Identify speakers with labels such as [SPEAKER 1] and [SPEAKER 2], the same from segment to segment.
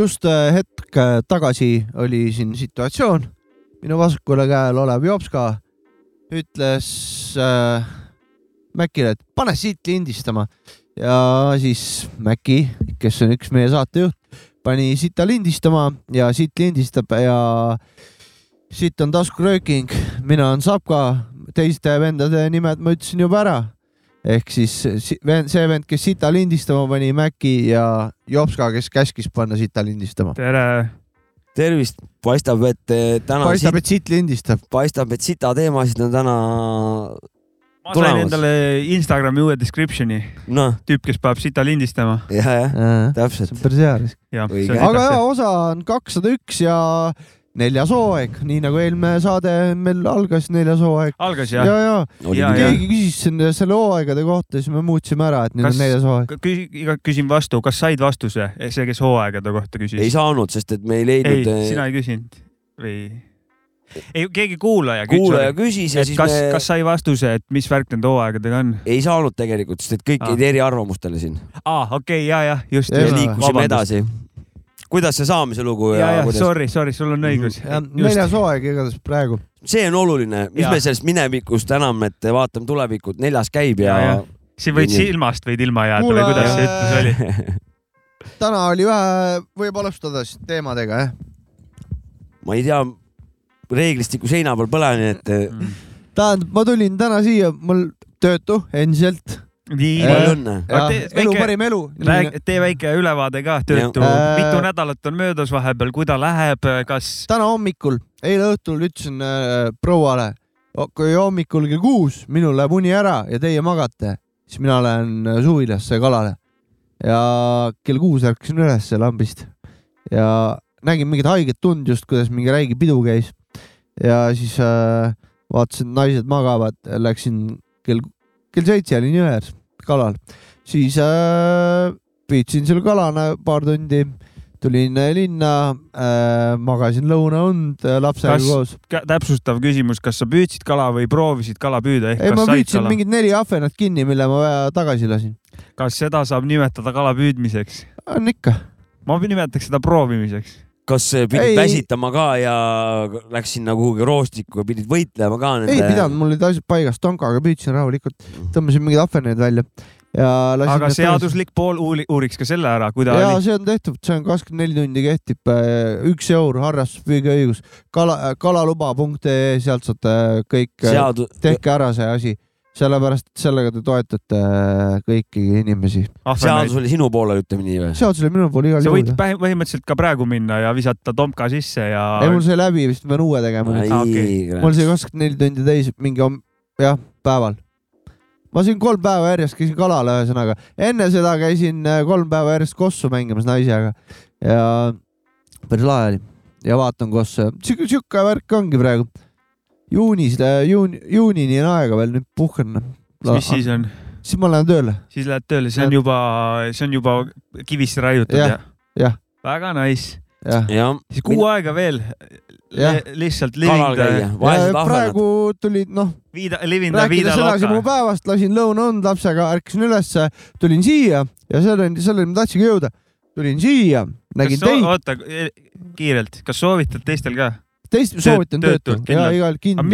[SPEAKER 1] just äh, hetk tagasi oli siin situatsioon, minu vasakule käel olev Jopska ütles äh, Mäkile, et pane siit lindistama ja siis Mäki, kes on üks meie saatejuht, pani sita lindistama ja siit lindistab ja siit on taskurööking, mina olen Sapka, teiste vendade nimed ma ütlesin juba ära ehk siis see vend, kes sita lindistama pani, Mäki ja Jopska, kes käskis panna sita lindistama.
[SPEAKER 2] tere.
[SPEAKER 3] tervist, paistab, et eh, täna
[SPEAKER 1] paistab sit..., et sitt lindistab.
[SPEAKER 3] paistab, et sita teemasid on täna
[SPEAKER 2] ma tulemas. sain endale Instagrami uue description'i
[SPEAKER 3] no..
[SPEAKER 2] tüüp, kes peab sita lindistama
[SPEAKER 3] ja,. jah, jah, täpselt.
[SPEAKER 1] Äh, see on päris hea risk. aga jaa, osa on kakssada üks ja neljas hooaeg, nii nagu eelmine saade meil algas, neljas hooaeg.
[SPEAKER 2] algas
[SPEAKER 1] jah? ja, ja, ja, ja. keegi küsis selle, selle hooaegade kohta, siis me muutsime ära, et nüüd kas, on neljas hooaeg.
[SPEAKER 2] küsin vastu, kas said vastuse, Eh, see, kes hooaegade kohta küsis?
[SPEAKER 3] ei saanud, sest et me ei leidnud. eh.
[SPEAKER 2] ei, sina ei küsinud või? ei, keegi kuulaja
[SPEAKER 3] küsis. kuulaja küsis ja siis
[SPEAKER 2] kas me..., kas sai vastuse, et mis värk nende hooaegadega on?
[SPEAKER 3] ei saanud tegelikult, sest et kõik jäid eriarvamustele siin.
[SPEAKER 2] aa, okei okay,, ja, ja just.
[SPEAKER 3] ja liikusime edasi kuidas see saamise lugu
[SPEAKER 2] ja, ja
[SPEAKER 3] kuidas...
[SPEAKER 2] sorry, sorry, sul on õigus.
[SPEAKER 1] Mm, neljas hooaeg igatahes praegu.
[SPEAKER 3] see on oluline, mis ja. me sellest minevikust enam, et vaatame tulevikku, et neljas käib ja, ja, ja..
[SPEAKER 2] siin võid Nii. silmast võid ilma jääda Mule... või kuidas see ütlus oli
[SPEAKER 1] täna oli vähe, võib alustada siis teemadega, jah
[SPEAKER 3] eh?? ma ei tea, reeglistiku seina peal pole, nii et mm..
[SPEAKER 1] tähendab, ma tulin täna siia, mul töötu endiselt
[SPEAKER 2] nii,
[SPEAKER 3] palju õnne.
[SPEAKER 1] elu, parim elu.
[SPEAKER 2] tee väike ülevaade ka, töötu äh..., mitu nädalat on möödas vahepeal, kui ta läheb, äh, kas?
[SPEAKER 1] täna hommikul, eile õhtul ütlesin äh, prouale, kui hommikul kell kuus minul läheb uni ära ja teie magate, siis mina lähen äh, suvilasse kalale. ja kell kuus ärkasin üles lambist ja nägin mingit haiget tund just, kuidas mingi räige pidu käis. ja siis äh, vaatasin, naised magavad, läksin kell kell seitse olin jões kalal, siis äh, püüdsin seal kalana paar tundi, tulin linna äh,, magasin lõunaund äh, lapsega kas, koos.
[SPEAKER 2] täpsustav küsimus, kas sa püüdsid kala või proovisid kala püüda?
[SPEAKER 1] ei, ma püüdsin mingid neli ahvenat kinni, mille ma tagasi lasin.
[SPEAKER 2] kas seda saab nimetada kala püüdmiseks?
[SPEAKER 1] on ikka.
[SPEAKER 2] ma nimetaks seda proovimiseks
[SPEAKER 3] kas pidid ei, väsitama ka ja läks sinna kuhugi roostikku ja pidid võitlema ka
[SPEAKER 1] nende? ei pidanud, mul olid asjad paigas, tankaga püüdsin rahulikult, tõmbasin mingeid ahveneid välja ja.
[SPEAKER 2] aga seaduslik tões. pool uuri, uuriks ka selle ära, kui ta.
[SPEAKER 1] ja oli... see on tehtud, see on kakskümmend neli tundi kehtib, äh, üks eur harrastuspüügiõigus, kala, äh, kalaluba.ee, sealt saate kõik Seadu..., tehke ära see asi sellepärast, et sellega te toetate äh, kõiki inimesi.
[SPEAKER 3] seadus oli sinu poole, ütleme nii või?
[SPEAKER 1] seadus oli minu poole igal
[SPEAKER 2] juhul. sa võid põhimõtteliselt ka praegu minna ja visata tomka sisse ja.
[SPEAKER 1] ei, mul sai läbi, vist ma pean uue tegema
[SPEAKER 3] nüüd. Okay.
[SPEAKER 1] mul sai kakskümmend neli tundi täis mingi om..., jah, päeval. ma siin kolm päeva järjest käisin kalal, ühesõnaga. enne seda käisin äh, kolm päeva järjest kossu mängimas naisega ja päris lahe oli ja vaatan kosse. sihuke, sihuke värk ongi praegu juunis, juuni, juunini on aega veel, nüüd puhkan.
[SPEAKER 2] mis siis on?
[SPEAKER 1] siis ma lähen tööle.
[SPEAKER 2] siis lähed tööle, see on juba, see on juba kivisse raiutud ja,
[SPEAKER 1] ja.?
[SPEAKER 2] väga nice.
[SPEAKER 3] siis
[SPEAKER 2] kuu Min... aega veel ja. lihtsalt living.
[SPEAKER 1] praegu tulid noh.
[SPEAKER 2] viida, living the vida
[SPEAKER 1] loca. mu päevast lasin lõuna und lapsega, ärkasin ülesse, tulin siia ja selleni, selleni ma tahtsingi jõuda. tulin siia, nägin teid.
[SPEAKER 2] oota, e, kiirelt, kas soovitad teistel ka?
[SPEAKER 1] teist soovitan töötu ja igal
[SPEAKER 2] kindlal.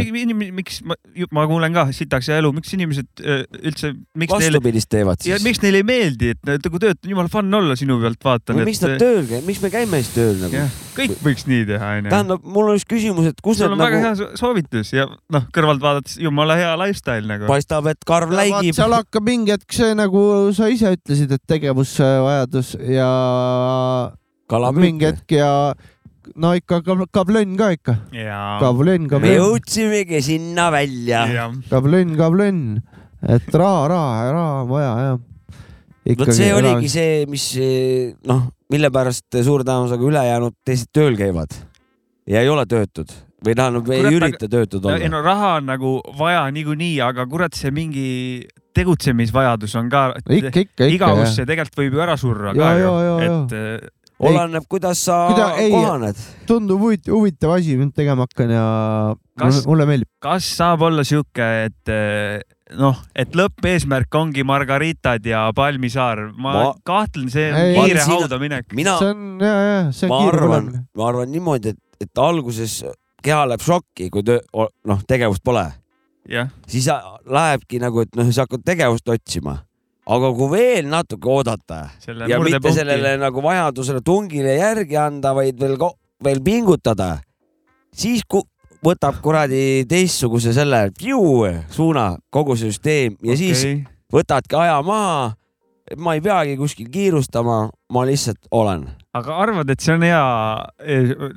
[SPEAKER 2] miks ma, ma kuulen ka sitaks ja elu, miks inimesed e, üldse, miks
[SPEAKER 3] neil. vastupidist teevad siis.
[SPEAKER 2] miks neile ei meeldi, et nagu töötu, jumala fun olla sinu pealt, vaatan.
[SPEAKER 3] miks nad tööl käivad, miks me käime siis tööl nagu?
[SPEAKER 2] kõik võiks nii teha, onju.
[SPEAKER 3] tähendab, mul on üks küsimus, et kus.
[SPEAKER 2] sul on nagu... väga hea soovitus ja noh, kõrvalt vaadates jumala hea lifestyle nagu.
[SPEAKER 3] paistab, et karv läigib.
[SPEAKER 1] seal hakkab mingi hetk see, nagu sa ise ütlesid, et tegevusvajadus ja. mingi hetk ja no ikka kablönn ka ikka. kablönn, kablönn.
[SPEAKER 3] me jõudsimegi sinna välja.
[SPEAKER 1] kablönn, kablönn, et raha, raha, raha on vaja jah.
[SPEAKER 3] vot see raha. oligi see, mis noh, mille pärast suure tõenäosusega ülejäänud teised tööl käivad ja ei ole töötud või tähendab , ei
[SPEAKER 2] Kurat,
[SPEAKER 3] ürita töötud
[SPEAKER 2] ei
[SPEAKER 3] olla .
[SPEAKER 2] no raha on nagu vaja niikuinii , aga kurat , see mingi tegutsemisvajadus on ka .
[SPEAKER 1] ikka , ikka , ikka .
[SPEAKER 2] igavus see tegelikult võib ju ära surra ka
[SPEAKER 1] Jaa,
[SPEAKER 2] ju
[SPEAKER 1] jaa, , jaa,
[SPEAKER 2] et eh,
[SPEAKER 3] oleneb , kuidas sa
[SPEAKER 1] Kuida- ei-
[SPEAKER 3] kohaned .
[SPEAKER 1] tundub huvit- huvitav asi , mida tegema hakkan ja
[SPEAKER 2] Kas-
[SPEAKER 1] Kas... mulle meeldib .
[SPEAKER 2] kas saab olla sihuke , et eh, noh , et lõppeesmärk ongi margaritad ja palmisaar , ma
[SPEAKER 3] Ma-
[SPEAKER 2] kahtlen , see on
[SPEAKER 1] Ei.
[SPEAKER 2] kiire
[SPEAKER 3] Ma- sinna-
[SPEAKER 2] hauda minek .
[SPEAKER 3] mina ,
[SPEAKER 1] see on ja , ja see on
[SPEAKER 3] ma
[SPEAKER 1] kiire
[SPEAKER 3] arvan
[SPEAKER 1] põlemine .,
[SPEAKER 3] ma arvan niimoodi , et , et alguses keha läheb šokki , kui töö , noh , tegevust pole ,
[SPEAKER 2] jah ,
[SPEAKER 3] siis a- lähebki nagu , et noh , sa hakkad tegevust otsima . aga kui veel natuke oodata
[SPEAKER 2] selle
[SPEAKER 3] ja mitte
[SPEAKER 2] murdepunkti .
[SPEAKER 3] sellele nagu vajadusele tungile järgi anda , vaid veel , veel pingutada , siis ku- , võtab kuradi teistsuguse selle piu, suuna kogu see süsteem ja okay. siis võtadki aja maha . ma ei peagi kuskil kiirustama , ma lihtsalt olen .
[SPEAKER 2] aga arvad , et see on hea ,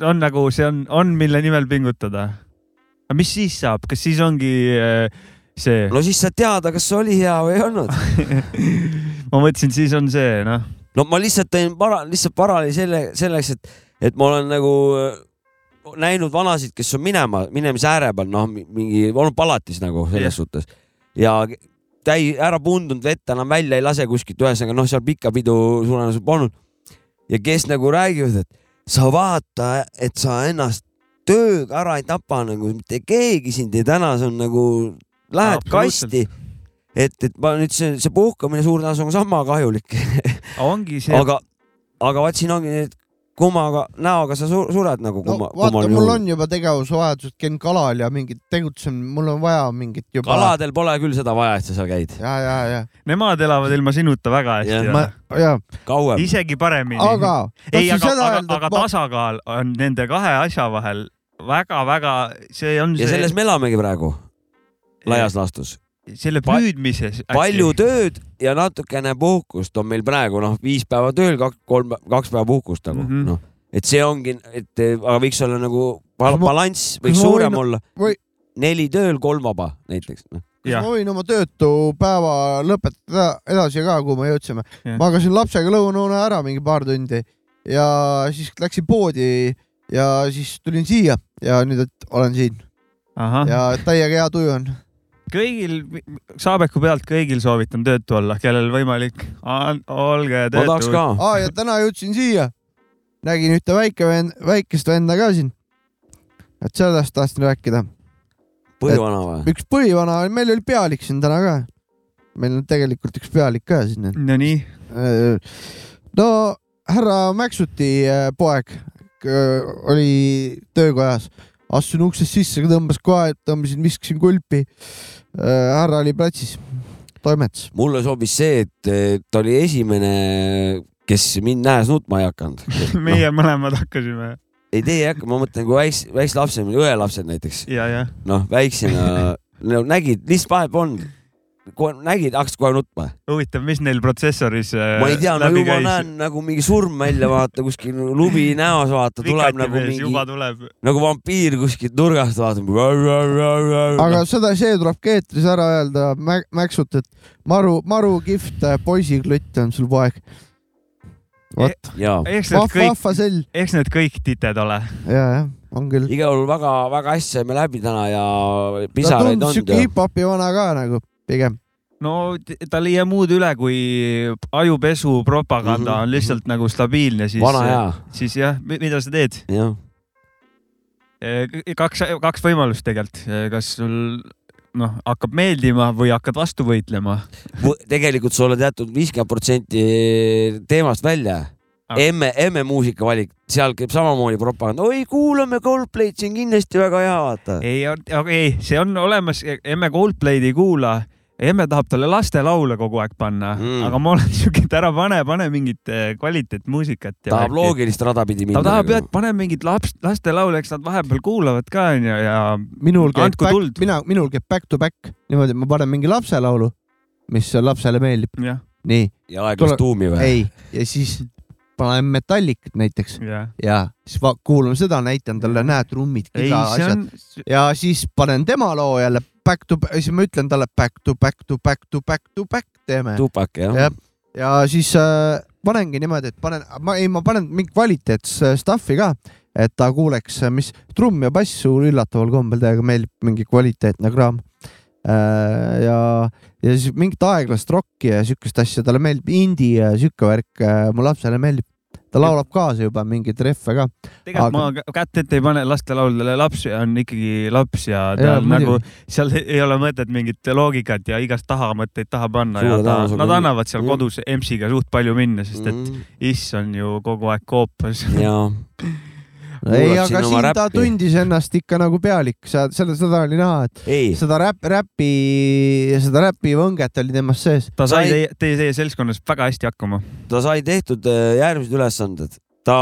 [SPEAKER 2] on nagu see on , on , mille nimel pingutada ? aga mis siis saab , kas siis ongi eh, see
[SPEAKER 3] no siis saad teada , kas see oli hea või ei olnud .
[SPEAKER 2] ma mõtlesin , siis on see noh ,
[SPEAKER 3] no ma lihtsalt tõin para- , lihtsalt paralleeli selle , selleks , et , et ma olen nagu äh, näinud vanasid , kes on minema , minemise ääre peal , noh , mingi , olnud palatis nagu selles
[SPEAKER 2] Jah.
[SPEAKER 3] suhtes ja ke- täi- , ära pundunud vett enam välja ei lase kuskilt , ühesõnaga noh , seal pikka pidu suunas polnud . ja kes nagu räägivad , et sa vaata , et sa ennast tööga ära ei tapa nagu mitte keegi sind ei täna , see on nagu , lähed
[SPEAKER 2] Absoluutselt.
[SPEAKER 3] kasti et , et ma nüüd see , see puhkamine suure tõenäosusega on sama kahjulik
[SPEAKER 2] ongi see aga...
[SPEAKER 3] aga , aga vaat siin ongi need kummaga näoga sa su sured nagu
[SPEAKER 1] no
[SPEAKER 3] kumma ,
[SPEAKER 1] vaata ,
[SPEAKER 3] kummal
[SPEAKER 1] mul . on juba tegevusvajadused , käin kalal ja mingit tegutsemine , mul on vaja mingit juba .
[SPEAKER 3] kaladel pole küll seda vaja , et sa seal käid .
[SPEAKER 1] ja , ja , ja ,
[SPEAKER 2] nemad elavad ilma sinuta väga hästi
[SPEAKER 3] Jah.
[SPEAKER 2] ja,
[SPEAKER 1] ma
[SPEAKER 2] ma... ,
[SPEAKER 1] ja ,
[SPEAKER 3] kauem .
[SPEAKER 2] isegi paremini .
[SPEAKER 1] aga .
[SPEAKER 2] ei , aga , aga, öelda, aga ma... tasakaal on nende kahe asja vahel väga-väga , see on
[SPEAKER 3] ja
[SPEAKER 2] see
[SPEAKER 3] selles me elamegi praegu , laias laastus .
[SPEAKER 2] selle
[SPEAKER 3] Pa-
[SPEAKER 2] püüdmises .
[SPEAKER 3] palju . tööd ja natukene puhkust on meil praegu , noh , viis päeva tööl , kaks , kolm , kaks päeva puhkust nagu mm
[SPEAKER 2] Mhm.
[SPEAKER 3] -hmm. , noh . et see ongi , et eh, aga võiks olla nagu pal-
[SPEAKER 1] Kas ma-
[SPEAKER 3] balanss
[SPEAKER 1] kas
[SPEAKER 3] võiks
[SPEAKER 1] ma võin-
[SPEAKER 3] suurem olla
[SPEAKER 1] või- .
[SPEAKER 3] neli tööl , kolm vaba näiteks . noh.
[SPEAKER 1] kas ma võin oma töötu päeva lõpetada edasi ka , kuhu me jõudsime
[SPEAKER 2] Jah. .
[SPEAKER 1] magasin lapsega lõunaune ära mingi paar tundi ja siis läksin poodi ja siis tulin siia ja nüüd , et olen siin
[SPEAKER 2] ahah ,
[SPEAKER 1] ja täiega hea tuju on .
[SPEAKER 2] kõigil , Saabeku pealt kõigil soovitan töötu olla , kellel võimalik , olge
[SPEAKER 3] ma tahaks
[SPEAKER 2] töötu .
[SPEAKER 3] ka .
[SPEAKER 1] aa ja täna jõudsin siia , nägin ühte väike vend , väikest venda ka siin . et sellest tahtsin rääkida .
[SPEAKER 3] põhivana või ?
[SPEAKER 1] üks põhivana , meil oli pealik siin täna ka . meil on tegelikult üks pealik ka siin .
[SPEAKER 2] Nonii ,.
[SPEAKER 1] no härra Mäksuti äh, poeg äh, oli töökojas , astusin uksest sisse , tõmbas kohe , tõmbasin , viskasin kulpi . härra oli platsis , toimetas .
[SPEAKER 3] mulle sobis see , et eh, ta oli esimene , kes mind nähes nutma ei hakanud Noh,
[SPEAKER 2] meie mõlemad hakkasime
[SPEAKER 3] ei tee ei hakka , ma mõtlen , kui väikse , väikse lapsena , õelapsed näiteks ,
[SPEAKER 2] ja , ja
[SPEAKER 3] noh , väiksena no, nägid , lihtsalt vahepeal on , kohe nägid , hakkasid kohe nutma .
[SPEAKER 2] huvitav , mis neil protsessoris äh,
[SPEAKER 3] ma ei tea , no
[SPEAKER 2] läbi
[SPEAKER 3] ju ma
[SPEAKER 2] käis ?
[SPEAKER 3] näen nagu mingi surm välja , vaata kuskil lubi näos , vaata tuleb nagu
[SPEAKER 2] mees,
[SPEAKER 3] mingi
[SPEAKER 2] juba , tuleb .
[SPEAKER 3] nagu vampiir kuskilt nurgast , vaata .
[SPEAKER 1] aga seda , see tuleb ka eetris ära öelda , Mäksut , et maru , maru kihvt äh, poisiklõtt on sul poeg . vot ,
[SPEAKER 3] jaa ,
[SPEAKER 2] eks need
[SPEAKER 1] vahva ,
[SPEAKER 2] kõik ,
[SPEAKER 1] vahva sell .
[SPEAKER 2] eks need kõik tited ole .
[SPEAKER 1] ja , jah , on küll .
[SPEAKER 3] igal juhul väga-väga hästi saime läbi täna ja
[SPEAKER 1] ta
[SPEAKER 3] pisaraid
[SPEAKER 1] tundus
[SPEAKER 3] on .
[SPEAKER 1] siuke hip-hopi vana ka nagu pigem .
[SPEAKER 2] no t- tal ei jää muud üle , kui ajupesu propaganda
[SPEAKER 3] Mhm,
[SPEAKER 2] on lihtsalt nagu stabiilne , siis ,
[SPEAKER 3] vana hea ,
[SPEAKER 2] siis jah , mida sa teed ?
[SPEAKER 3] jah .
[SPEAKER 2] kaks , kaks võimalust tegelikult , kas sul noh , hakkab meeldima või hakkad vastu võitlema .
[SPEAKER 3] Võ- tegelikult sa oled jätnud viiskümmend protsenti teemast välja .
[SPEAKER 2] Aga-
[SPEAKER 3] emme , emme muusika valik , seal käib samamoodi propaganda , oi kuulame Coldplay'd , see on kindlasti väga hea , vaata .
[SPEAKER 2] ei , ei , see on olemas , emme Coldplay'd ei kuula , emme tahab talle lastelaule kogu aeg panna
[SPEAKER 3] Mm.
[SPEAKER 2] mm. , aga ma olen siuke , et ära pane , pane mingit eh, kvaliteetmuusikat .
[SPEAKER 3] tahab loogilist rada pidi minna . nagu.
[SPEAKER 2] ta tahab jah , et pane mingit laps , lastelaule , eks nad vahepeal kuulavad ka onju ja
[SPEAKER 1] minul käib
[SPEAKER 2] Andku tuld.
[SPEAKER 1] back , mina , minul käib back to back niimoodi , et ma panen mingi lapselaulu , mis lapsele meeldib ,
[SPEAKER 2] jah ,
[SPEAKER 1] nii ,
[SPEAKER 3] ja aeglast
[SPEAKER 1] Tule-
[SPEAKER 3] tuumi või ?
[SPEAKER 1] ei , ja siis panen Metallicat näiteks
[SPEAKER 2] ja .
[SPEAKER 1] ja siis va- kuulan seda , näitan talle , näed , trummid ,
[SPEAKER 2] ei ,
[SPEAKER 1] iga
[SPEAKER 2] see
[SPEAKER 1] asjad
[SPEAKER 2] on ,
[SPEAKER 1] ja siis panen tema loo jälle back to , siis ma ütlen talle back to back to back to back to back teeme
[SPEAKER 3] tupak jah
[SPEAKER 1] Jah. ja siis äh, panengi niimoodi , et panen , ma ei , ma panen mingi kvaliteetse äh, stuff'i ka , et ta kuuleks , mis trumm ja bass suur üllataval kombel täiega meeldib , mingi kvaliteetne kraam . ja , ja siis mingit aeglast rokki ja siukest asja , talle meeldib indie ja siuke värk , mu lapsele meeldib . ta laulab kaasa juba mingeid rehve ka .
[SPEAKER 2] tegelikult
[SPEAKER 1] Aga-
[SPEAKER 2] ma ka- kätt ette ei pane lastelauldele , laps on ikkagi laps ja
[SPEAKER 1] Jaa,
[SPEAKER 2] tal nagu
[SPEAKER 1] muidugi.
[SPEAKER 2] seal ei ole mõtet mingit loogikat ja igast taha mõtteid taha panna ja
[SPEAKER 3] Suure
[SPEAKER 2] ta,
[SPEAKER 3] tõenäosusega
[SPEAKER 2] nad
[SPEAKER 3] küll.
[SPEAKER 2] annavad seal
[SPEAKER 3] Mm.
[SPEAKER 2] kodus EMS-iga suht palju minna , sest et
[SPEAKER 3] Mm,
[SPEAKER 2] iss on ju kogu aeg koopas .
[SPEAKER 3] jaa ,
[SPEAKER 1] ei ,
[SPEAKER 3] Kuulab
[SPEAKER 1] aga
[SPEAKER 3] siin oma
[SPEAKER 1] siin ta
[SPEAKER 3] räppi.
[SPEAKER 1] tundis ennast ikka nagu pealik , sa , seda , seda oli näha , et
[SPEAKER 3] ei ,
[SPEAKER 1] seda räpp , räpi , seda räpivõnget oli temas sees .
[SPEAKER 2] ta sai
[SPEAKER 3] Sai-
[SPEAKER 2] teie, teie , teie seltskonnas väga hästi hakkama .
[SPEAKER 3] ta sai tehtud äh, järgmised ülesanded . ta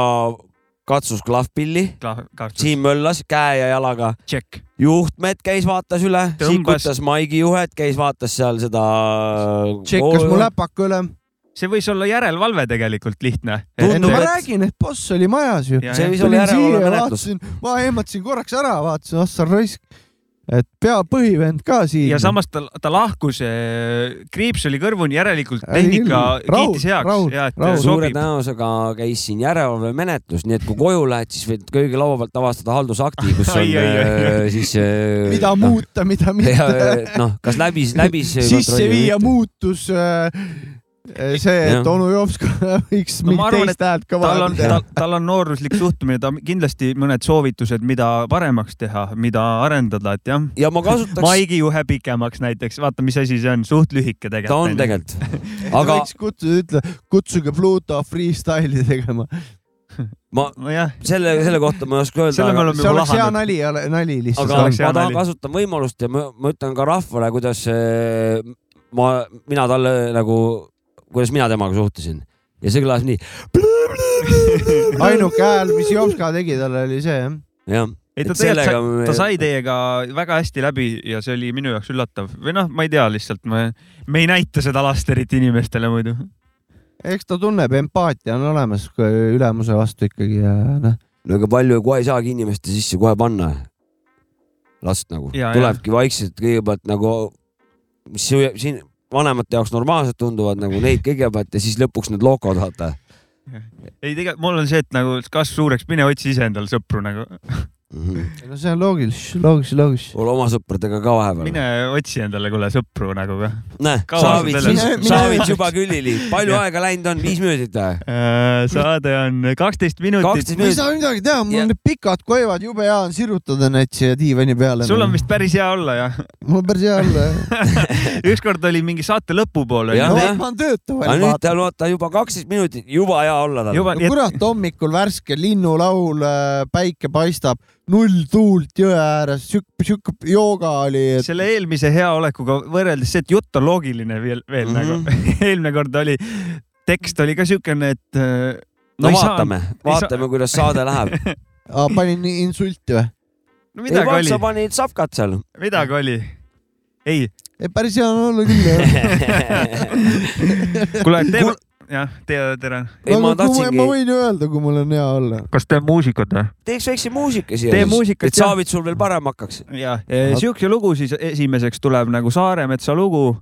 [SPEAKER 3] katsus klahvpilli ,
[SPEAKER 2] siin
[SPEAKER 3] siin möllas käe ja jalaga ,
[SPEAKER 2] tšekk .
[SPEAKER 3] juhtmed käis , vaatas üle ,
[SPEAKER 2] Tõmbas-
[SPEAKER 3] sikutas maigi juhet , käis , vaatas seal seda .
[SPEAKER 1] tšekkas mu läpaka üle .
[SPEAKER 2] see võis olla järelevalve tegelikult lihtne .
[SPEAKER 3] Tundub,
[SPEAKER 1] no ma
[SPEAKER 3] et-
[SPEAKER 1] räägin , et boss oli majas ju .
[SPEAKER 3] see võis olla
[SPEAKER 1] tulin siia ja
[SPEAKER 3] järelevalvemenetlus .
[SPEAKER 1] vaatasin , ma ehmatasin korraks ära , vaatasin , oh sa raisk . et pea põhivend ka siin .
[SPEAKER 2] ja samas ta , ta lahkus , kriips oli kõrvuni , järelikult tehnika
[SPEAKER 1] Ei, rahul,
[SPEAKER 2] kiitis heaks
[SPEAKER 1] rahul,
[SPEAKER 2] ja et
[SPEAKER 1] rahul.
[SPEAKER 3] suure
[SPEAKER 2] sobib .
[SPEAKER 3] tõenäosusega käis siin järelevalvemenetlus , nii et kui koju lähed , siis võid köögilaua pealt avastada haldusakti , kus on
[SPEAKER 2] Ai, ai, ai,
[SPEAKER 3] äh, siis .
[SPEAKER 1] mida ? muuta , mida mitte .
[SPEAKER 3] noh , kas läbis , läbis .
[SPEAKER 1] sisse viia . muutus äh, see ,
[SPEAKER 3] Jah.
[SPEAKER 1] et onu Jovska võiks
[SPEAKER 2] No ma
[SPEAKER 1] mingit
[SPEAKER 2] arvan, et
[SPEAKER 1] teist häält ka
[SPEAKER 2] tal on ,
[SPEAKER 1] vaadata .
[SPEAKER 2] tal, tal on nooruslik suhtumine , ta kindlasti mõned soovitused , mida paremaks teha , mida arendada , et jah .
[SPEAKER 3] ja ma kasutaks ,
[SPEAKER 2] maigi juhe pikemaks näiteks , vaata , mis asi see on , suht lühike tegelikult .
[SPEAKER 3] ta on . tegelikult , aga
[SPEAKER 1] Aga... võiks kutsuda , ütle , kutsuge Pluto freestyle'i tegema .
[SPEAKER 3] ma
[SPEAKER 2] nojah ,
[SPEAKER 3] selle , selle kohta ma ei oska öelda
[SPEAKER 2] selle . me
[SPEAKER 1] see
[SPEAKER 2] oleme juba
[SPEAKER 1] oleks hea
[SPEAKER 2] lahanud .
[SPEAKER 1] nali , nali lihtsalt .
[SPEAKER 3] aga
[SPEAKER 2] see oleks
[SPEAKER 3] ma
[SPEAKER 2] hea
[SPEAKER 3] tahan
[SPEAKER 2] nali.
[SPEAKER 3] kasutada võimalust ja ma, ma ütlen ka rahvale , kuidas äh, ma , mina talle nagu , kuidas mina temaga suhtlesin ja see kõlas nii .
[SPEAKER 1] ainuke hääl , mis Jopska tegi talle oli see jah .
[SPEAKER 3] jah ,
[SPEAKER 2] ei
[SPEAKER 3] et
[SPEAKER 2] ta tegelikult ,
[SPEAKER 3] me...
[SPEAKER 2] ta sai teiega väga hästi läbi ja see oli minu jaoks üllatav või noh , ma ei tea , lihtsalt me , me ei näita seda lasterit inimestele muidu .
[SPEAKER 1] eks ta tunneb , empaatia on olemas kui ülemuse vastu ikkagi ja noh ,
[SPEAKER 3] no ega palju kohe ei saagi inimeste sisse kohe panna last nagu ,
[SPEAKER 2] Jaa,
[SPEAKER 3] tulebki vaikselt kõigepealt nagu , mis su- siin vanemate jaoks normaalselt tunduvad nagu neid kõigepealt ja siis lõpuks need lokod vaata .
[SPEAKER 2] ei tegelikult mul on see , et nagu kasv suureks , mine otsi ise endale sõpru nagu ,
[SPEAKER 3] Mhm.
[SPEAKER 1] no see on loogiline , loogiline , loogiline .
[SPEAKER 3] ole oma sõpradega ka vahepeal .
[SPEAKER 2] mine otsi endale kuule sõpru nagu ka .
[SPEAKER 3] näe ,
[SPEAKER 2] kaua
[SPEAKER 3] Saavits
[SPEAKER 2] sa
[SPEAKER 1] teed? Mine- , mine-
[SPEAKER 3] Saavits juba külili , palju aega läinud on , viis minutit või ?
[SPEAKER 2] Äh, saade on kaksteist minutit .
[SPEAKER 3] kaksteist
[SPEAKER 1] ma ei
[SPEAKER 3] minutit ,
[SPEAKER 1] saa midagi teha , mul
[SPEAKER 3] Ja-
[SPEAKER 1] on need pikad koivad , jube hea on sirutada neid siia diivani peale . noh.
[SPEAKER 2] sul on vist päris hea olla jah .
[SPEAKER 1] mul on päris hea olla jah .
[SPEAKER 2] ükskord oli mingi saate lõpupoole
[SPEAKER 3] Jah.
[SPEAKER 1] no
[SPEAKER 3] jah.
[SPEAKER 1] vot , ma olen töötav
[SPEAKER 3] aga
[SPEAKER 1] ainult
[SPEAKER 3] nüüd . tal vaata juba kaksteist minutit , juba hea olla tal .
[SPEAKER 2] juba ,
[SPEAKER 1] no
[SPEAKER 2] nii et
[SPEAKER 1] kurat , hommikul värske linnulaul , päike paistab , null tuult jõe ääres , sihuke , sihuke jooga oli , et
[SPEAKER 2] selle eelmise heaolekuga võrreldes see , et jutt on loogiline veel , veel mm
[SPEAKER 3] Mhm.
[SPEAKER 2] -hmm. nagu eelmine kord oli , tekst oli ka siukene , et äh,
[SPEAKER 3] no
[SPEAKER 2] ei
[SPEAKER 3] vaatame ,
[SPEAKER 2] saa-
[SPEAKER 3] vaatame , kuidas saade läheb .
[SPEAKER 1] Aa, panin insulti või ?
[SPEAKER 2] saanud- no
[SPEAKER 3] ei
[SPEAKER 2] midagi
[SPEAKER 3] pannud ,
[SPEAKER 2] oli
[SPEAKER 3] sa , panid sapkad seal .
[SPEAKER 2] midagi oli . ei ,
[SPEAKER 1] ei , päris hea on olla küll jah .
[SPEAKER 2] kuule , teeme , jah , teie , tere .
[SPEAKER 3] ei , ma
[SPEAKER 1] Nagu ma
[SPEAKER 3] tahtsingi ,
[SPEAKER 1] võin ju öelda , kui mul on hea olla .
[SPEAKER 2] kas teeme muusikat või ?
[SPEAKER 3] teeks väikse muusika siia .
[SPEAKER 2] Tee muusikat,
[SPEAKER 3] et
[SPEAKER 2] jah.
[SPEAKER 3] Saavits sul veel parem hakkaks .
[SPEAKER 2] ja , siukse lugu siis esimeseks tuleb nagu Saaremetsa lugu .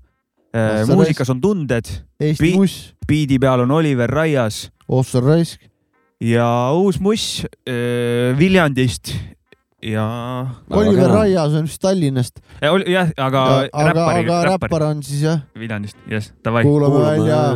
[SPEAKER 1] Ah, sa
[SPEAKER 2] muusikas on tunded ,
[SPEAKER 1] Eesti
[SPEAKER 2] Pi-
[SPEAKER 1] buss ,
[SPEAKER 2] biidi peal on Oliver Raias
[SPEAKER 1] Ossar Raisk .
[SPEAKER 2] ja uus muss äh, Viljandist ja
[SPEAKER 1] Oliver . Raias on vist Tallinnast ,
[SPEAKER 2] Ja oli- jah , aga
[SPEAKER 1] aga , aga
[SPEAKER 2] räppari , räppari
[SPEAKER 1] räppar on siis jah ,
[SPEAKER 2] Viljandist , jess , davai .
[SPEAKER 1] kuulame välja .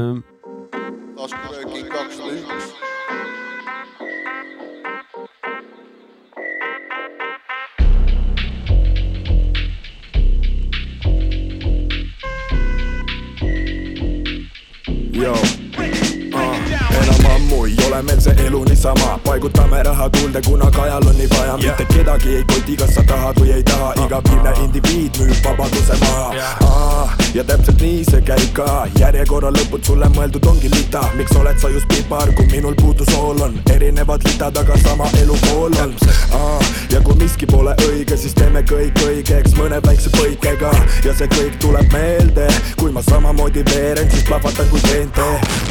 [SPEAKER 4] Joo. enam ammu ah, ei ole meil see elu niisama , paigutame raha tuulde , kuna kajal on nii vaja yeah. , mitte kedagi ei koti , kas sa tahad või ei taha , iga viimne indiviid müüb vabaduse maha yeah. . ja täpselt nii see käib ka , järjekorra lõpud sulle mõeldud ongi lita , miks oled sa just pipar , kui minul puudu sool on , erinevad litad , aga sama elupool on . ja kui miski pole õige , siis teeme kõik õigeks mõne väikse põikega ja see kõik tuleb meelde , kui ma samamoodi veeren , siis plahvatan kui teente .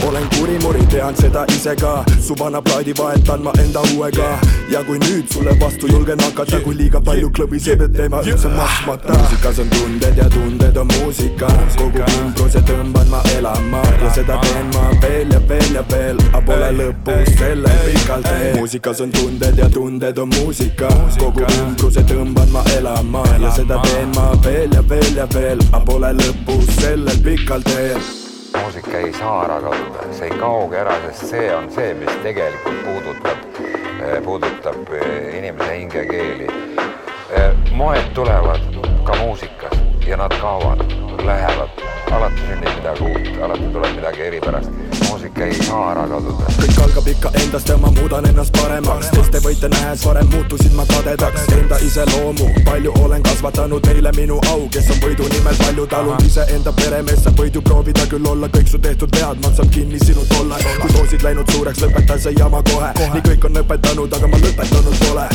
[SPEAKER 4] olen kurimuri , tean seda ise ka , su vana plaadi vahetan ma enda uuega ja kui nüüd sulle vastu julgen hakata , kui liiga palju klõbiseb , et teema üldse maksmata . muusikas on tunded ja tunded on muusika , kogu ümbruse tõmban ma elama ja seda teen ma veel ja veel ja veel , aga pole lõpus selle pikal teel . muusikas on tunded ja tunded on muusika , kogu ümbruse tõmban ma elama ja seda teen ma veel ja veel ja veel , aga pole lõpus sellel pikal teel .
[SPEAKER 5] muusika ei saa ära kaduda , see ei kaogi ära , sest see on see , mis tegelikult puudutab , puudutab eh, inimese hingekeeli . moed tulevad ka muusikas ja nad kaovad , lähevad , alati sünnib midagi uut , alati tuleb midagi eripärast . muusika ei saa ära kaduda .
[SPEAKER 4] kõik algab ikka endast ja ma muudan ennast paremaks , teiste võite nähes varem muutusin ma kadedaks , enda iseloomu , palju olen kasvatanud , neile minu au , kes on võidu nimel palju talunud , iseenda peremees , sa võid ju proovida küll olla , kõik su tehtud vead maksab kinni sinu tollal , kui doosid läinud suureks , lõpeta see jama kohe , nii kõik on õpetanud , aga ma lõpetanud pole .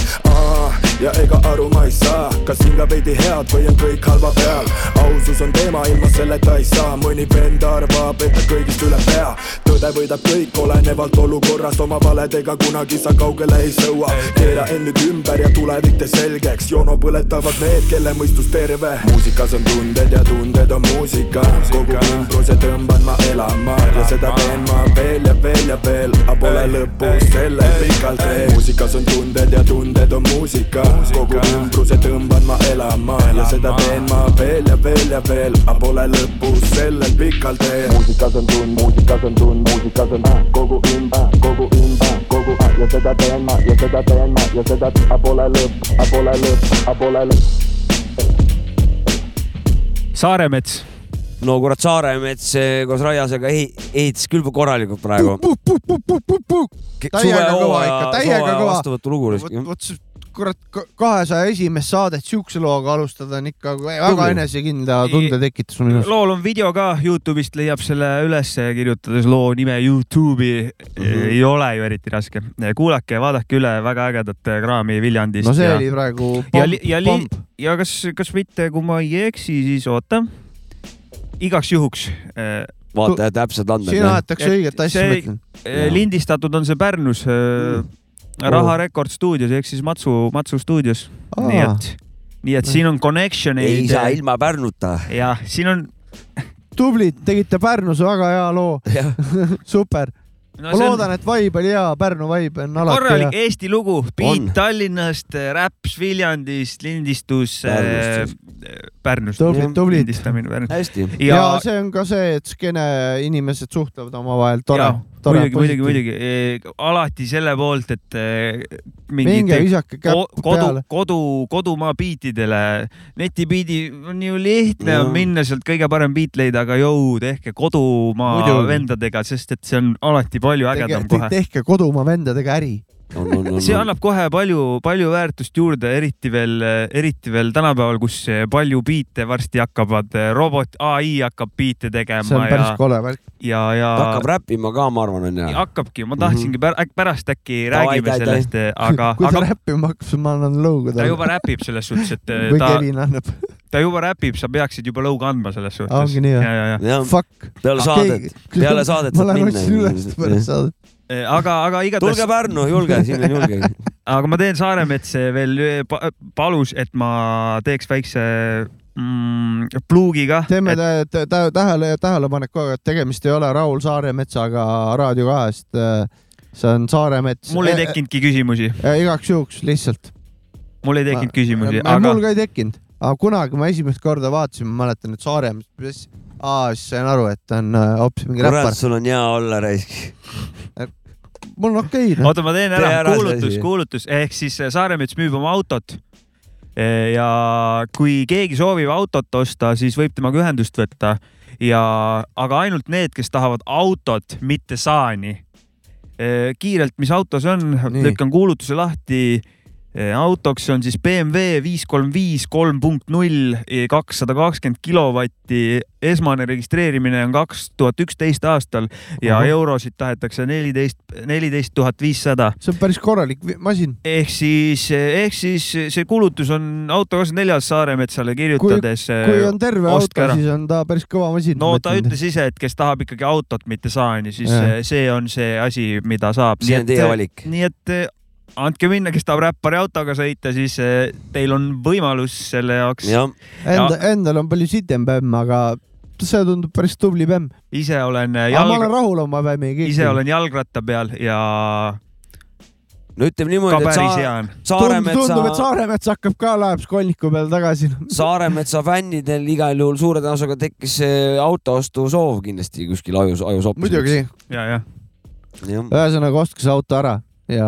[SPEAKER 4] ja ega aru ma ei saa , kas siin ka veidi head või on kõik halva peal , ausus on teema , ilma selleta ei saa , mõni vend arvab , et ta kõigist üle pea , tõde võidab kõik , olenevalt olukorrast oma valedega kunagi sa kaugele ei sõua . keera end nüüd ümber ja tulevik tee selgeks , joono põletavad need , kelle mõistus terve . muusikas on tunded ja tunded on muusika , kogu ümbruse tõmban ma elama ja seda teen ma veel ja veel ja veel , aga pole lõpus selle pikal teel . muusikas on tunded ja tunded on muusika , kogu ümbruse tõmban ma elama ja seda teen ma veel ja veel ja veel , aga pole lõpus sellel pikal teel . muusikas on tund , muusikas on tund , muusikas on tund , kogu ümber , kogu ümber , kogu ja seda teen ma ja seda teen ma ja seda , aga pole lõpp , aga pole lõpp , aga pole lõpp .
[SPEAKER 2] Saaremets ,
[SPEAKER 3] no kurat , Saaremets eh, koos Raiasega ehi- ehitas küll korralikult praegu .
[SPEAKER 1] Täiega kõva ikka, täiega kõva.
[SPEAKER 3] vastuvõtulugu oli
[SPEAKER 1] vot , vot see kurat , kahesaja esimest saadet siukse looga alustada on ikka väga
[SPEAKER 3] Tubli.
[SPEAKER 1] enesekindla tunde tekitus minu arust .
[SPEAKER 2] lool on video ka , Youtube'ist leiab selle ülesse , kirjutades loo nime Youtube'i mm .
[SPEAKER 1] Mhm.
[SPEAKER 2] -hmm. ei ole ju eriti raske . kuulake ja vaadake üle väga ägedat äh, kraami Viljandist .
[SPEAKER 1] no see
[SPEAKER 2] ja...
[SPEAKER 1] oli praegu
[SPEAKER 2] ja li- , ja li-
[SPEAKER 1] pomp ,,
[SPEAKER 2] ja kas , kas mitte , kui ma ei eksi , siis oota . igaks juhuks äh,
[SPEAKER 3] vaata täpsed
[SPEAKER 1] siin
[SPEAKER 3] andmed .
[SPEAKER 1] aetakse
[SPEAKER 2] Et
[SPEAKER 1] õiget asja , Mm.
[SPEAKER 2] see-
[SPEAKER 1] ma ütlen .
[SPEAKER 2] äh, lindistatud on see Pärnus äh,
[SPEAKER 1] Oh.
[SPEAKER 2] Raha Rekord stuudios ehk siis Matsu , Matsu stuudios . nii et , nii et siin on connection'i .
[SPEAKER 3] ei saa ilma Pärnuta .
[SPEAKER 2] jah , siin on
[SPEAKER 1] tublid , tegite Pärnus väga hea loo , super .
[SPEAKER 2] no,
[SPEAKER 1] ma loodan , et vibe oli hea , Pärnu vibe on alati
[SPEAKER 2] korralik
[SPEAKER 1] hea .
[SPEAKER 2] ja. Eesti lugu , beat
[SPEAKER 3] On.
[SPEAKER 2] on. Tallinnast , räps Viljandist , lindistus
[SPEAKER 3] Pärnust.
[SPEAKER 2] Pärnust, Pärnust .
[SPEAKER 1] Tublid, tublid.
[SPEAKER 2] lindistamine Pärnust .
[SPEAKER 3] hästi .
[SPEAKER 1] ja see on ka see , et skeene inimesed suhtlevad omavahel , tore
[SPEAKER 2] Jaa, ,
[SPEAKER 1] tore .
[SPEAKER 2] muidugi , muidugi , muidugi e, alati selle poolt , et e,
[SPEAKER 1] minge
[SPEAKER 2] mingite
[SPEAKER 1] visake
[SPEAKER 2] ko-
[SPEAKER 1] käpp
[SPEAKER 2] kodu
[SPEAKER 1] peale .,
[SPEAKER 2] kodu , kodumaa biitidele , netibiidi on ju lihtne
[SPEAKER 3] Jah.
[SPEAKER 2] on minna sealt kõige parem biit leida , aga jõu tehke kodumaa
[SPEAKER 1] Muidugi.
[SPEAKER 2] vendadega , sest et see on alati palju ägedam kohe .
[SPEAKER 1] tehke kodumaa vendadega äri . Mhm.
[SPEAKER 2] see annab kohe palju , palju väärtust juurde , eriti veel , eriti veel tänapäeval , kus palju biite varsti hakkavad , robot ai hakkab
[SPEAKER 1] see
[SPEAKER 2] biite
[SPEAKER 1] on
[SPEAKER 2] tegema ja
[SPEAKER 1] päris , kole värk .
[SPEAKER 2] ja , ja
[SPEAKER 3] hakkab räppima ka , ma arvan , onju .
[SPEAKER 2] hakkabki , ma tahtsingi pär, äk- pärast äkki
[SPEAKER 3] Davai,
[SPEAKER 2] räägime
[SPEAKER 3] davai,
[SPEAKER 2] sellest , aga ,
[SPEAKER 1] kui ta
[SPEAKER 2] aga
[SPEAKER 1] räppima hakkas , ma annan lõugu
[SPEAKER 2] ta
[SPEAKER 1] talle .
[SPEAKER 2] juba räpib selles suhtes , et
[SPEAKER 1] või
[SPEAKER 2] ta ,
[SPEAKER 1] Kelin annab ,
[SPEAKER 2] ta juba räpib , sa peaksid juba lõuga andma selles
[SPEAKER 1] Aa,
[SPEAKER 2] suhtes
[SPEAKER 1] ongi . nii, jah?
[SPEAKER 2] ja , ja ,
[SPEAKER 3] peale
[SPEAKER 1] fuck .
[SPEAKER 3] saadet , peale saadet
[SPEAKER 1] ma
[SPEAKER 3] saab
[SPEAKER 1] lähen otsin üles pärast
[SPEAKER 3] minna .
[SPEAKER 1] saadet .
[SPEAKER 2] ja , Äh, aga , aga
[SPEAKER 3] tulge
[SPEAKER 2] igatahes ,
[SPEAKER 3] Pärnu , julge , siin on julge .
[SPEAKER 2] aga ma teen Saaremetsa veel pa- palus , et ma teeks väikse mm, pluugi kah .
[SPEAKER 1] teeme tä- tä- tä- tähele , tähelepaneku , et tegemist ei ole Raul Saaremetsaga Raadio kahest . see on Saaremets .
[SPEAKER 2] mul ei . tekkinudki küsimusi ,
[SPEAKER 1] igaks juhuks lihtsalt .
[SPEAKER 2] mul ei tekkinud küsimusi , aga
[SPEAKER 1] mul ka ei tekkinud , aga kunagi ma esimest korda vaatasin , ma mäletan , et Saaremets , aa , siis sain aru , et ta on äh, hoopis mingi
[SPEAKER 3] kurat ,
[SPEAKER 1] räppar .
[SPEAKER 3] sul on hea olla , raisk .
[SPEAKER 1] mul on okei noh. okay, ,
[SPEAKER 2] oota , ma teen
[SPEAKER 3] Tee
[SPEAKER 2] ära
[SPEAKER 3] ära , see
[SPEAKER 2] kuulutus
[SPEAKER 3] asi. ,
[SPEAKER 2] kuulutus ehk siis äh, Saaremets müüb oma autot . ja kui keegi soovib autot osta , siis võib temaga ühendust võtta ja , aga ainult need , kes tahavad autot , mitte saani . Äh, kiirelt , mis autos on ,
[SPEAKER 1] Nii.
[SPEAKER 2] lükkan kuulutuse lahti . autoks on siis BMW viis kolm viis kolm punkt null , kakssada kakskümmend kilovatti . esmane registreerimine on kaks tuhat üksteist aastal ja
[SPEAKER 1] Ahah.
[SPEAKER 2] eurosid tahetakse neliteist , neliteist tuhat viissada
[SPEAKER 1] see on päris korralik vi- masin .
[SPEAKER 2] ehk siis , ehk siis see kulutus on auto kakskümmend neljas Saaremetsale kirjutades .
[SPEAKER 1] kui on terve
[SPEAKER 2] ostke
[SPEAKER 1] auto
[SPEAKER 2] ära. ,
[SPEAKER 1] siis on ta päris kõva masin .
[SPEAKER 2] no ta . ütles ise , et kes tahab ikkagi autot , mitte saani , siis
[SPEAKER 1] Jah.
[SPEAKER 2] eh, see on see asi , mida saab .
[SPEAKER 3] see on teie valik .
[SPEAKER 2] nii et eh, andke minna , kes tahab räppari autoga sõita , siis eh, teil on võimalus selle jaoks .
[SPEAKER 3] jah ,
[SPEAKER 1] Enda , endal on palju sidem pämm , aga see tundub päris tubli bämm .
[SPEAKER 2] ise olen eh,
[SPEAKER 1] aga Ah, ma olen
[SPEAKER 2] jalg... ,
[SPEAKER 1] rahul oma bämmiga .
[SPEAKER 2] ise olen jalgratta peal ja
[SPEAKER 3] no ütleme niimoodi ,
[SPEAKER 2] ka
[SPEAKER 3] et
[SPEAKER 2] päris
[SPEAKER 3] Saar-
[SPEAKER 2] hea on .
[SPEAKER 1] tundub , tundub , et
[SPEAKER 3] Saaremetsa ,
[SPEAKER 1] Saaremets hakkab ka laeb skolniku peal tagasi .
[SPEAKER 3] Saaremetsa fännidel igal juhul suure tõenäosusega tekkis eh, autoostu soov kindlasti kuskil ajus , ajus hoopis ..
[SPEAKER 1] muidugi ,
[SPEAKER 2] ja , jah .
[SPEAKER 1] ühesõnaga ostke see auto ära ja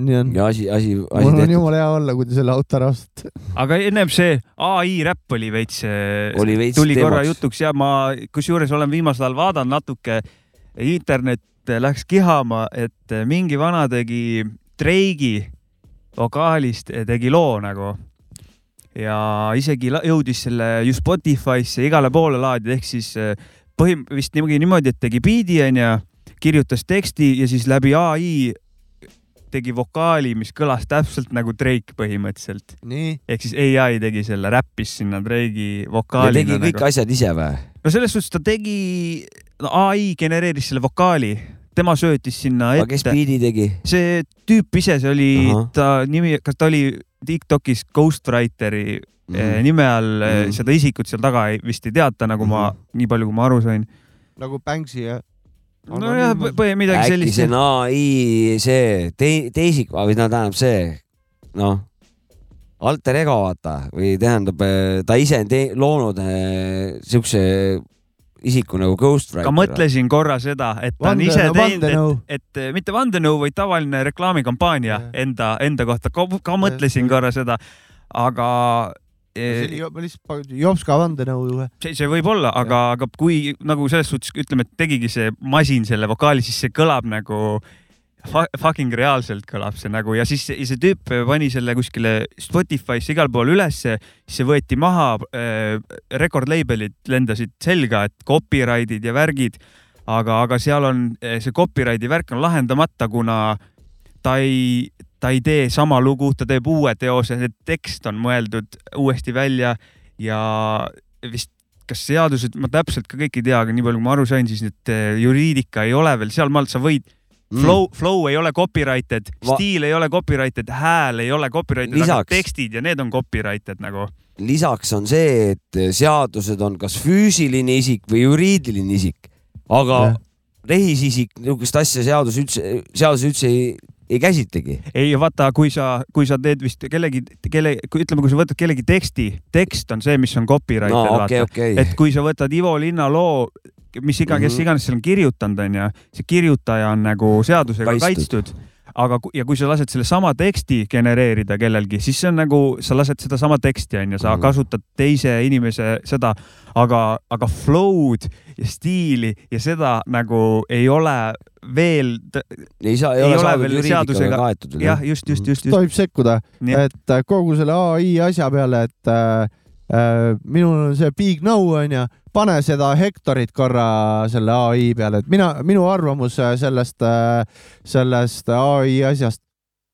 [SPEAKER 1] nii on .
[SPEAKER 3] ja asi , asi , asi
[SPEAKER 1] mul on
[SPEAKER 3] tehtud .
[SPEAKER 1] jumala hea olla , kui te selle auto ära ostate .
[SPEAKER 2] aga ennem see ai räpp oli veits ,
[SPEAKER 3] Oli veits
[SPEAKER 2] tuli
[SPEAKER 3] teemaks.
[SPEAKER 2] korra jutuks ja ma kusjuures olen viimasel ajal vaadanud natuke , internet äh, läks kihama , et äh, mingi vana tegi Drake'i vokaalist tegi loo nagu ja isegi la- jõudis selle ju Spotify'sse igale poole laadida , ehk siis eh, põhim- , vist niimoodi , niimoodi , et tegi biidi onju , kirjutas teksti ja siis läbi ai tegi vokaali , mis kõlas täpselt nagu Drake põhimõtteliselt .
[SPEAKER 1] nii .
[SPEAKER 2] ehk siis ai tegi selle , räppis sinna Drake'i nagu.
[SPEAKER 3] ja
[SPEAKER 2] vokaali .
[SPEAKER 3] tegi kõik asjad ise või ?
[SPEAKER 2] no selles suhtes ta tegi , no ai genereeris selle vokaali , tema söötis sinna
[SPEAKER 3] aga kes
[SPEAKER 2] ette .
[SPEAKER 3] biidi tegi ?
[SPEAKER 2] see tüüp ise , see oli
[SPEAKER 3] Ahah.
[SPEAKER 2] ta nimi , kas ta oli Tiktokis Ghostwriteri mm. nime all mm.
[SPEAKER 3] Mhm.
[SPEAKER 2] seda isikut seal taga ei, vist ei teata , nagu ma mm. , nii palju , kui ma aru sain .
[SPEAKER 1] nagu Banksy ja .
[SPEAKER 2] nojah , põhi midagi
[SPEAKER 3] äkki see
[SPEAKER 2] sellist .
[SPEAKER 3] ai see te- , teisik või no tähendab see noh , alter ego vaata või tähendab , ta ise on te- loonud eh, siukse isiku nagu Ghostwriter .
[SPEAKER 2] ka mõtlesin korra seda , et ta on ise
[SPEAKER 1] vandenõu ,
[SPEAKER 2] teinud ,
[SPEAKER 1] vandenõu .
[SPEAKER 2] et, et mitte vandenõu , vaid tavaline reklaamikampaania
[SPEAKER 1] Jah.
[SPEAKER 2] enda , enda kohta , ka mõtlesin
[SPEAKER 1] Jah.
[SPEAKER 2] korra seda , aga
[SPEAKER 1] see
[SPEAKER 2] eh,
[SPEAKER 1] oli , ma lihtsalt panin Jopska vandenõu juhe .
[SPEAKER 2] see , see võib olla , aga , aga kui nagu selles suhtes ütleme , et tegigi see masin selle vokaali , siis see kõlab nagu fa- fucking reaalselt kõlab see nagu ja siis see, see tüüp pani selle kuskile Spotify'sse igal pool ülesse , siis see võeti maha äh, , rekordleibelid lendasid selga , et copyright'id ja värgid , aga , aga seal on eh, see copyright'i värk on lahendamata , kuna ta ei , ta ei tee sama lugu , ta teeb uue teose , see tekst on mõeldud uuesti välja ja vist kas seadused , ma täpselt ka kõike ei tea , aga nii palju , kui ma aru sain , siis nüüd eh, juriidika ei ole veel sealmaalt , sa võid flow , flow ei ole copyrighted ,
[SPEAKER 3] Mm. Va-
[SPEAKER 2] stiil ei ole copyrighted , hääl ei ole copyrighted , aga
[SPEAKER 3] Lisaks-
[SPEAKER 2] tekstid ja need on copyrighted nagu .
[SPEAKER 3] lisaks on see , et seadused on kas füüsiline isik või juriidiline isik , aga
[SPEAKER 1] Jah.
[SPEAKER 3] rehisisik , niisugust asja seadus üldse , seadus üldse ei, ei käsitlegi .
[SPEAKER 2] ei vaata , kui sa , kui sa teed vist kellegi , kelle , ütleme , kui sa võtad kellegi teksti , tekst on see , mis on copyrighted
[SPEAKER 3] no okei ,
[SPEAKER 2] vaata.
[SPEAKER 3] okei ,
[SPEAKER 2] et kui sa võtad Ivo Linna loo , mis iga , kes
[SPEAKER 3] Mhm.
[SPEAKER 2] iganes seal on kirjutanud , onju , see kirjutaja on nagu seadusega
[SPEAKER 3] Kaitstud.
[SPEAKER 2] kaitstud, kaitstud. . aga , ja kui sa lased sellesama teksti genereerida kellelgi , siis see on nagu , sa lased sedasama teksti , onju , sa
[SPEAKER 3] Mhm.
[SPEAKER 2] kasutad teise inimese seda , aga , aga flow'd ja stiili ja seda nagu ei ole veel ,
[SPEAKER 3] ei saa , ei
[SPEAKER 2] ei
[SPEAKER 3] ole
[SPEAKER 2] ole
[SPEAKER 3] saadud
[SPEAKER 2] veel
[SPEAKER 3] juriidikaga
[SPEAKER 2] seadusega-
[SPEAKER 3] kaetud veel .
[SPEAKER 2] jah , just , just , just , just .
[SPEAKER 1] tohib sekkuda ,
[SPEAKER 2] Nii.
[SPEAKER 1] et äh, kogu selle ai asja peale , et äh, äh, minul on see big no onju , pane seda hektarit korra selle ai peale , et mina , minu arvamus äh, sellest , sellest ai asjast ,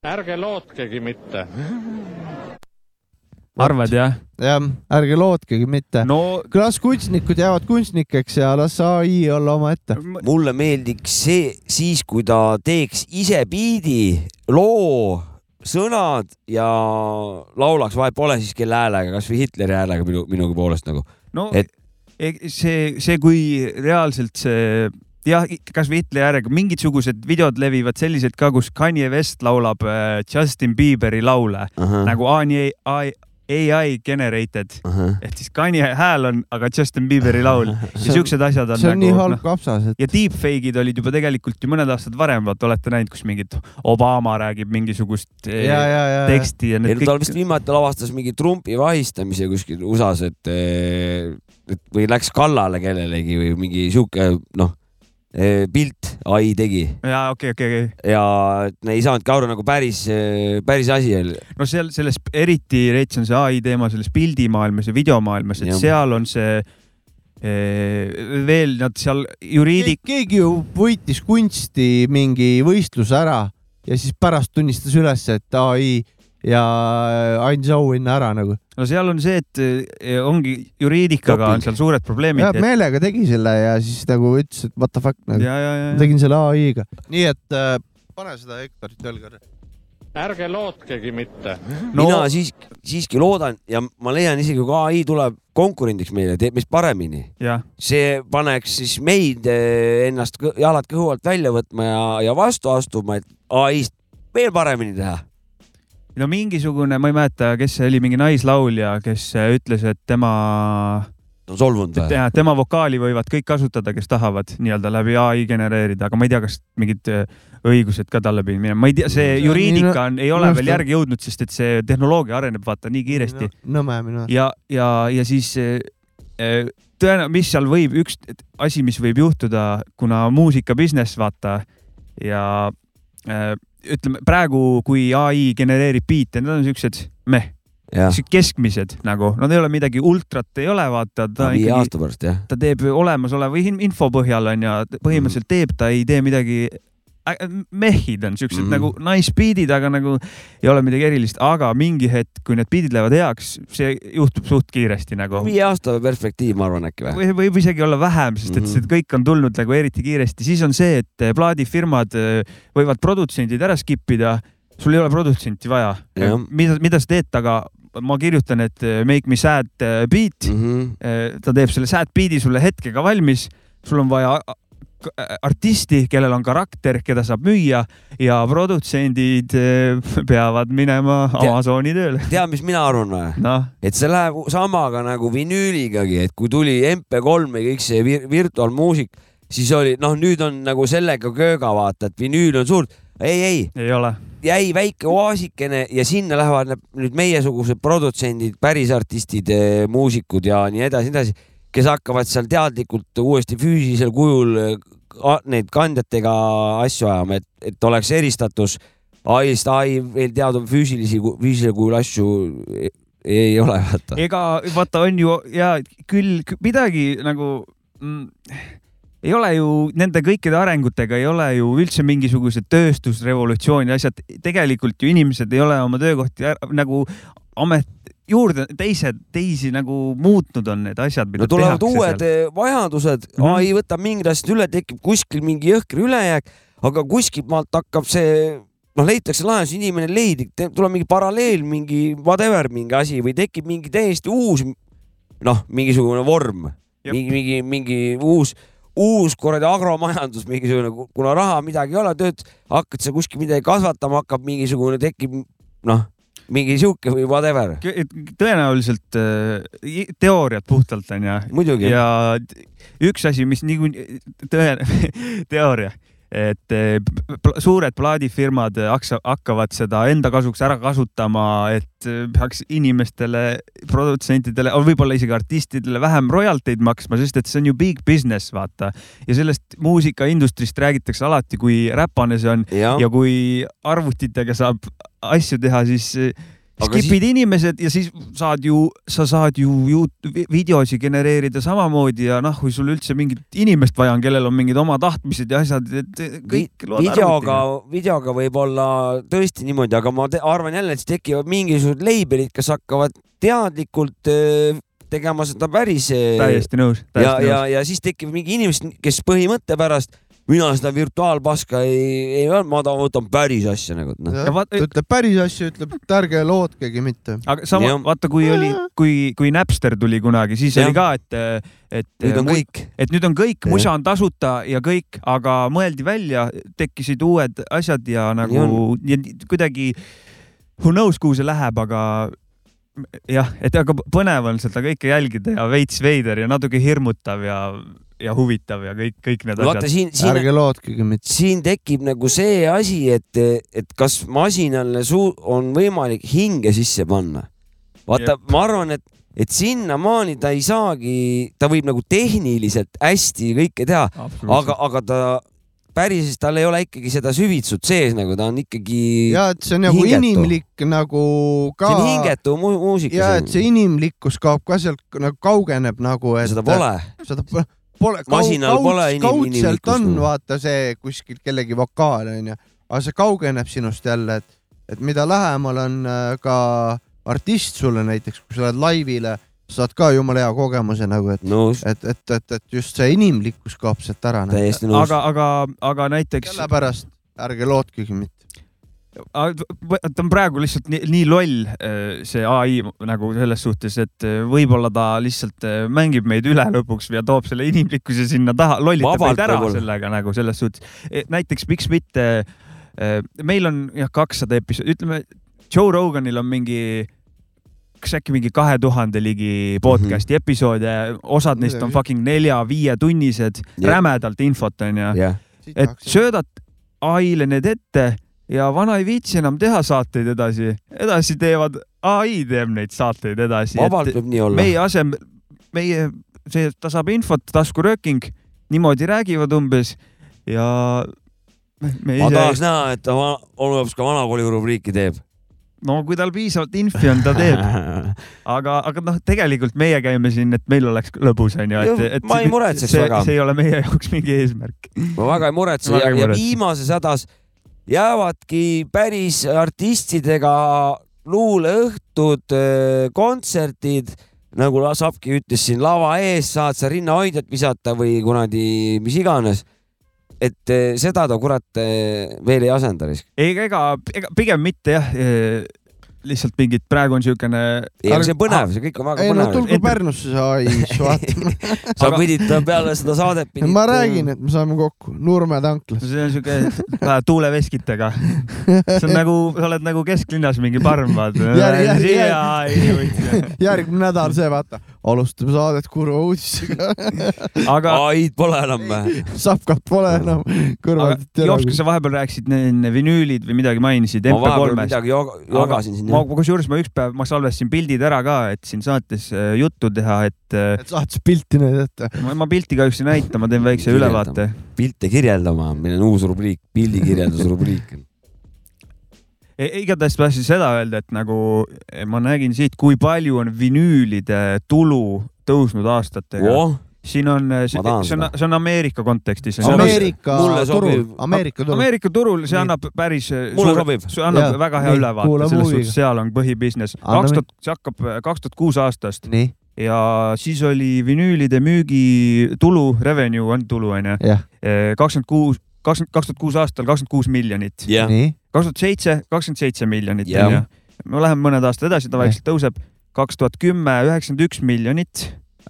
[SPEAKER 6] ärge lootkegi mitte .
[SPEAKER 2] arvad jah ?
[SPEAKER 1] jah , ärge lootkegi mitte .
[SPEAKER 2] no
[SPEAKER 1] las kunstnikud jäävad kunstnikeks ja las ai olla omaette .
[SPEAKER 3] mulle meeldiks see siis , kui ta teeks ise biidi , loo , sõnad ja laulaks , vahet pole siis kelle häälega , kasvõi Hitleri häälega minu , minugi poolest nagu .
[SPEAKER 2] no
[SPEAKER 3] Et-
[SPEAKER 2] et... see , see , kui reaalselt see jah , kasvõi Hitleri järega mingisugused videod levivad sellised ka , kus Kanye West laulab äh, Justin Bieberi laule nagu AI, AI generated ehk siis Kanye hääl on , aga Justin Bieberi laul ja siuksed asjad on
[SPEAKER 1] see on
[SPEAKER 2] nagu
[SPEAKER 1] nii halb kapsas , et
[SPEAKER 2] ja deepfake'id olid juba tegelikult ju mõned aastad varem , vaata olete näinud , kus mingit Obama räägib mingisugust eh,
[SPEAKER 1] ja , ja , ja , ja ,
[SPEAKER 2] teksti ja
[SPEAKER 3] ei
[SPEAKER 2] need
[SPEAKER 3] no tal
[SPEAKER 2] kõik
[SPEAKER 3] vist viimati lavastas mingi Trumpi vahistamise kuskil USA-s , et , et või läks kallale kellelegi või mingi sihuke noh , pilt ai tegi
[SPEAKER 2] ja okei , okei , okei .
[SPEAKER 3] ja et me ei saanudki aru nagu päris , päris asi oli .
[SPEAKER 2] no seal selles eriti reits on see ai teema selles pildimaailmas ja videomaailmas , et
[SPEAKER 3] Jah.
[SPEAKER 2] ja. seal on see eh, veel nad seal juriidik ,
[SPEAKER 1] keegi ju võitis kunsti mingi võistluse ära ja siis pärast tunnistas üles , et ai ja andis auhinna ära nagu .
[SPEAKER 2] no seal on see , et eh, ongi juriidikaga
[SPEAKER 3] Doping.
[SPEAKER 2] on seal suured probleemid .
[SPEAKER 1] ja
[SPEAKER 2] ja ,
[SPEAKER 1] meelega tegi selle ja siis nagu ütles , et what the fuck nagu. ,
[SPEAKER 2] ja , ja,
[SPEAKER 1] ma
[SPEAKER 2] ja.
[SPEAKER 1] tegin selle ai-ga . nii et äh, pane seda hektarit veel korra .
[SPEAKER 6] ärge lootkegi mitte .
[SPEAKER 3] no. . mina siis , siiski loodan ja ma leian isegi , kui ai tuleb konkurendiks meile , teeb meist paremini ,
[SPEAKER 2] jah ,
[SPEAKER 3] see paneks siis meid eh, ennast kõ- jalad kõhu alt välja võtma ja , ja vastu astuma , et ai-st veel paremini teha .
[SPEAKER 2] no mingisugune , ma ei mäleta , kes see oli , mingi naislaulja , kes äh, ütles , et tema ,
[SPEAKER 3] on solvunud või ?
[SPEAKER 2] tema vokaali võivad kõik kasutada , kes tahavad nii-öelda läbi ai genereerida , aga ma ei tea , kas mingid äh, õigused ka talle pidid minema , ma ei tea , see
[SPEAKER 1] See on
[SPEAKER 2] juriidika on , ei ole
[SPEAKER 1] minu
[SPEAKER 2] veel
[SPEAKER 1] arust-
[SPEAKER 2] järgi jõudnud , sest et see tehnoloogia areneb , vaata nii kiiresti .
[SPEAKER 1] nõme minu arust .
[SPEAKER 2] ja , ja , ja siis eh, eh, tõenä- , mis seal võib , üks t- asi , mis võib juhtuda , kuna muusika business , vaata ja eh, ütleme praegu , kui ai genereerib biite , need on siuksed meh ,
[SPEAKER 3] jah ,
[SPEAKER 2] siuksed keskmised nagu , nad ei ole midagi ultrat , ei ole , vaata ta
[SPEAKER 3] viie
[SPEAKER 2] ikkagi ,
[SPEAKER 3] aasta pärast jah .
[SPEAKER 2] ta teeb olemasoleva in- info põhjal onju , põhimõtteliselt teeb , ta ei tee midagi ä- mehhid on siuksed mm
[SPEAKER 3] Mhm.
[SPEAKER 2] -hmm. nagu nice beat'id , aga nagu ei ole midagi erilist , aga mingi hetk , kui need beat'id lähevad heaks , see juhtub suht kiiresti nagu .
[SPEAKER 3] viie aasta perspektiiv , ma arvan äkki või ?
[SPEAKER 2] või võib isegi olla vähem , sest et
[SPEAKER 3] Mhm.
[SPEAKER 2] see kõik on tulnud nagu eriti kiiresti , siis on see , et eh, plaadifirmad öö, võivad produtsendid ära skip ida , sul ei ole produtsenti vaja Eh,
[SPEAKER 3] Jah. .
[SPEAKER 2] mida , mida sa teed taga ? ma kirjutan , et öö, make me sad öö, beat ,
[SPEAKER 3] Mm -hmm.
[SPEAKER 2] ta teeb selle sad beat'i sulle hetkega valmis , sul on vaja a- k- eh, artisti , kellel on karakter , keda saab müüa ja produtsendid öö, peavad minema
[SPEAKER 3] Tea-
[SPEAKER 2] Amazoni tööle .
[SPEAKER 3] tead , mis mina arvan või ?
[SPEAKER 2] noh ,
[SPEAKER 3] et see läheb samaga nagu vinüüligagi , et kui tuli MP3 ja kõik see vir virtuaalmuusik , siis oli noh , nüüd on nagu sellega kööga vaata , et vinüül on suurt , ei , ei
[SPEAKER 2] ei ole .
[SPEAKER 3] jäi väike oaasikene ja sinna lähevad need- nüüd meiesugused produtsendid , päris artistid , muusikud ja nii edasi , nii edasi , kes hakkavad seal teadlikult uuesti füüsilisel kujul eh, a- neid kandjatega asju ajama , et , et oleks eristatus . ai-st ai veel teadub füüsilisi , füüsilisel kujul asju ei, ei ole , vaata .
[SPEAKER 2] ega vaata , on ju ja küll kü- midagi nagu mm, ei ole ju nende kõikide arengutega ei ole ju üldse mingisugused tööstusrevolutsiooni asjad , tegelikult ju inimesed ei ole oma töökohti ära- nagu amet juurde teised , teisi nagu muutnud on need asjad , mida
[SPEAKER 3] no tulevad
[SPEAKER 2] tehakse
[SPEAKER 3] uued
[SPEAKER 2] seal .
[SPEAKER 3] seal. vajadused
[SPEAKER 2] Mhm.
[SPEAKER 3] mm. , ai võtab mingid asjad üle , tekib kuskil mingi jõhker ülejääk , aga kuskilt maalt hakkab see , noh , leitakse lahendus , inimene leidib , tuleb mingi paralleel , mingi whatever mingi asi või tekib mingi täiesti uus , noh , mingisugune vorm ,
[SPEAKER 2] Jep.
[SPEAKER 3] mingi , mingi , mingi uus , uus kuradi agromajandus , mingisugune , kuna raha midagi ei ole , tööd , hakkad sa kuskil midagi kasvatama , hakkab mingisugune , tekib noh , mingi sihuke või whatever ,
[SPEAKER 2] tõenäoliselt äh, i- teooriad puhtalt onju ,
[SPEAKER 3] muidugi .
[SPEAKER 2] ja t- üks asi , mis niikuinii , tõe- , teooria , et eh, p- pl- suured plaadifirmad haksa- hakkavad seda enda kasuks ära kasutama , et eh, peaks inimestele , produtsentidele , võib-olla isegi artistidele vähem royalteid maksma , sest et see on ju big business , vaata . ja sellest muusikaindustrist räägitakse alati , kui räpane see on
[SPEAKER 3] jah
[SPEAKER 2] ja kui arvutitega saab asju teha , siis äh,
[SPEAKER 3] Aga
[SPEAKER 2] skip'id siis... inimesed ja siis saad ju , sa saad ju, ju vi- videosi genereerida samamoodi ja noh , kui sul üldse mingit inimest vaja on , kellel on mingid oma tahtmised ja asjad , et kõik lood
[SPEAKER 3] videoga , videoga võib-olla tõesti niimoodi , aga ma te, arvan jälle , et siis tekivad mingisugused label'id , kes hakkavad teadlikult öö, tegema seda päris . ja ,
[SPEAKER 2] täiesti nõus ,
[SPEAKER 3] ja , ja,
[SPEAKER 2] täiesti ja, nõus .
[SPEAKER 3] ja siis tekib mingi inimesed , kes põhimõtte pärast , mina seda virtuaalpaska ei , ei , ma ta- võtan päris asja nagu , et noh .
[SPEAKER 2] Ja vaat-
[SPEAKER 1] ta ütleb päris asju , ütleb , et ärge lootkegi mitte .
[SPEAKER 2] aga sama
[SPEAKER 3] Jah. ,
[SPEAKER 2] vaata , kui oli , kui , kui Napster tuli kunagi , siis ja.
[SPEAKER 3] Jah.
[SPEAKER 2] oli ka , et , et .
[SPEAKER 3] nüüd on kõik .
[SPEAKER 2] et nüüd on kõik ,
[SPEAKER 3] Jah.
[SPEAKER 2] musa on tasuta ja kõik , aga mõeldi välja , tekkisid uued asjad ja nagu ja ni- kuidagi who knows , kuhu see läheb , aga jah , et aga põnev on seda kõike jälgida ja veits veider ja natuke hirmutav ja , ja huvitav ja kõik , kõik need
[SPEAKER 3] vaata
[SPEAKER 2] asjad .
[SPEAKER 3] siin , siin
[SPEAKER 1] ärge lootkegi mitte .
[SPEAKER 3] siin tekib nagu see asi , et , et kas masinale suu- , on võimalik hinge sisse panna . vaata , ma arvan , et , et sinnamaani ta ei saagi , ta võib nagu tehniliselt hästi kõike teha , aga , aga ta päriselt tal ei ole ikkagi seda süvitsut sees , nagu ta on ikkagi ,
[SPEAKER 1] ja et see on nagu
[SPEAKER 3] hingetu.
[SPEAKER 1] inimlik nagu ka
[SPEAKER 3] see . on hingetu mu muusika .
[SPEAKER 1] ja et see inimlikkus kaob ka sealt nagu kaugeneb nagu , et
[SPEAKER 3] seda pole .
[SPEAKER 1] seda po- pole
[SPEAKER 3] Masinal pole inim-
[SPEAKER 1] kaudselt
[SPEAKER 3] inimlikkust
[SPEAKER 1] on
[SPEAKER 3] nagu.
[SPEAKER 1] vaata see kuskil kellegi vokaal onju , aga see kaugeneb sinust jälle , et , et mida lähemal on äh, ka artist sulle näiteks , kui sa lähed laivile , saad ka jumala hea kogemuse nagu , et ,
[SPEAKER 3] nõus ,
[SPEAKER 1] et , et , et , et just see inimlikkus kaob sealt ära . nagu.
[SPEAKER 3] täiesti nõus .
[SPEAKER 2] aga , aga , aga näiteks
[SPEAKER 1] sellepärast ärge lootkegi mitte .
[SPEAKER 2] ta on praegu lihtsalt nii, nii loll , see ai nagu selles suhtes , et äh, võib-olla ta lihtsalt eh, mängib meid üle lõpuks ja toob selle inimlikkuse sinna taha , lollitab
[SPEAKER 3] Vabalt
[SPEAKER 2] meid ära
[SPEAKER 3] võib-olla.
[SPEAKER 2] sellega nagu selles suhtes . näiteks miks mitte , meil on jah , kakssada episoodi , ütleme Joe Roganil on mingi , kas äkki mingi kahe tuhande ligi
[SPEAKER 3] Mhm.
[SPEAKER 2] podcast'i episoode , osad neist on
[SPEAKER 1] Midagi.
[SPEAKER 2] fucking nelja-viietunnised ,
[SPEAKER 3] Jah.
[SPEAKER 2] rämedalt infot onju .
[SPEAKER 3] jah ,
[SPEAKER 2] et söödad ai-le need ette ja vana ei viitsi enam teha saateid edasi , edasi teevad , ai teeb neid saateid edasi .
[SPEAKER 3] vabalt võib nii olla .
[SPEAKER 2] meie asemel , meie , see , ta saab infot , taskurööking , niimoodi räägivad umbes ja me- me
[SPEAKER 3] ma tahaks
[SPEAKER 2] ise ,
[SPEAKER 3] näha , et ta va- Olev ka vanakooli rubriiki teeb .
[SPEAKER 2] no kui tal piisavalt infi on , ta teeb , aga , aga noh , tegelikult meie käime siin , et meil oleks lõbus onju , et , et
[SPEAKER 3] ma ei muretseks
[SPEAKER 2] see,
[SPEAKER 3] väga.
[SPEAKER 2] see ei ole meie jaoks mingi eesmärk .
[SPEAKER 3] ma väga ei muretse
[SPEAKER 2] Väga
[SPEAKER 3] ja,
[SPEAKER 2] ei
[SPEAKER 3] ja
[SPEAKER 2] muretse.
[SPEAKER 3] viimases hädas jäävadki päris artistidega luuleõhtud , kontserdid , nagu Lasovki ütles siin lava ees , saad sa rinnahoidjat visata või kuradi mis iganes . et öö, seda ta kurat öö, veel ei asenda .
[SPEAKER 2] ega , ega , ega pigem mitte jah . lihtsalt mingid , praegu on siukene ,
[SPEAKER 3] ei ,
[SPEAKER 1] Aga-
[SPEAKER 3] see on põnev , see kõik on väga
[SPEAKER 1] ei no
[SPEAKER 3] põnev .
[SPEAKER 1] tulgu Pärnusse see ai , siis vaatame .
[SPEAKER 3] sa
[SPEAKER 2] aga-
[SPEAKER 3] pidid ta peale seda saadet pidid .
[SPEAKER 1] ma räägin , et me saame kokku Nurme tanklas .
[SPEAKER 2] see on siuke vähe tuuleveskitega . see on nagu , sa oled nagu kesklinnas mingi parm ,
[SPEAKER 1] Järg- järg-
[SPEAKER 2] vaata .
[SPEAKER 1] järgmine nädal see , vaata , alustame saadet kurva uudisega .
[SPEAKER 2] aga ,
[SPEAKER 3] ai-d pole enam või ?
[SPEAKER 1] sapkat pole enam
[SPEAKER 2] aga
[SPEAKER 1] kõrvalt
[SPEAKER 2] Jops , kas sa vahepeal rääkisid ne- ne- vinüülid või midagi mainisid
[SPEAKER 3] ma vahepeal
[SPEAKER 2] MP3-st ?
[SPEAKER 3] midagi jog- jagasin
[SPEAKER 2] ma
[SPEAKER 3] sinna .
[SPEAKER 2] kusjuures ma üks päev , ma salvestasin pildid ära ka , et siin saates äh, juttu teha , et äh,
[SPEAKER 1] et saates pilti nüüd ette .
[SPEAKER 2] ma, ma pilti kahjuks ei näita , ma teen väikse ülevaate .
[SPEAKER 3] pilte kirjeldama , meil on uus rubriik , pildikirjeldusrubriik
[SPEAKER 2] E- igatahes tahtsin seda öelda , et nagu ma nägin siit , kui palju on vinüülide tulu tõusnud aastatega .
[SPEAKER 3] oh, .
[SPEAKER 2] siin on , see
[SPEAKER 3] Ma tahan
[SPEAKER 2] see on
[SPEAKER 3] seda. ,
[SPEAKER 2] see on Ameerika kontekstis .
[SPEAKER 3] See on-
[SPEAKER 1] Ameerika
[SPEAKER 3] mulle
[SPEAKER 1] turul
[SPEAKER 3] sobib- ,
[SPEAKER 1] Ameerika turul .
[SPEAKER 2] Ameerika turul , see
[SPEAKER 1] Nii.
[SPEAKER 2] annab päris ,
[SPEAKER 3] mulle sobib .
[SPEAKER 2] see annab
[SPEAKER 1] Jaa.
[SPEAKER 2] ja, väga hea
[SPEAKER 1] Nii,
[SPEAKER 2] ülevaate
[SPEAKER 1] kuulame
[SPEAKER 2] selles
[SPEAKER 1] huviga.
[SPEAKER 2] suhtes , seal on põhibusiness .
[SPEAKER 1] Anname.
[SPEAKER 2] kaks tuhat , see hakkab kaks tuhat kuus aastast
[SPEAKER 1] nii ,
[SPEAKER 2] ja siis oli vinüülide müügitulu , revenue on tulu onju ,
[SPEAKER 1] jah ,
[SPEAKER 2] kakskümmend kuus , kakskümmend , kaks tuhat kuus aastal kakskümmend kuus miljonit ,
[SPEAKER 3] jah ,
[SPEAKER 1] nii ,
[SPEAKER 2] kaks tuhat seitse , kakskümmend seitse miljonit
[SPEAKER 3] Jah.
[SPEAKER 2] onju . me läheme mõned aastad edasi , ta vaikselt tõuseb , kaks tuhat kümme , üheksakümmend üks miljonit ,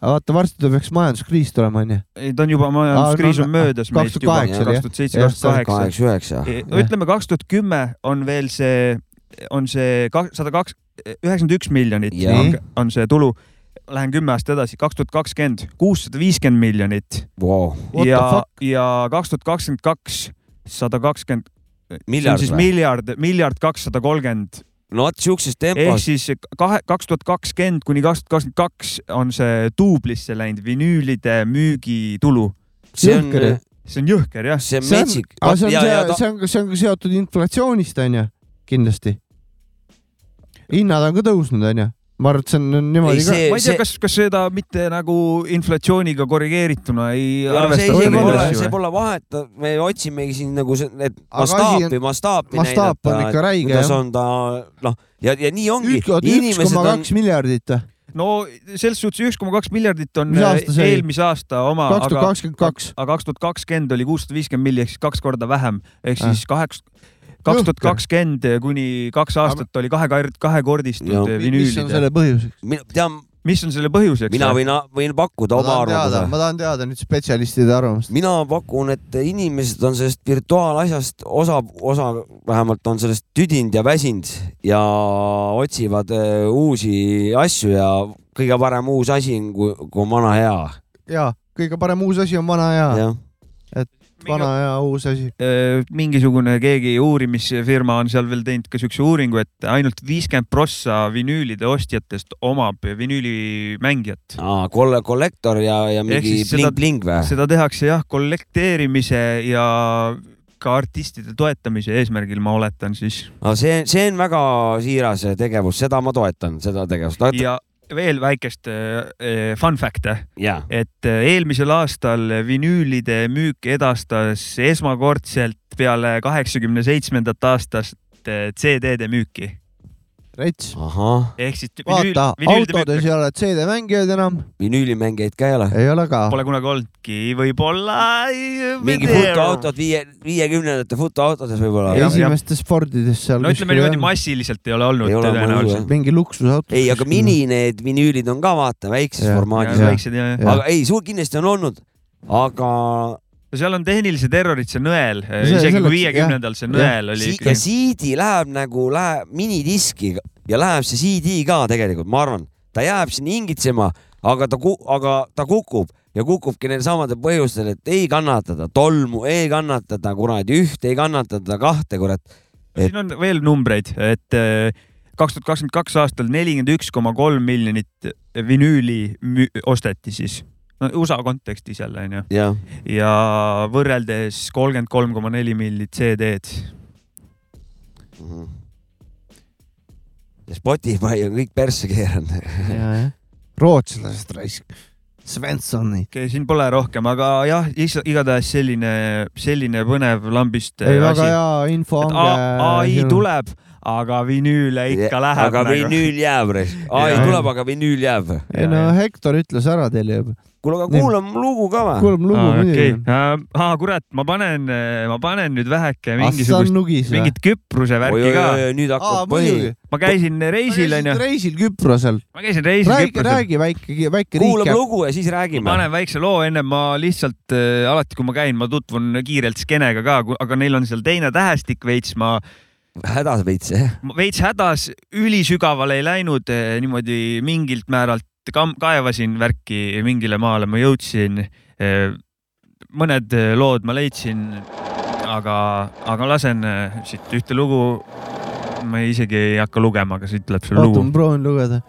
[SPEAKER 1] vaata varsti ta peaks majanduskriis tulema , onju .
[SPEAKER 2] ta on juba majanduskriis on
[SPEAKER 1] no,
[SPEAKER 2] möödas meist juba ,
[SPEAKER 1] 2008
[SPEAKER 3] oli,
[SPEAKER 2] kaks
[SPEAKER 1] jah?
[SPEAKER 2] tuhat seitse ,
[SPEAKER 1] Jah,
[SPEAKER 2] kaks tuhat kaheksa .
[SPEAKER 3] kaheksa , üheksa .
[SPEAKER 2] E,
[SPEAKER 1] Jah.
[SPEAKER 2] ütleme kaks tuhat kümme on veel see , on see ka- sada kaks , üheksakümmend üks miljonit
[SPEAKER 3] Jah.
[SPEAKER 2] on- on see tulu . Lähen kümme aastat edasi , kaks tuhat kakskümmend kuussada viiskümmend miljonit
[SPEAKER 1] What the
[SPEAKER 2] ja
[SPEAKER 1] fuck? ,
[SPEAKER 2] ja kaks tuhat kakskümmend kaks sada kakskümmend , see on
[SPEAKER 3] miljard
[SPEAKER 2] siis
[SPEAKER 3] või ?
[SPEAKER 2] miljard , miljard kakssada kolmkümmend
[SPEAKER 3] no vot siukses
[SPEAKER 2] ehk
[SPEAKER 3] tempos .
[SPEAKER 2] siis kahe , kaks tuhat kakskümmend kuni kaks tuhat kakskümmend kaks on see duublisse läinud vinüülide müügitulu .
[SPEAKER 3] see on ,
[SPEAKER 1] jõhker.
[SPEAKER 2] see on jõhker jah ,
[SPEAKER 3] see on
[SPEAKER 1] see on ,
[SPEAKER 3] metsik .
[SPEAKER 1] aga see on , see , see on , see on ka seotud inflatsioonist , onju , kindlasti . hinnad on ka tõusnud , onju . ma arvan , et see on niimoodi
[SPEAKER 3] Ei,
[SPEAKER 1] ka .
[SPEAKER 3] see-
[SPEAKER 2] ma ei tea , kas , kas seda mitte nagu inflatsiooniga korrigeerituna ei
[SPEAKER 3] see
[SPEAKER 2] arvestata
[SPEAKER 3] isegi
[SPEAKER 1] neid
[SPEAKER 3] pole ,
[SPEAKER 1] asju
[SPEAKER 3] see
[SPEAKER 2] või ?
[SPEAKER 3] pole vahet , me otsimegi siin nagu see , et
[SPEAKER 1] Aga asi
[SPEAKER 3] mastaapi , mastaapi
[SPEAKER 1] mastaap on ikka
[SPEAKER 3] näidata ,
[SPEAKER 1] räige,
[SPEAKER 3] kuidas
[SPEAKER 1] jah.
[SPEAKER 3] on ta , noh , ja , ja nii ongi .
[SPEAKER 1] üks
[SPEAKER 3] inimesed
[SPEAKER 1] koma
[SPEAKER 3] on
[SPEAKER 1] kaks , miljardit või ?
[SPEAKER 2] no selles suhtes üks koma kaks miljardit on äh,
[SPEAKER 1] Mis aasta see oli?
[SPEAKER 2] eelmise aasta oma ,
[SPEAKER 1] kaks tuhat
[SPEAKER 2] aga
[SPEAKER 1] kakskümmend kaks .
[SPEAKER 2] aga kaks tuhat kakskümmend oli kuussada viiskümmend miljonit ehk siis kaks korda vähem ehk siis kaheks , kaks tuhat kakskümmend kuni kaks aastat oli kahe ,
[SPEAKER 3] Jah.
[SPEAKER 2] kahekordistunud
[SPEAKER 1] mis
[SPEAKER 2] äh,
[SPEAKER 1] on
[SPEAKER 2] vinüülide .
[SPEAKER 1] selle põhjuseks ?
[SPEAKER 3] tean ,
[SPEAKER 2] mis on selle põhjuseks ?
[SPEAKER 3] mina võin , võin pakkuda
[SPEAKER 1] ma
[SPEAKER 3] oma
[SPEAKER 1] tahan teada ,
[SPEAKER 3] arvamuse .
[SPEAKER 1] ma tahan teada nüüd spetsialistide arvamust .
[SPEAKER 3] mina pakun , et inimesed on sellest virtuaalasjast osa , osa vähemalt on sellest tüdinud ja väsinud ja otsivad eh, uusi asju ja kõige parem uus asi on , kui , kui on vana hea .
[SPEAKER 1] jaa , kõige parem uus asi on vana ja ,
[SPEAKER 3] jah ,
[SPEAKER 1] vana ja uus asi .
[SPEAKER 2] Äh, mingisugune keegi uurimisfirma on seal veel teinud ka siukse uuringu , et ainult viiskümmend prossa vinüülide ostjatest omab vinüülimängijat .
[SPEAKER 3] kolle- , kollektor ja , ja mingi
[SPEAKER 2] siis seda-
[SPEAKER 3] bling-bling või ?
[SPEAKER 2] seda tehakse jah , kollekteerimise ja ka artistide toetamise eesmärgil , ma oletan siis .
[SPEAKER 3] see , see on väga siiras tegevus , seda ma toetan , seda tegevust .
[SPEAKER 2] ja veel väikest äh, äh, fun fact'e ,
[SPEAKER 3] jaa ,
[SPEAKER 2] et äh, eelmisel aastal vinüülide müük edastas esmakordselt peale kaheksakümne seitsmendat aastast äh, CD-de eh, müüki .
[SPEAKER 1] rets .
[SPEAKER 3] ahah ,
[SPEAKER 2] ehk siis vinüül ,
[SPEAKER 1] vaata , autodes
[SPEAKER 2] vinüüldemeetri
[SPEAKER 1] ei ole CD-mängijaid enam ,
[SPEAKER 3] vinüülimängijaid ka ei ole ?
[SPEAKER 1] ei ole ka .
[SPEAKER 2] pole kunagi olnudki , võib-olla .
[SPEAKER 3] mingi fotoautod viie , viiekümnendate fotoautodes võib-olla
[SPEAKER 2] Jah. .
[SPEAKER 1] esimestes Fordides seal
[SPEAKER 2] no ütleme niimoodi , massiliselt ei ole olnud
[SPEAKER 3] Ei ole, ma ei usu,
[SPEAKER 2] tõenäoliselt .
[SPEAKER 1] mingi luksusauto .
[SPEAKER 3] ei , aga mini . need vinüülid on ka vaata väikses
[SPEAKER 1] Jah.
[SPEAKER 3] formaadis .
[SPEAKER 1] Jah.
[SPEAKER 2] väiksed ja , ja
[SPEAKER 1] Jah.
[SPEAKER 3] aga ei , suur kindlasti on olnud , aga
[SPEAKER 2] seal on tehnilised errorid , see nõel ,
[SPEAKER 1] see-
[SPEAKER 2] eh, isegi kui
[SPEAKER 1] selleks-
[SPEAKER 2] viiekümnendal see nõel oli
[SPEAKER 3] si- ja
[SPEAKER 2] ikkagi .
[SPEAKER 3] CD läheb nagu läheb minidiski ja läheb see CD ka tegelikult , ma arvan , ta jääb siin hingitsema , aga ta , aga ta kukub ja kukubki neil samadel põhjustel , et ei kannatada tolmu , ei kannatada kuradi ühte , ei kannatada kahte , kurat . et-
[SPEAKER 2] siin on veel numbreid , et kaks tuhat kakskümmend kaks aastal nelikümmend üks koma kolm miljonit vinüüli müü- osteti siis . no USA kontekstis jälle onju .
[SPEAKER 3] jah ,
[SPEAKER 2] ja võrreldes kolmkümmend kolm koma neli miljonit CD-d .
[SPEAKER 3] Mhm. ja Spotify on kõik persse keeranud .
[SPEAKER 1] rootslased raisk , Svenssoni .
[SPEAKER 2] okei , siin pole rohkem , aga jah , igatahes selline , selline põnev lambist äh,
[SPEAKER 1] ei , väga
[SPEAKER 2] asi .
[SPEAKER 1] hea info
[SPEAKER 2] et
[SPEAKER 1] ongi . äh,
[SPEAKER 2] A- ai . tuleb , aga vinüüle ikka läheb . nagu.
[SPEAKER 3] aga vinüül jääb , ai
[SPEAKER 2] Jah.
[SPEAKER 3] tuleb , aga vinüül jääb .
[SPEAKER 1] ei no Hektor ütles ära teile juba ,
[SPEAKER 3] kuule , aga
[SPEAKER 1] Nii.
[SPEAKER 3] kuulame lugu ka või ?
[SPEAKER 1] kuulame lugu
[SPEAKER 2] okei
[SPEAKER 1] muidugi .
[SPEAKER 2] okay. , kurat , ma panen , ma panen nüüd väheke
[SPEAKER 1] Assan
[SPEAKER 2] mingisugust ,
[SPEAKER 1] Ah, Nugis või ?
[SPEAKER 2] mingit Küprose värki ka .
[SPEAKER 3] oi-oi-oi , nüüd hakkab põhi .
[SPEAKER 2] ma käisin reisil onju ,
[SPEAKER 1] reisil Küprosel .
[SPEAKER 2] ma käisin reisil
[SPEAKER 1] räägi ,
[SPEAKER 2] Küprosel .
[SPEAKER 1] räägi väike , väike
[SPEAKER 3] kuulame
[SPEAKER 1] riik .
[SPEAKER 3] lugu ja siis räägime .
[SPEAKER 2] panen väikse loo enne , ma lihtsalt äh, alati , kui ma käin , ma tutvun kiirelt skeenega ka , aga neil on seal teine tähestik veits , ma
[SPEAKER 3] hädas veits , jah .
[SPEAKER 2] ma veits hädas , ülisügavale ei läinud , niimoodi mingilt määralt kam- , kaevasin värki mingile maale , ma jõudsin . mõned eh, lood ma leidsin , aga , aga lasen eh, siit ühte lugu . ma isegi ei hakka lugema , aga siit tuleb see
[SPEAKER 1] oota ,
[SPEAKER 2] lugu
[SPEAKER 1] ma . proovin lugeda .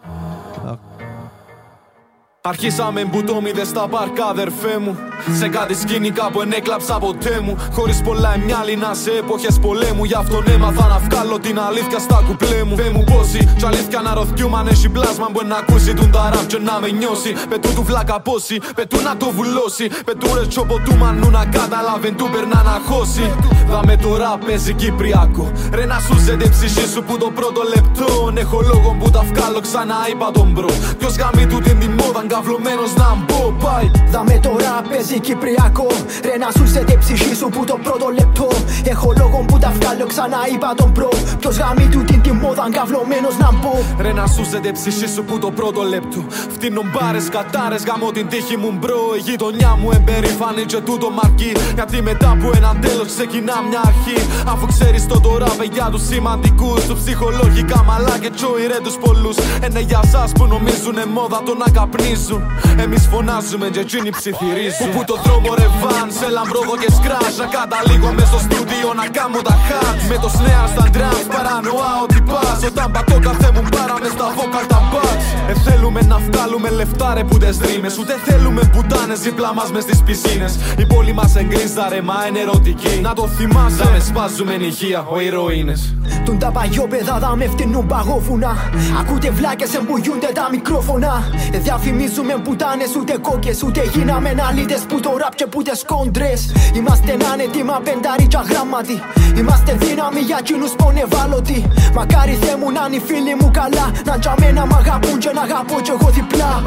[SPEAKER 7] Αρχίσαμε που το μηδέ στα πάρκα, αδερφέ μου. Σε κάτι σκηνικά που ενέκλαψα ποτέ μου. Χωρί πολλά εμιάλινα σε εποχέ πολέμου. Γι' αυτόν έμαθα να βγάλω την αλήθεια στα κουπλέ μου. Δε μου πόση, τσ' αλήθεια να ρωθιούμαν έχει πλάσμα που να ακούσει τον ταράμ και να με νιώσει. Πετού του βλάκα πόση, πετού να το βουλώσει. Πετού ρε τσόπο του μανού να καταλαβεν του περνά να χώσει. Δαμε τώρα παίζει Κυπριακό. Ρε να σου ζετε ψυχή σου που το πρώτο λεπτό. Έχω λόγο που τα βγάλω ξανά, είπα τον μπρο. Ποιο γαμί του την τιμόδα, καυλωμένο να μπω, πάει.
[SPEAKER 8] Δαμε τώρα παίζει Κυπριακό Ρε να σου σε τη ψυχή σου που το πρώτο λεπτό Έχω λόγο που τα βγάλω ξανά είπα τον προ Ποιος γαμί του την τιμόδα καυλωμένος να μπω
[SPEAKER 7] Ρε να σούζεται η ψυχή σου που το πρώτο λεπτό. Φτύνω μπάρε, κατάρε, γάμω την τύχη μου μπρο. Η γειτονιά μου εμπεριφάνει και τούτο μαρκεί. Γιατί μετά που έναν τέλο ξεκινά μια αρχή. Αφού ξέρει το τώρα, παιδιά του σημαντικού. Του ψυχολογικά μαλά και τσόι ρε του πολλού. Ένα για εσά που νομίζουνε μόδα το να καπνίζουν. Εμεί φωνάζουμε και εκείνοι ψιθυρίζουν. Που, που το δρόμο ρε βαν, σε λαμπρόδο και σκράζ. Να καταλήγω με στο στούντιο να κάνω τα χάτ. Με το σνέα στα ντραμ, παρανοά ότι πα. Όταν πατώ κάθε μου μπάρα με στα βόκαλ τα μπατ. Ε, θέλουμε να βγάλουμε λεφτά ρε που τες ρήμες Ούτε θέλουμε πουτάνες δίπλα μας μες στις πισίνες Η πόλη μας εγκρίζαρε μα είναι ερωτική Να το θυμάσαι, να με σπάζουμε ηχεία, ο ηρωίνες
[SPEAKER 8] Τον τα παγιόπαιδα δα με φτηνούν παγόφουνα Ακούτε βλάκες εμπογιούνται τα μικρόφωνα Ε, Διαφημίζουμε πουτάνες ούτε κόκες Ούτε γίναμε αλήτες που το ραπ και που τες κόντρες Είμαστε άνετοι μα πενταρίτσα γράμματι Είμαστε δύναμοι για κοινούς που ανεβάλλωτοι Μακάρι Θεέ μου να είναι οι φίλοι μου καλά Να τζ' αμένα μ' αγαπούν και να αγαπώ κι εγώ διπλά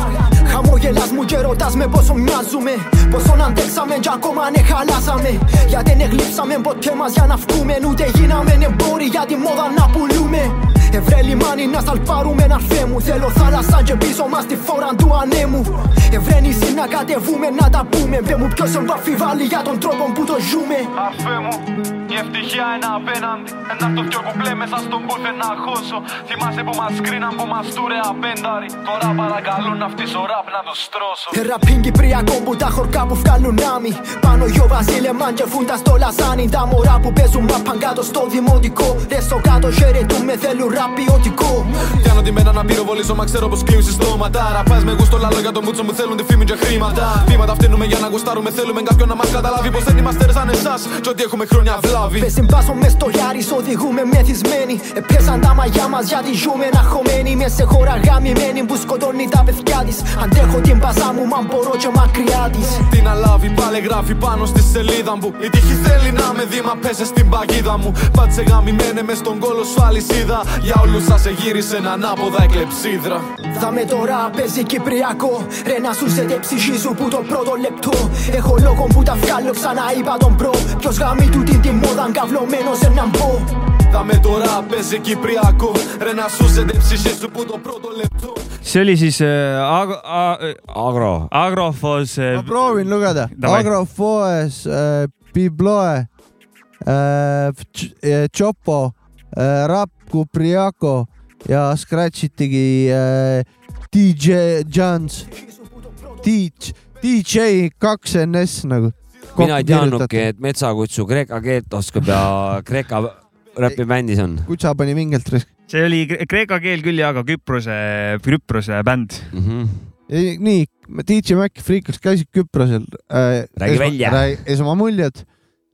[SPEAKER 8] Χαμόγελας μου και ρωτάς με πόσο μοιάζουμε Πόσο αντέξαμε κι ακόμα αν χαλάσαμε Γιατί ναι δεν εγλείψαμε ποτέ μας για να βγούμε Ούτε γίναμε εμπόροι για τη μόδα να πουλούμε Ευρέ λιμάνι να σαλπάρουμε να φέμου Θέλω θάλασσα και πίσω μας τη φόρα του ανέμου Ευρέ νησί να κατεβούμε να τα πούμε Πε μου ποιος εμπαφιβάλλει για τον τρόπο που το ζούμε
[SPEAKER 7] Αφέ μου, η ευτυχία είναι απέναντι. Ένα από το πιο κουμπλέ μέσα στον πούθε να χώσω. Θυμάσαι που μα κρίναν που μα τούρε απένταρι. Τώρα παρακαλούν αυτή ο ραπ να το στρώσω.
[SPEAKER 8] Ραπίν Κυπριακό που τα χορκά που βγάλουν άμυ Πάνω γιο βασίλεμαν και φούντα στο λασάνι Τα μωρά που παίζουν μαπαν κάτω στο δημοτικό Ρε στο κάτω χαιρετούμε θέλουν ραπ ποιοτικό
[SPEAKER 7] Πιάνω τη μέρα να πυροβολήσω, μα ξέρω πω κλείνουν συστόματα. Ραπά με γούστο λαλό για τον μπούτσο μου θέλουν τη φήμη και χρήματα. Βήματα φτύνουμε για να γουστάρουμε, θέλουμε κάποιον να μα καταλάβει πω δεν είμαστε ρε σαν εσά. Και ότι έχουμε χρόνια βλάβη.
[SPEAKER 8] Πες συμπάσω μες στο γιάρις οδηγούμε μεθυσμένοι Επέσαν τα μαγιά μας γιατί ζούμε να χωμένοι Μες σε χώρα γαμημένη που σκοτώνει τα παιδιά της Αντέχω την πασά μου μα μπορώ και μακριά της
[SPEAKER 7] Τι να λάβει, πα Βάλε γράφει πάνω στη σελίδα μου. Η τύχη θέλει να με δει, μα πέσε στην παγίδα μου. Πάτσε γαμημένε με στον κόλο σου αλυσίδα. Για όλου σα εγύρισε ένα ανάποδα εκλεψίδρα.
[SPEAKER 8] Δάμε τώρα παίζει Κυπριακό Ρε να σου σε τε ψυχή σου που το πρώτο λεπτό Έχω λόγο που τα βγάλω ξανά είπα τον προ Ποιος γαμεί του την τη μόδα καυλωμένος έναν πω
[SPEAKER 7] Δάμε τώρα παίζει Κυπριακό. Ρε να σου σε ψυχή σου που το πρώτο λεπτό.
[SPEAKER 2] see oli siis äh, Agro- a-
[SPEAKER 3] Agro .
[SPEAKER 2] Agrofos eh,
[SPEAKER 1] ma proovin lugeda .
[SPEAKER 2] Davai.
[SPEAKER 1] Agrofoes äh, , Bibloe äh, , Chopo äh, , Rap Kupriako ja Scratch'it tegi äh, DJ Jans , DJ , DJ kaks NS nagu .
[SPEAKER 3] mina ei teadnudki ,. et Metsakutsu kreeka keelt oskab ja kreeka räpibändis on
[SPEAKER 1] kutsa pani vingelt risk .
[SPEAKER 2] see oli kre- kreeka keel küll ja , aga Küprose , Küprose bänd .
[SPEAKER 3] mm . -hmm.
[SPEAKER 1] nii , DJ Mac Freekas käisid Küprosel äh, .
[SPEAKER 3] Räägi välja. .
[SPEAKER 1] esmamuljed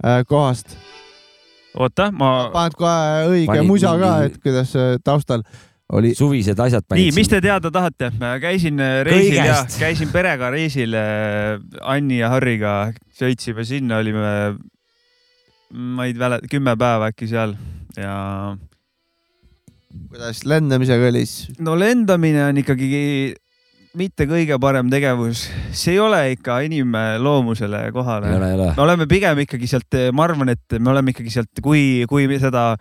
[SPEAKER 1] äh, kohast .
[SPEAKER 2] oota , ma ,
[SPEAKER 1] paned kohe õige
[SPEAKER 3] Panid
[SPEAKER 1] musa ka ,
[SPEAKER 3] mingi-
[SPEAKER 1] et kuidas äh, taustal oli .
[SPEAKER 3] suvised asjad
[SPEAKER 2] nii ,
[SPEAKER 3] panid
[SPEAKER 2] mis . te teada tahate ? ma käisin äh, reisil ja
[SPEAKER 3] Kõigest.
[SPEAKER 2] käisin perega reisil äh, Anni ja Harriga , sõitsime sinna , olime , ma ei mäleta , kümme päeva äkki seal ja
[SPEAKER 1] kuidas lendamisega oli siis ?
[SPEAKER 2] no lendamine on ikkagi mitte kõige parem tegevus , see ei ole ikka inimloomusele
[SPEAKER 3] ei
[SPEAKER 2] kohane .
[SPEAKER 3] ole , ei ole .
[SPEAKER 2] me oleme pigem ikkagi sealt , ma arvan , et me oleme ikkagi sealt , kui , kui me seda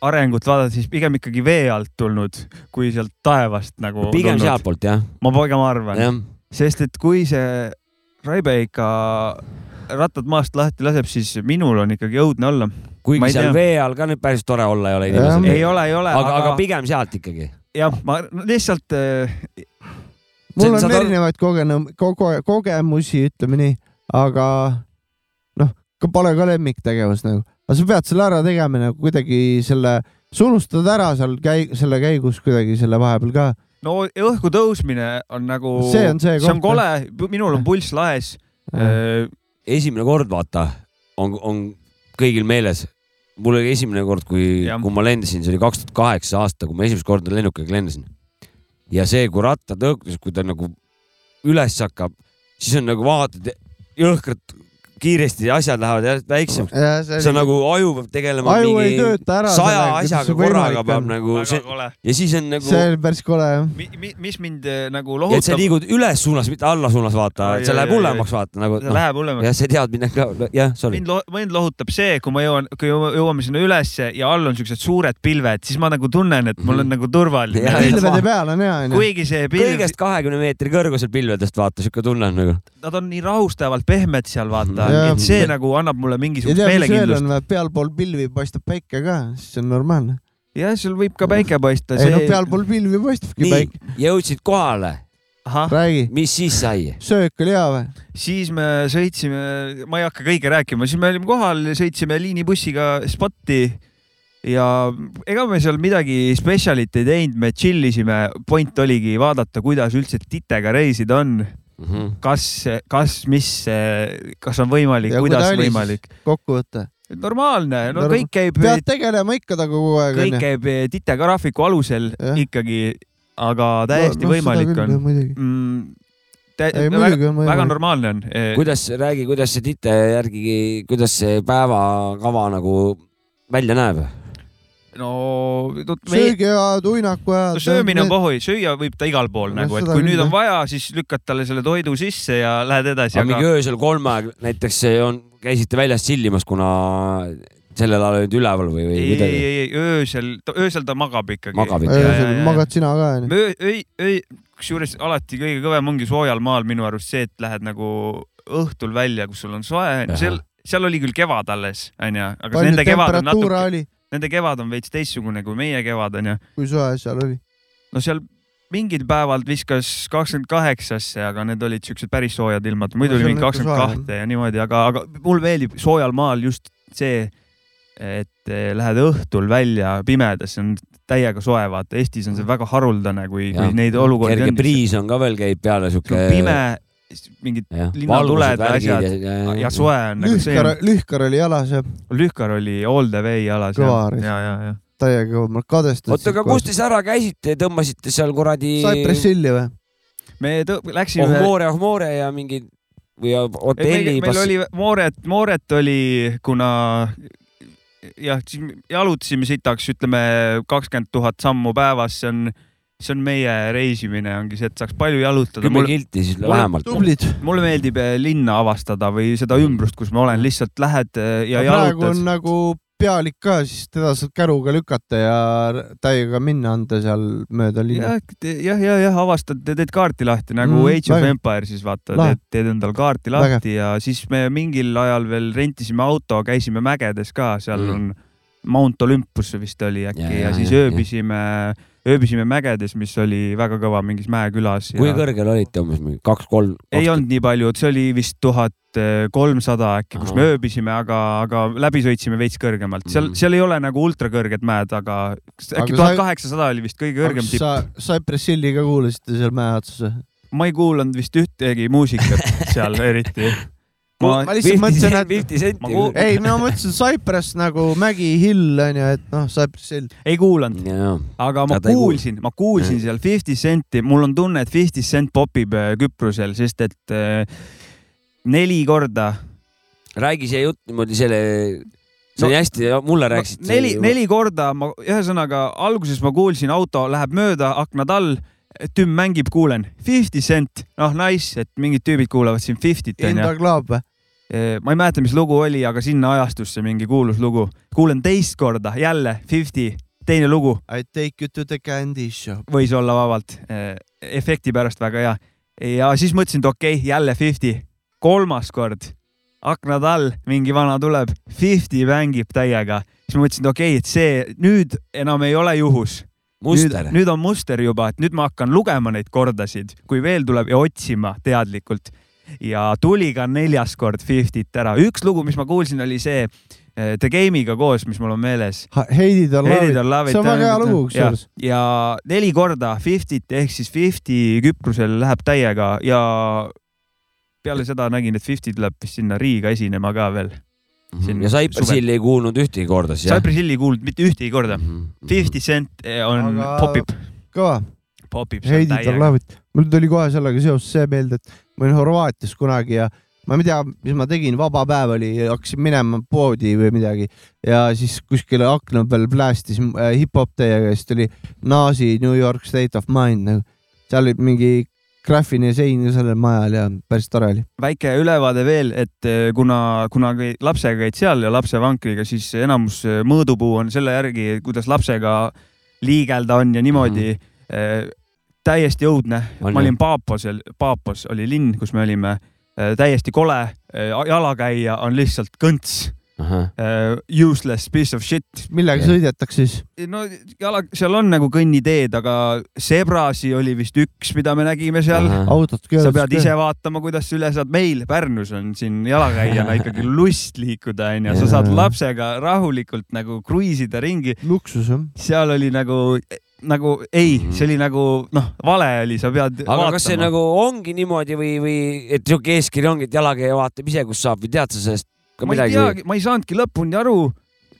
[SPEAKER 2] arengut vaadata , siis pigem ikkagi vee alt tulnud , kui sealt taevast nagu
[SPEAKER 3] pigem
[SPEAKER 2] tulnud .
[SPEAKER 3] sealtpoolt jah ,
[SPEAKER 2] ma pigem arvan ,
[SPEAKER 3] jah .
[SPEAKER 2] sest et kui see raibe ikka rattad maast lahti laseb , siis minul on ikkagi õudne olla . Ma
[SPEAKER 3] kuigi
[SPEAKER 2] ei
[SPEAKER 3] seal
[SPEAKER 2] tea.
[SPEAKER 3] vee all ka nüüd päris tore olla ei ole
[SPEAKER 1] Jah.
[SPEAKER 2] ei
[SPEAKER 3] inimesel .
[SPEAKER 2] ole , ei ole ,
[SPEAKER 3] aga ,
[SPEAKER 2] aga,
[SPEAKER 3] aga pigem sealt ikkagi .
[SPEAKER 2] jah , ma lihtsalt äh,
[SPEAKER 1] mul on
[SPEAKER 3] saad aru-
[SPEAKER 1] erinevaid kogenem- , koge- , kogemusi , ütleme nii , aga noh , pole ka lemmiktegevus nagu , aga sa pead selle ära tegema nagu kuidagi selle , sa unustad ära seal käi- , selle käigus kuidagi selle vahepeal ka .
[SPEAKER 2] no õhku tõusmine on nagu ,
[SPEAKER 1] See on see
[SPEAKER 2] see on
[SPEAKER 1] koht,
[SPEAKER 2] kole , minul on pulss laes . Äh,
[SPEAKER 3] esimene kord , vaata , on , on kõigil meeles . mul oli esimene kord , kui ,
[SPEAKER 2] Jah.
[SPEAKER 3] kui ma lendasin , see oli kaks tuhat kaheksa aasta , kui ma esimest korda lennukiga lendasin . ja see , kui rattatõuklus , kui ta nagu üles hakkab , siis on nagu vaatad jõhkralt kiiresti ja asjad lähevad järjest väiksemaks . see
[SPEAKER 1] aju
[SPEAKER 3] on nagu aju peab tegelema
[SPEAKER 1] ei
[SPEAKER 3] mingi
[SPEAKER 1] tööta ära .
[SPEAKER 3] saja asjaga korraga peab nagu
[SPEAKER 2] väga
[SPEAKER 3] see
[SPEAKER 2] kole .
[SPEAKER 3] ja siis on nagu
[SPEAKER 1] see on päris kole jah .
[SPEAKER 2] mi, . Mi, mis mind eh, nagu
[SPEAKER 3] Ja et sa
[SPEAKER 2] lohutab ,
[SPEAKER 3] liigud üles suunas , mitte alla suunas , vaata ,
[SPEAKER 2] Ai,
[SPEAKER 3] et see
[SPEAKER 2] ai,
[SPEAKER 3] läheb
[SPEAKER 2] ai,
[SPEAKER 3] hullemaks , vaata nagu .
[SPEAKER 2] see läheb hullemaks .
[SPEAKER 3] jah , see teadmine ka , jah , sorry .
[SPEAKER 2] mind , mind lohutab see , kui ma jõuan , kui jõu- jõuame sinna ülesse ja all on siuksed suured pilved , siis ma nagu tunnen , et mul on nagu
[SPEAKER 3] Jah.
[SPEAKER 2] turvaline .
[SPEAKER 1] pilvede peal on hea onju .
[SPEAKER 2] kuigi see pilv ,
[SPEAKER 3] kõigest kahekümne meetri kõrgusel pilvedest , vaata , siuke tunne on nagu .
[SPEAKER 2] nad on nii rahustavalt pehmed seal , vaata
[SPEAKER 1] Jah. ,
[SPEAKER 2] et see nagu annab mulle
[SPEAKER 1] ja
[SPEAKER 2] mingisugust
[SPEAKER 1] tead , mis veel on
[SPEAKER 2] meelekindlust .,
[SPEAKER 1] pealpool pilvi paistab päike ka , siis on normaalne .
[SPEAKER 2] jah , seal võib ka päike paista .
[SPEAKER 1] ei no pealpool pilvi paistabki
[SPEAKER 3] nii
[SPEAKER 1] päike .,
[SPEAKER 3] jõudsid kohale ,
[SPEAKER 2] ahah ,
[SPEAKER 1] räägi ,
[SPEAKER 3] mis siis sai ?
[SPEAKER 1] söök oli hea või ?
[SPEAKER 2] siis me sõitsime , ma ei hakka kõike rääkima , siis me olime kohal , sõitsime liinibussiga spotti ja ega me seal midagi spetsialit ei teinud , me chill isime , point oligi vaadata , kuidas üldse titega reisida on , kas , kas , mis , kas on võimalik
[SPEAKER 1] Ja , kui ta
[SPEAKER 2] kuidas
[SPEAKER 1] oli, siis-
[SPEAKER 2] võimalik .
[SPEAKER 1] kokkuvõte .
[SPEAKER 2] normaalne , no
[SPEAKER 1] Norm-
[SPEAKER 2] kõik käib ,
[SPEAKER 1] pead tegelema ikka taga kogu aeg
[SPEAKER 2] kõik
[SPEAKER 1] onju .
[SPEAKER 2] käib titegraafiku alusel
[SPEAKER 1] Jah.
[SPEAKER 2] ikkagi , aga täiesti võimalik on . mm, .
[SPEAKER 1] ei
[SPEAKER 2] väga,
[SPEAKER 1] muidugi on
[SPEAKER 2] väga
[SPEAKER 1] võimalik .
[SPEAKER 2] normaalne on . eh,
[SPEAKER 3] kuidas , räägi , kuidas see tite järgi , kuidas see päevakava nagu välja näeb ?
[SPEAKER 2] no tut- me-
[SPEAKER 1] söögi ajad , uinaku
[SPEAKER 2] no
[SPEAKER 1] ajad .
[SPEAKER 2] söömine on pohhui , süüa võib ta igal pool
[SPEAKER 1] No
[SPEAKER 2] nagu , et
[SPEAKER 1] seda
[SPEAKER 2] kui
[SPEAKER 1] küll,
[SPEAKER 2] nüüd on
[SPEAKER 1] jah.
[SPEAKER 2] vaja , siis lükkad talle selle toidu sisse ja lähed edasi ,
[SPEAKER 3] aga
[SPEAKER 2] aga
[SPEAKER 3] mingi öösel kolm aeg näiteks on , käisite väljas tšillimas , kuna sellel ajal olid üleval või , või
[SPEAKER 2] ei , ei ,
[SPEAKER 3] midagi ?
[SPEAKER 2] ei , ei öösel , öösel ta magab ikkagi .
[SPEAKER 3] Magab ikka.
[SPEAKER 2] Jaa, jaa,
[SPEAKER 1] öösel
[SPEAKER 2] jaa.
[SPEAKER 1] magad sina ka onju .
[SPEAKER 2] öö , öö , öö , kusjuures alati kõige kõvem ongi soojal maal minu arust see , et lähed nagu õhtul välja , kus sul on soe ,
[SPEAKER 3] Ahah.
[SPEAKER 2] seal , seal oli küll kevad alles , onju , aga
[SPEAKER 1] palju
[SPEAKER 2] nende kevad on
[SPEAKER 1] temperatuur
[SPEAKER 2] natuke ,
[SPEAKER 1] oli ,
[SPEAKER 2] nende kevad on veits teistsugune kui meie kevad , onju .
[SPEAKER 1] kui soe seal oli ?
[SPEAKER 2] no seal mingil päeval viskas kakskümmend kaheksasse , aga need olid siuksed päris soojad ilmad , muidu
[SPEAKER 1] No
[SPEAKER 2] oli
[SPEAKER 1] see on
[SPEAKER 2] mingi
[SPEAKER 1] ikka
[SPEAKER 2] kakskümmend
[SPEAKER 1] soe,
[SPEAKER 2] kahte ja niimoodi , aga , aga mul meeldib soojal maal just see , et eh, lähed õhtul välja pimedas , see on täiega soe , vaata Eestis on see väga haruldane , kui ,
[SPEAKER 3] Jah.
[SPEAKER 2] kui neid olukordi
[SPEAKER 3] kerge
[SPEAKER 2] on .
[SPEAKER 3] priis on ka veel , käib peale siuke .
[SPEAKER 2] pime , mingid linnatuled ja asjad ja soe on nagu see
[SPEAKER 1] lühkar , lühkar oli jalas ja
[SPEAKER 2] on- lühkar oli all the way jalas ja
[SPEAKER 1] Kõva , risk.
[SPEAKER 2] ja , ja , ja
[SPEAKER 1] täiega kõva , ma kadestasin .
[SPEAKER 3] oota , aga kus te siis ära käisite , tõmbasite seal kuradi
[SPEAKER 1] Cypress Hilli või ?
[SPEAKER 2] me tõ- läksime
[SPEAKER 3] Ohmore , Ohmore ja mingi või hotelli
[SPEAKER 2] meil, meil oli Mooret , Mooret oli , kuna jah , jalutasime sitaks , ütleme kakskümmend tuhat sammu päevas , see on , see on meie reisimine ongi see , et saaks palju jalutada .
[SPEAKER 3] kümme
[SPEAKER 2] mulle ,
[SPEAKER 3] kilti siis
[SPEAKER 2] mul-
[SPEAKER 3] vähemalt .
[SPEAKER 1] tublid .
[SPEAKER 2] mulle meeldib eh, linna avastada või seda ümbrust , kus ma olen , lihtsalt lähed eh, ja, ja
[SPEAKER 1] praegu on
[SPEAKER 2] jalutad .
[SPEAKER 1] nagu pealik ka , siis teda saad käruga lükata ja r- täiega minna anda seal mööda linna .
[SPEAKER 2] jah , jah , jah ja, , avastad , teed kaarti lahti nagu
[SPEAKER 1] Mm,
[SPEAKER 2] mm, Age of
[SPEAKER 1] väga-
[SPEAKER 2] Empire siis vaata ,
[SPEAKER 1] Lahe.
[SPEAKER 2] teed, teed endal kaarti lahti ja siis me mingil ajal veel rentisime auto , käisime mägedes ka ,
[SPEAKER 3] Mm.
[SPEAKER 2] seal mm. on Mount Olympus see vist oli äkki
[SPEAKER 3] Ja,
[SPEAKER 2] ja,
[SPEAKER 3] ja,
[SPEAKER 2] ja, ja siis
[SPEAKER 3] ja,
[SPEAKER 2] ja,
[SPEAKER 3] ja.
[SPEAKER 2] ööbisime , ööbisime mägedes , mis oli väga kõva mingis mäekülas
[SPEAKER 3] kui
[SPEAKER 2] ja
[SPEAKER 3] kõrgel olite umbes mingi kaks-kolm ?
[SPEAKER 2] ei olnud nii palju , see oli vist tuhat kolmsada äkki , kus me
[SPEAKER 3] Ahah.
[SPEAKER 2] ööbisime , aga , aga läbi sõitsime veits kõrgemalt , seal
[SPEAKER 3] Mm. ,
[SPEAKER 2] seal ei ole nagu ultrakõrged mäed , aga kas
[SPEAKER 1] Aga
[SPEAKER 2] äkki
[SPEAKER 1] sa-
[SPEAKER 2] tuhat kaheksasada oli vist kõige kõrgem tipp .
[SPEAKER 1] sa , Cypress Hilli ka kuulasite seal mäe otsas ?
[SPEAKER 2] ma ei kuulanud vist ühtegi muusikat seal eriti . ma
[SPEAKER 1] ma lihtsalt mõtlesin , et
[SPEAKER 3] Fifty
[SPEAKER 2] Ma
[SPEAKER 3] Centi
[SPEAKER 2] kuul- .
[SPEAKER 1] ei , no ma mõtlesin Cypress nagu Mägi Hill onju , et noh , Cypress Hill .
[SPEAKER 2] ei kuulanud ,
[SPEAKER 3] jaa ,
[SPEAKER 2] aga ma
[SPEAKER 3] Sa ta ei
[SPEAKER 2] kuulsin , ma kuulsin seal Fifty Centi , mul on tunne , et Fifty Cent popib äh, Küprosel , sest et äh, neli korda ,
[SPEAKER 3] räägi see jutt niimoodi selle , see
[SPEAKER 2] No-
[SPEAKER 3] oli hästi , mulle rääkisid .
[SPEAKER 2] neli , neli korda ma , ühesõnaga alguses ma kuulsin , auto läheb mööda aknad all , tümm mängib , kuulen Fifty Cent , noh nice , et mingid tüübid kuulavad siin Fiftyt onju
[SPEAKER 1] Indra . Klaab või ?
[SPEAKER 2] ma ei mäleta , mis lugu oli , aga sinna ajastusse mingi kuulus lugu . kuulen teist korda jälle Fifty , teine lugu ,
[SPEAKER 1] I take you to the candy shop .
[SPEAKER 2] võis olla vabalt , efekti pärast väga hea . ja siis mõtlesin , et okei okay, , jälle Fifty , kolmas kord , aknad all mingi vana tuleb , Fifty mängib täiega , siis ma mõtlesin , et okei okay, , et see nüüd enam ei ole juhus . nüüd
[SPEAKER 3] muster ,
[SPEAKER 2] nüüd on muster juba , et nüüd ma hakkan lugema neid kordasid , kui veel tuleb ja otsima teadlikult . ja tuli ka neljas kord Fiftyt ära , üks lugu , mis ma kuulsin , oli see eh, The Game'iga koos , mis mul on meeles .
[SPEAKER 1] Heidi Tarlavi . see on väga hea lugu
[SPEAKER 2] ja,
[SPEAKER 1] kusjuures .
[SPEAKER 2] ja neli korda Fiftyt ehk siis Fifty Küprosel läheb täiega ja peale seda nägin , et Fifty tuleb vist sinna Riiga esinema ka veel . siin
[SPEAKER 3] Mhm. ja Cypress
[SPEAKER 2] suvel.
[SPEAKER 3] Hill ei kuulnud ühtegi korda siis jah ? Mhm,
[SPEAKER 2] Cypress Hilli ei kuulnud mitte ühtegi korda . Fifty Cent eh, on
[SPEAKER 1] Aga-
[SPEAKER 2] Aga... , popib ,
[SPEAKER 1] kõva ,
[SPEAKER 2] popib seal
[SPEAKER 1] Heidi
[SPEAKER 2] täiega .
[SPEAKER 1] Tarlavit . mul tuli kohe sellega seoses see meelde , et ma olin Horvaatias kunagi ja ma ei tea , mis ma tegin , vaba päev oli , hakkasin minema poodi või midagi ja siis kuskile akna peal plästis äh, hip-hop teiega ja siis tuli Naasi New York State of Mind nagu . seal oli mingi graafine sein ka sellel majal ja päris tore oli .
[SPEAKER 2] väike ülevaade veel , et eh, kuna , kuna käi- lapsega käid seal ja lapsevankriga , siis enamus eh, mõõdupuu on selle järgi , kuidas lapsega liigelda on ja niimoodi mm . -hmm. täiesti õudne ,
[SPEAKER 3] Mhm. On
[SPEAKER 2] ma
[SPEAKER 3] ju?
[SPEAKER 2] olin Paaposel , Paapos oli linn , kus me olime , täiesti kole , jalakäija on lihtsalt kõnts , useless piece of shit ,
[SPEAKER 1] millega
[SPEAKER 3] Jah.
[SPEAKER 1] sõidetakse siis ?
[SPEAKER 2] no jala , seal on nagu kõnniteed , aga Zebrasi oli vist üks , mida me nägime seal
[SPEAKER 1] autot .
[SPEAKER 2] sa pead ise vaatama , kuidas sa üle saad , meil Pärnus on siin jalakäijana ikkagi lust liikuda , onju , sa saad
[SPEAKER 1] Jaa.
[SPEAKER 2] lapsega rahulikult nagu kruiisida ringi ,
[SPEAKER 1] luksus jah .
[SPEAKER 2] seal oli nagu , nagu ei , see oli nagu noh , vale oli , sa pead
[SPEAKER 3] Mhm. aga
[SPEAKER 2] vaatama .
[SPEAKER 3] kas see nagu ongi niimoodi või , või et sihuke eeskiri ongi , et jalakäija vaatab ise , kus saab või tead sa sellest ka
[SPEAKER 2] ma ei
[SPEAKER 3] midagi ?
[SPEAKER 2] teagi , ma ei saanudki lõpuni aru ,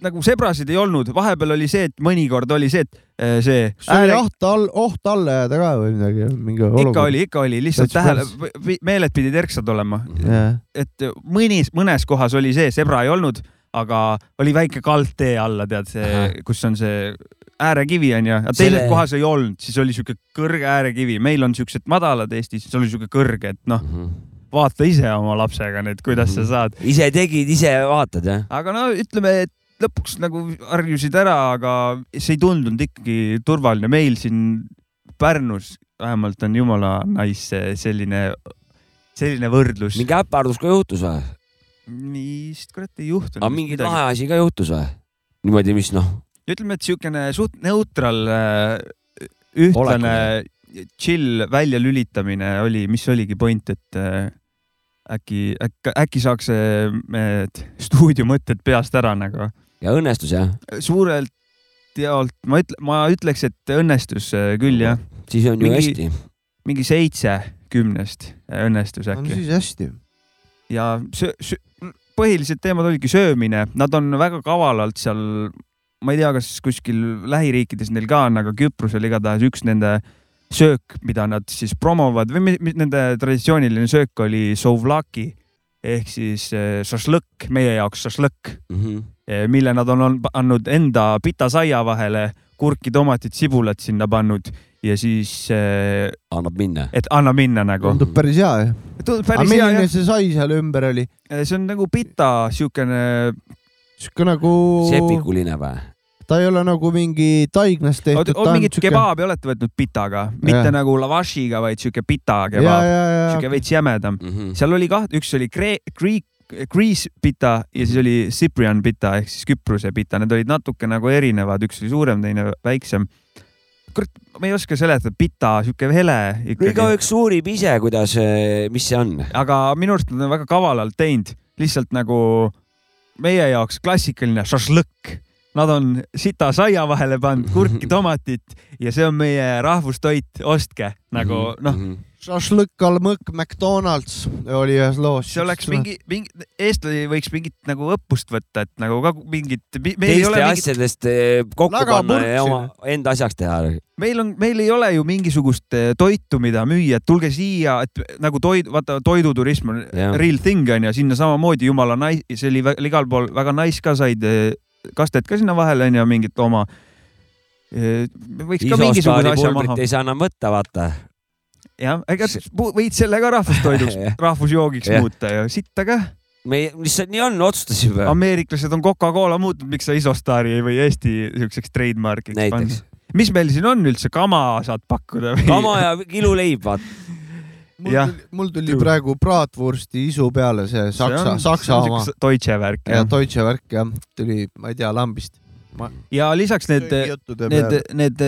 [SPEAKER 2] nagu sebrasid ei olnud , vahepeal oli see , et mõnikord oli see , et eh, see
[SPEAKER 1] see oli oht all , oht alla jääda ka või midagi , mingi olukord .
[SPEAKER 2] ikka oli , ikka oli , lihtsalt tähele
[SPEAKER 1] Täitsa ,
[SPEAKER 2] meeled pidid erksad olema ,
[SPEAKER 3] Mhm.
[SPEAKER 1] jah ,
[SPEAKER 2] et mõnis , mõnes kohas oli see , zebra ei olnud , aga oli väike kaldtee alla , tead see
[SPEAKER 3] Ahah. ,
[SPEAKER 2] kus on see äärekivi onju , aga teises
[SPEAKER 3] Selle-
[SPEAKER 2] Selle... kohas ei olnud , siis oli siuke kõrge äärekivi , meil on siuksed madalad Eestis , siis oli siuke kõrge , et noh ,
[SPEAKER 3] Mhm.
[SPEAKER 2] vaata ise oma lapsega nüüd , kuidas sa saad .
[SPEAKER 3] ise tegid , ise vaatad jah ?
[SPEAKER 2] aga no ütleme , et lõpuks nagu harjusid ära , aga see ei tundunud ikkagi turvaline , meil siin Pärnus vähemalt on jumala nice selline , selline võrdlus .
[SPEAKER 3] mingi äpardus ka juhtus või ?
[SPEAKER 2] vist kurat ei juhtunud .
[SPEAKER 3] aga mingi lahe asi ka juhtus või ? niimoodi , mis noh ,
[SPEAKER 2] ütleme , et niisugune suht neutral , ühtlane , chill väljalülitamine oli , mis oligi point , et äh, äkki , äkki , äkki saaks äh, need stuudio mõtted peast ära nagu .
[SPEAKER 3] ja õnnestus jah ?
[SPEAKER 2] suurelt jaolt ma ütle , ma ütleks , et õnnestus äh, küll jah ,
[SPEAKER 3] siis on ju
[SPEAKER 2] Mingi-
[SPEAKER 3] hästi .
[SPEAKER 2] mingi seitse kümnest õnnestus
[SPEAKER 1] on
[SPEAKER 2] äkki
[SPEAKER 1] siis hästi .
[SPEAKER 2] ja söö, söö, põhilised teemad olidki söömine , nad on väga kavalalt seal , ma ei tea , kas kuskil lähiriikides neil ka on , aga Küprosel igatahes üks nende söök , mida nad siis promovad või mi- mi- nende traditsiooniline söök oli souvlaki ehk siis eh, šašlõkk , meie jaoks šašlõkk ,
[SPEAKER 3] -hmm.
[SPEAKER 2] mille nad on on- andnud enda pitasaia vahele , kurki , tomatit , sibulat sinna pannud ja siis , et
[SPEAKER 3] annab minna .
[SPEAKER 2] anna minna nagu .
[SPEAKER 1] tundub päris hea ju .
[SPEAKER 2] tundub
[SPEAKER 1] aga
[SPEAKER 2] päris hea
[SPEAKER 1] milline see sai seal ümber oli ?
[SPEAKER 2] jah , see on nagu pita , siukene
[SPEAKER 1] sihuke nagu ,
[SPEAKER 3] sepikuline või ?
[SPEAKER 1] ta ei ole nagu mingi taignast tehtud .
[SPEAKER 2] oot , mingit kebaabi olete võtnud pitaga , mitte
[SPEAKER 1] Jah.
[SPEAKER 2] nagu lavašiga , vaid siuke pita
[SPEAKER 1] ja ,
[SPEAKER 2] kebaab ,
[SPEAKER 1] ja ,
[SPEAKER 2] siuke
[SPEAKER 1] ja ,
[SPEAKER 2] veits jämedam . seal oli kah , üks oli kree- , kriik , Greece pita ja siis oli Cyprian pita ehk siis Küprose pita , need olid natuke nagu erinevad , üks oli suurem , teine väiksem . kurat , ma ei oska seletada , pita , siuke hele
[SPEAKER 3] no
[SPEAKER 2] ikkagi ,
[SPEAKER 3] igaüks uurib ise , kuidas , mis see on .
[SPEAKER 2] aga minu arust nad on väga kavalalt teinud , lihtsalt nagu meie jaoks klassikaline šašlõkk . Nad on sita saia vahele pannud kurki , tomatit ja see on meie rahvustoit , ostke nagu
[SPEAKER 3] Mhm,
[SPEAKER 2] noh ,
[SPEAKER 1] šašlõkk , almõkk , McDonalds oli ühes loos .
[SPEAKER 2] see oleks . mingi , mingi , eestlasi võiks mingit nagu õppust võtta , et nagu ka mingit , meil ei ole
[SPEAKER 3] teiste
[SPEAKER 2] mingit ,
[SPEAKER 3] asjadest eh, kokku
[SPEAKER 1] Laga
[SPEAKER 3] panna
[SPEAKER 1] purksi.
[SPEAKER 3] ja oma enda asjaks teha .
[SPEAKER 2] meil on , meil ei ole ju mingisugust eh, toitu , mida müüa , et tulge siia , et nagu toid , vaata toiduturism on
[SPEAKER 3] Jah.
[SPEAKER 2] real thing on ju , sinna samamoodi jumala nais- , see oli vä- igal pool väga nice ka , said eh, kastet ka sinna vahele on ju , mingit oma . võiks ka mingisuguse asja maha
[SPEAKER 3] isostaaripulbrit , ei saa enam võtta , vaata .
[SPEAKER 2] jah , ega s- pu- võid selle ka rahvustoiduks
[SPEAKER 3] Jah. ,
[SPEAKER 2] rahvusjoogiks
[SPEAKER 3] Jah.
[SPEAKER 2] muuta ja sitta ka .
[SPEAKER 3] me , lihtsalt nii on , otsustasime .
[SPEAKER 2] ameeriklased on Coca-Cola muutnud , miks sa Isostaari ei või Eesti siukseks trademark'iks
[SPEAKER 3] näiteks .
[SPEAKER 2] mis meil siin on üldse , kama saad pakkuda või ?
[SPEAKER 3] kama ja kiluleib , vaata .
[SPEAKER 2] jah.
[SPEAKER 1] mul tuli praegu Bratwursti isu peale see saksa , saksa oma .
[SPEAKER 2] Deutsche värk
[SPEAKER 1] ja
[SPEAKER 2] ja,
[SPEAKER 1] Deutsche värk jah , tuli , ma ei tea , lambist .
[SPEAKER 2] ja lisaks need , need
[SPEAKER 1] Need ,
[SPEAKER 2] need ,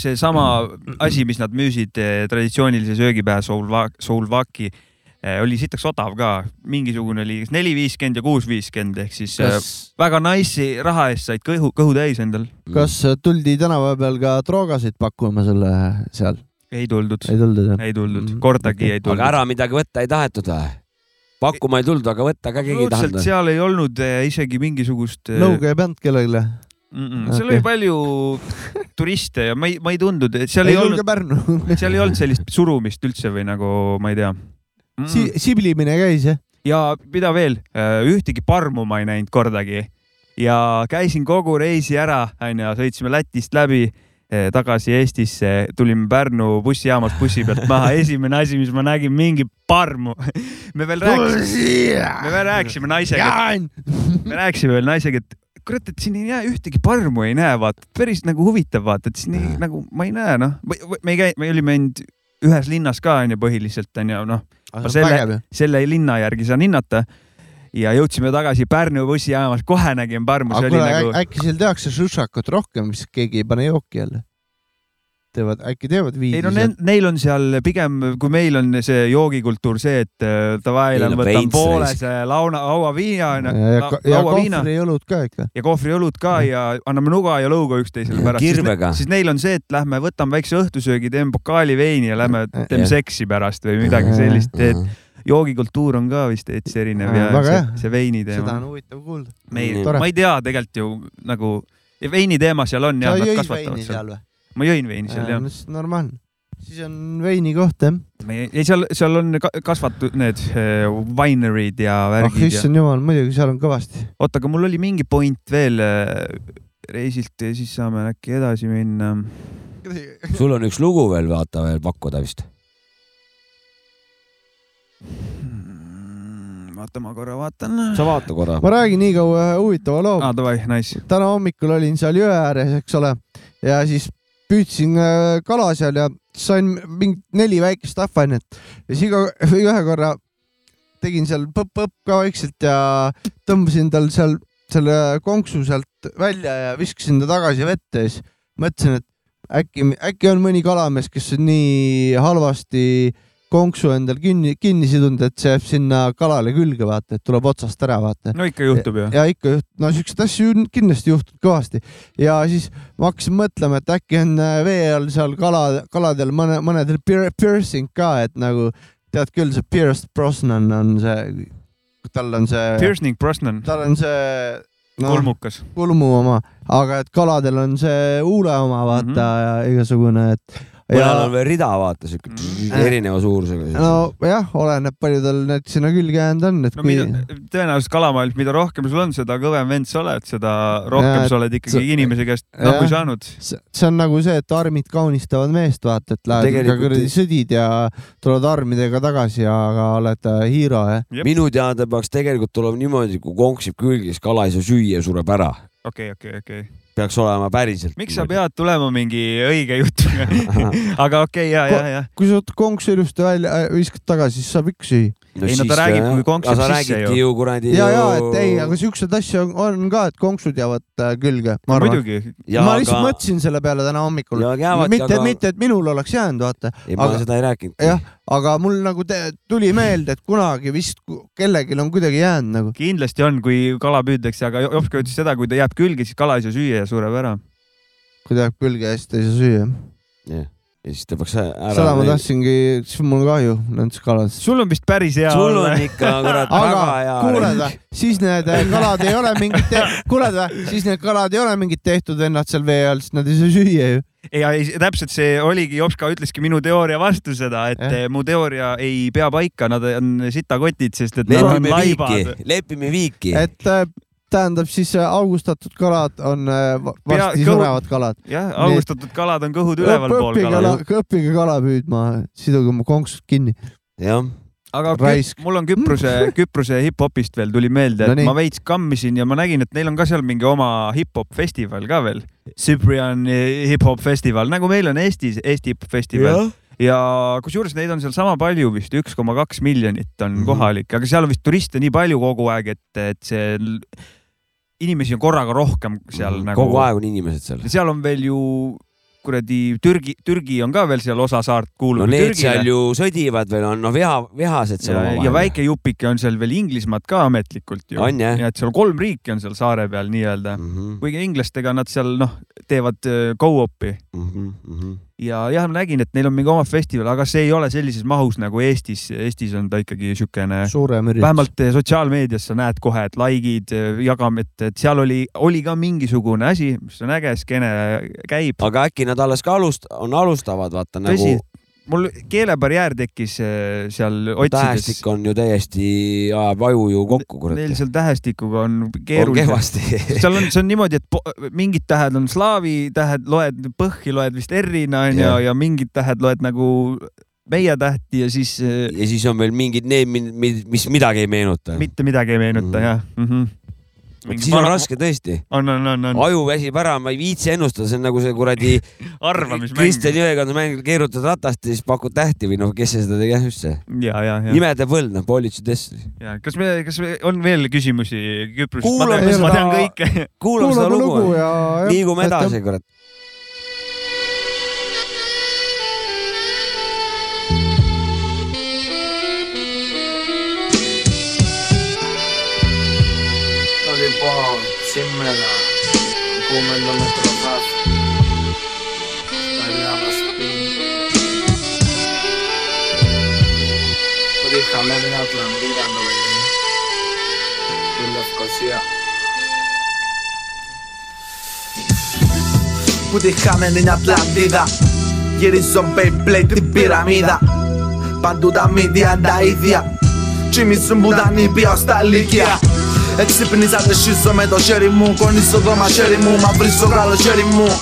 [SPEAKER 2] seesama asi , mis nad müüsid eh, traditsioonilise söögi pähe Soulva- , Soulvaki , oli sitaks odav ka , mingisugune oli kas neli viiskümmend ja kuus viiskümmend ehk siis eh, väga nice'i raha eest said kõhu , kõhu täis endal .
[SPEAKER 3] Mm.
[SPEAKER 1] kas tuldi tänava peal ka droogasid pakkuma selle seal ?
[SPEAKER 2] ei tuldud ,
[SPEAKER 1] ei tuldud jah ?
[SPEAKER 2] ei tuldud
[SPEAKER 1] Mm. ,
[SPEAKER 2] kordagi ei
[SPEAKER 3] Mm-hmm. aga
[SPEAKER 2] tuldud .
[SPEAKER 3] ära midagi võtta ei tahetud või ? pakkuma ei tuldud , aga võtta ka keegi ei
[SPEAKER 2] absoluutselt
[SPEAKER 3] tahtnud .
[SPEAKER 2] seal ei olnud eh, isegi mingisugust eh,
[SPEAKER 1] nõuga ei pannud kellelegi .
[SPEAKER 2] mm . -mm. seal
[SPEAKER 1] Okei.
[SPEAKER 2] oli palju turiste ja ma ei , ma ei tundnud , et seal
[SPEAKER 1] ei
[SPEAKER 2] ei, ei olnud
[SPEAKER 1] tulge , Pärnu .
[SPEAKER 2] seal ei olnud sellist surumist üldse või nagu ma ei tea mm .
[SPEAKER 1] Si-
[SPEAKER 2] -mm. ,
[SPEAKER 1] siblimine käis jah ?
[SPEAKER 2] ja mida veel , ühtegi parmu ma ei näinud kordagi ja käisin kogu reisi ära , onju , sõitsime Lätist läbi eh, tagasi Eestisse , tulime Pärnu bussijaamas bussi pealt maha , esimene asi , mis ma nägin , mingi parmu . me veel rääkisime , me veel rääkisime naisega ,
[SPEAKER 1] Jaan ,
[SPEAKER 2] me rääkisime veel naisega , et kurat , et siin ei näe ühtegi parmu ei näe , vaata , päris nagu huvitav , vaata , et siin ei, nagu ma ei näe , noh , me ei käi , me olime ainult ühes linnas ka onju põhiliselt onju , noh ,
[SPEAKER 1] aga Ah, see
[SPEAKER 2] Selle-
[SPEAKER 1] on vägev ju .
[SPEAKER 2] selle linna järgi saan hinnata . ja jõudsime tagasi Pärnu bussijaamas , kohe nägin parmu ,
[SPEAKER 1] aga
[SPEAKER 2] see oli
[SPEAKER 1] Ah, kuule
[SPEAKER 2] nagu ,
[SPEAKER 1] äkki seal tehakse šušakut rohkem , siis keegi ei pane jooki jälle . teevad , äkki teevad viidi
[SPEAKER 2] ei no ne- neil on seal pigem , kui meil on see joogikultuur see , et äh, davai ,
[SPEAKER 3] Neil on
[SPEAKER 2] võtan
[SPEAKER 3] veits
[SPEAKER 2] poole
[SPEAKER 3] raisk.
[SPEAKER 2] see launa , lauaviina
[SPEAKER 1] ja ,
[SPEAKER 2] onju ,
[SPEAKER 1] ja, ja
[SPEAKER 2] lauaviina
[SPEAKER 1] kohvriõlut ka ikka .
[SPEAKER 2] ja kohvriõlut ka ja anname nuga ja lõuga üksteisele pärast .
[SPEAKER 3] Kirvega.
[SPEAKER 2] siis neil on see , et lähme võtame väikse õhtusöögi , teeme pokaali veini ja lähme teeme
[SPEAKER 3] Jah.
[SPEAKER 2] seksi pärast või midagi sellist , et joogikultuur on ka vist täitsa erinev ja
[SPEAKER 1] Väga
[SPEAKER 2] see,
[SPEAKER 1] hea.
[SPEAKER 2] see veini
[SPEAKER 1] seda
[SPEAKER 2] teema .
[SPEAKER 1] on huvitav kuulda .
[SPEAKER 2] meil
[SPEAKER 3] Nii. ,
[SPEAKER 1] Tore.
[SPEAKER 2] ma ei tea tegelikult ju nagu ja veini teema seal on
[SPEAKER 1] sa
[SPEAKER 2] ja nad
[SPEAKER 1] jõid
[SPEAKER 2] kasvatavad
[SPEAKER 1] veini
[SPEAKER 2] seal .
[SPEAKER 1] seal või ?
[SPEAKER 2] ma jõin veini seal jah .
[SPEAKER 1] normaalne . siis on veini koht jah .
[SPEAKER 2] ei , seal , seal on ka- kasvatud need eh, winery'd ja
[SPEAKER 1] ah
[SPEAKER 2] värgid ja .
[SPEAKER 1] issand jumal , muidugi seal on kõvasti .
[SPEAKER 2] oota , aga mul oli mingi point veel eh, reisilt ja siis saame äkki edasi minna
[SPEAKER 3] sul on üks lugu veel vaata veel pakkuda vist .
[SPEAKER 2] Mm, vaata , ma korra vaatan .
[SPEAKER 3] sa vaata korra .
[SPEAKER 1] ma räägin nii kaua ühe huvitava loo .
[SPEAKER 2] aa , Ah, davai , nice .
[SPEAKER 1] täna hommikul olin seal jõe ääres , eks ole , ja siis püüdsin äh, kala seal ja sain mingi neli väikest ahvainet ja siis iga , ühe korra tegin seal põpp-põpp ka vaikselt ja tõmbasin tal seal selle konksu sealt välja ja viskasin ta tagasi vette ja siis mõtlesin , et äkki , äkki on mõni kalamees , kes on nii halvasti konksu endal kinni , kinni sidunud , et see jääb sinna kalale külge , vaata , et tuleb otsast ära , vaata .
[SPEAKER 2] no ikka juhtub ju .
[SPEAKER 1] ja ikka juht- , no siukseid asju ju kindlasti juhtub kõvasti ja siis ma hakkasin mõtlema , et äkki on äh, vee all seal kala , kaladel mõne , mõnedel pier- piercing ka , et nagu tead küll , see Pierce Brosnan on see , tal on see , noh,
[SPEAKER 2] Piercing Brosnan ,
[SPEAKER 1] tal on see no,
[SPEAKER 2] kulmukas . Mhm.
[SPEAKER 1] kulmu oma , aga et kaladel on see huule oma , vaata mm -hmm. ja igasugune , et
[SPEAKER 3] mõnel on veel rida , vaata siuke erineva suurusega .
[SPEAKER 1] nojah , oleneb , palju tal need sinna külge jäänud on , et
[SPEAKER 2] no
[SPEAKER 1] kui
[SPEAKER 2] mida , Mm, tõenäoliselt kalamaailm , mida rohkem sul on , seda kõvem vend sa oled , seda rohkem
[SPEAKER 1] Jaa,
[SPEAKER 2] sa oled ikkagi
[SPEAKER 1] sa-
[SPEAKER 2] inimese käest
[SPEAKER 1] jah.
[SPEAKER 2] nakku saanud .
[SPEAKER 1] see see on nagu see , et armid kaunistavad meest , vaata , et lähed ikka
[SPEAKER 3] Tegelikult
[SPEAKER 1] kuradi
[SPEAKER 3] ei-
[SPEAKER 1] sõdid ja tuled armidega tagasi , aga oled äh, hiiro , jah .
[SPEAKER 2] Jep.
[SPEAKER 3] minu teada peaks tegelikult tulema niimoodi , kui konksib külge , siis kala ei saa süüa , sureb ära .
[SPEAKER 2] okei , okei , okei .
[SPEAKER 3] peaks olema päriselt .
[SPEAKER 2] miks sa ? pead tulema mingi õige jutuga ? aga okei okay, , ja , ja , ja .
[SPEAKER 1] kui sa konks ilusti välja äh, viskad tagasi , siis saab ükski .
[SPEAKER 2] Ei, no ta räägib, kui konksib
[SPEAKER 3] sisse ju . sa
[SPEAKER 2] sisse
[SPEAKER 3] räägidki ju kuradi .
[SPEAKER 1] ja , ja , et ei , aga siukseid asju on, on ka , et konksud jäävad äh, külge , ma arvan .
[SPEAKER 2] muidugi ,
[SPEAKER 1] ma lihtsalt aga... . mõtlesin selle peale täna hommikul .
[SPEAKER 3] ja jäävadki ,
[SPEAKER 1] mitte
[SPEAKER 3] aga- ,
[SPEAKER 1] mitte , et minul oleks jäänud , vaata ,
[SPEAKER 3] ei , ma
[SPEAKER 1] aga-
[SPEAKER 3] seda ei rääkinud .
[SPEAKER 1] jah , aga mul nagu te, tuli meelde , et kunagi vist ku- kellelgi on kuidagi jäänud nagu .
[SPEAKER 2] kindlasti on , kui kala püüdakse , aga Jopska ütles seda , kui ta jääb külge , siis kala ei saa süüa ja sureb ära .
[SPEAKER 1] kui ta jääb külge ja siis ta ei saa süüa .
[SPEAKER 3] ja siis ta peaks ära .
[SPEAKER 1] seda ma . tahtsingi , siis mul kahju nendest kaladest .
[SPEAKER 2] sul on vist päris hea
[SPEAKER 3] sul on ikka kurat väga
[SPEAKER 1] aga
[SPEAKER 3] hea .
[SPEAKER 1] kuuled või , siis need äh, kalad ei ole mingid te... , kuuled või , siis need kalad ei ole mingid tehtud vennad seal vee all , sest nad ei saa süüa ju .
[SPEAKER 2] ja ei, täpselt see oligi , Jopska ütleski minu teooria vastu seda , et
[SPEAKER 1] Jah.
[SPEAKER 2] eh, mu teooria ei pea paika , nad on sitakotid , sest et nad on
[SPEAKER 3] lepime viiki
[SPEAKER 2] laibad .,
[SPEAKER 3] lepime viiki .
[SPEAKER 1] et äh, tähendab siis äh, augustatud kalad on äh, va-
[SPEAKER 2] Pea-
[SPEAKER 1] varsti
[SPEAKER 2] kõhu-
[SPEAKER 1] surevad kalad .
[SPEAKER 2] jah , augustatud kalad on kõhud ülevalpool
[SPEAKER 1] õppige
[SPEAKER 2] kalal
[SPEAKER 1] kala ,. õppige kala püüdma , siduge oma konksud kinni .
[SPEAKER 3] jah ,
[SPEAKER 2] aga kü-
[SPEAKER 1] Raisk.
[SPEAKER 2] mul on Küprose , Küprose hip-hopist veel tuli meelde ,
[SPEAKER 1] No
[SPEAKER 2] et
[SPEAKER 1] nii.
[SPEAKER 2] ma veits kammisin ja ma nägin , et neil on ka seal mingi oma hip-hop festival ka veel . Cyprian eh, hip-hop festival , nagu meil on Eestis Eesti hip-hop festival ja, ja kusjuures neid on seal sama palju vist , üks koma kaks miljonit on
[SPEAKER 3] Mhm.
[SPEAKER 2] kohalik , aga seal on vist turiste nii palju kogu aeg , et , et see l- inimesi on korraga rohkem seal
[SPEAKER 3] Mhm.
[SPEAKER 2] nagu .
[SPEAKER 3] kogu aeg on inimesed seal .
[SPEAKER 2] seal on veel ju kuradi Türgi , Türgi on ka veel seal osa saart
[SPEAKER 3] no
[SPEAKER 2] kuulub ju
[SPEAKER 3] need
[SPEAKER 2] Türgile
[SPEAKER 3] seal ju sõdivad veel , on no viha , vihased seal
[SPEAKER 2] ja, ja . väike jupike on seal veel Inglismaad ka ametlikult ju .
[SPEAKER 3] On, jah? Mhm.
[SPEAKER 2] ja et seal kolm riiki on seal saare peal nii-öelda , kuigi inglastega nad seal noh , teevad öö, go-op'i
[SPEAKER 3] Mhm.
[SPEAKER 2] ja jah , ma nägin , et neil on mingi oma festival , aga see ei ole sellises mahus nagu Eestis , Eestis on ta ikkagi niisugune
[SPEAKER 1] suurem üritus .
[SPEAKER 2] vähemalt eh, sotsiaalmeedias sa näed kohe , et like'id , jagame , et , et seal oli , oli ka mingisugune asi , mis on äge , skeene käib .
[SPEAKER 3] aga äkki nad alles ka alust- , on alustavad , vaata nagu
[SPEAKER 2] tõsi , mul keelebarjäär tekkis eh, seal
[SPEAKER 3] Nagu
[SPEAKER 2] otsides
[SPEAKER 3] tähestik . on ju täiesti , ajab aju ju kokku ,
[SPEAKER 2] Neil
[SPEAKER 3] kurat .
[SPEAKER 2] seal tähestikuga on
[SPEAKER 3] on
[SPEAKER 2] keerulisem .
[SPEAKER 3] kehvasti .
[SPEAKER 2] seal on , see on niimoodi , et po- mingid tähed on slaavi tähed , loed põhhi , loed vist R-ina onju
[SPEAKER 3] Jah.
[SPEAKER 2] ja mingid tähed loed nagu meie tähti ja siis eh,
[SPEAKER 3] ja siis on veel mingid need , mis midagi ei meenuta .
[SPEAKER 2] mitte midagi ei meenuta
[SPEAKER 3] Mhm.
[SPEAKER 2] jah mm -hmm. .
[SPEAKER 3] siis on . raske tõesti .
[SPEAKER 2] on , on , on , on
[SPEAKER 3] aju väsib ära , ma ei viitsi ennustada , see on nagu see kuradi Kristjan
[SPEAKER 2] arvamismäng .
[SPEAKER 3] Jõekonda mäng , keerutad ratast ja siis pakud tähti või noh , kes see seda tegi , jah just see .
[SPEAKER 2] ja , ja , ja ,
[SPEAKER 3] nimede põld , noh , politseidest .
[SPEAKER 2] ja kas me , kas me, on veel küsimusi Küprosest ? ma
[SPEAKER 3] Kuulame
[SPEAKER 2] tean , ma
[SPEAKER 3] seda-
[SPEAKER 2] tean kõike .
[SPEAKER 3] kuulame seda lugu ,
[SPEAKER 1] ja .
[SPEAKER 3] liigume edasi , kurat .
[SPEAKER 9] oli paha , simmena , kuumendame trahvat . Déjame ver atlandidando, baby. You love Cosia.
[SPEAKER 10] που τη χάνανε την Ατλαντίδα Γυρίζω Beyblade την πυραμίδα Παντού τα μύδια τα ίδια Τσιμίσουν που τα νύπια ως τα λύκεια Εξυπνήσα τεσχίζω με το χέρι μου Κονίζω το μαχαίρι μου Μαυρίζω κράλο χέρι μου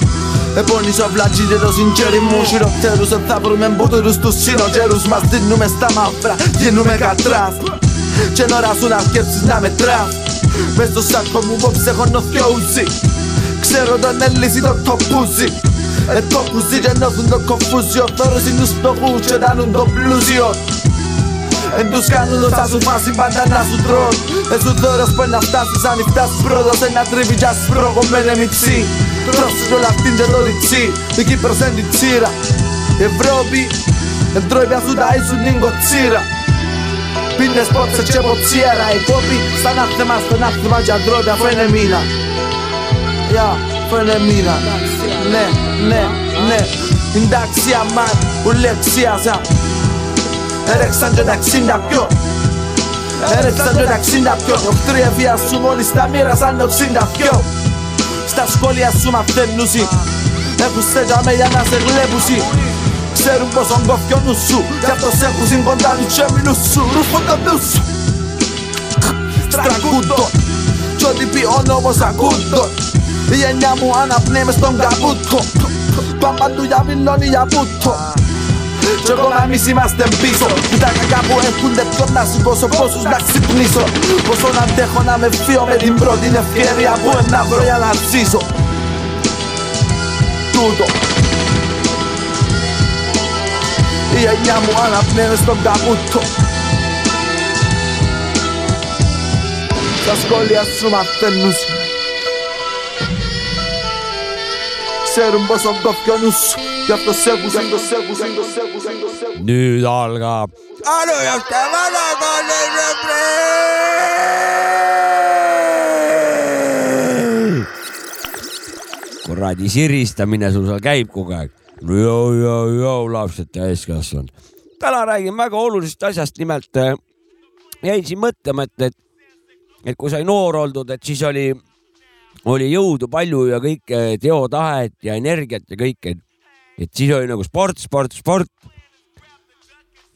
[SPEAKER 10] Επώνυζω βλατζίδε το συγχαίρι μου Χειροτέρους δεν θα βρούμε μπούτουρους τους χειροκέρους Μας δίνουμε στα μαύρα, γίνουμε κατράς Και νωρά σου να σκέψεις να μετράς Μες στο σάκο μου απόψε έχω νοθιόουζι Ξέρω τον έλυση το κοπούζι Ε το κουζί και νιώθουν το κοφούζιο Θόρος είναι τους φτωχούς και δάνουν το πλούσιο Εν τους κάνουν όσα σου φάση πάντα να σου τρών Εν σου δώρος που να φτάσεις αν φτάσεις πρώτος Ένα τρίβι κι ας προγωμένε μυψή Τρώσουν όλα αυτήν και το διτσί Η Κύπρος εν την τσίρα Η Ευρώπη εν τρώει πια σου τα ίσουν την κοτσίρα Πίνες πότσες και ποτσίερα Η κόπη σαν άθεμα στον άθεμα κι αντρώπια αφού είναι μήνα ja fene mina
[SPEAKER 9] Ναι,
[SPEAKER 10] Ne, ne, ne Indaxia man, ulexia sa Erexan jo daxin da pyo Erexan jo daxin da pyo Οφτρία βία σου μόλις τα μοίρα σαν οξύν τα πιο Στα σχόλια σου μαθαίνουσι Έχουν στέγια με για να σε γλέπουσι
[SPEAKER 9] Ξέρουν πως αν κοφιώνουν σου Γι' αυτό σε έχουν συγκοντάνει και μείνουν σου Ρουφούνται τους Στραγγούντων Κι ό,τι πει όνομα ακούντων Η γενιά μου αναπνέει μες στον καβούτο Πάμε του για βιλόνι για βούτο κι εγώ εμείς είμαστε πίσω Που τα κακά που έρχονται πιο να σηκώσω πόσους να ξυπνήσω Πόσο να αντέχω να με φύω με την πρώτη ευκαιρία που ένα βρω για να ψήσω Τούτο Η γενιά μου αναπνέει στον καμούτο Στα σχόλια σου μαθαίνουν Ξέρουν πόσο κοφιώνουν σου Γι' αυτό σε έχουν, γι' αυτό σε έχουν, γι' αυτό σε έχουν, γι' αυτό σε έχουν.
[SPEAKER 3] nüüd algab
[SPEAKER 9] Alujaste vanakooli
[SPEAKER 3] kuradi siristamine sul seal käib kogu aeg . jõu , jõu , jõu , lapsed täiskasvanud . täna räägin väga olulisest asjast , nimelt äh, jäin siin mõtlema , et , et , et kui sai noor oldud , et siis oli , oli jõudu palju ja kõike teotahet ja energiat ja kõike . et siis oli nagu sport , sport , sport .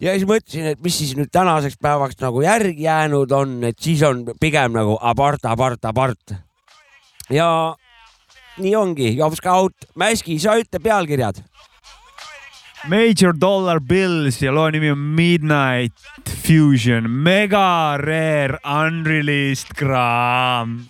[SPEAKER 3] ja siis mõtlesin , et mis siis nüüd tänaseks päevaks nagu järgi jäänud on , et siis on pigem nagu abort , abort , abort . ja nii ongi , Jops Kaut , Mäski , sa ütle pealkirjad .
[SPEAKER 2] Major Dollar Bills ja loo nimi on Midnight Fusion , mega rare unreleased kraam .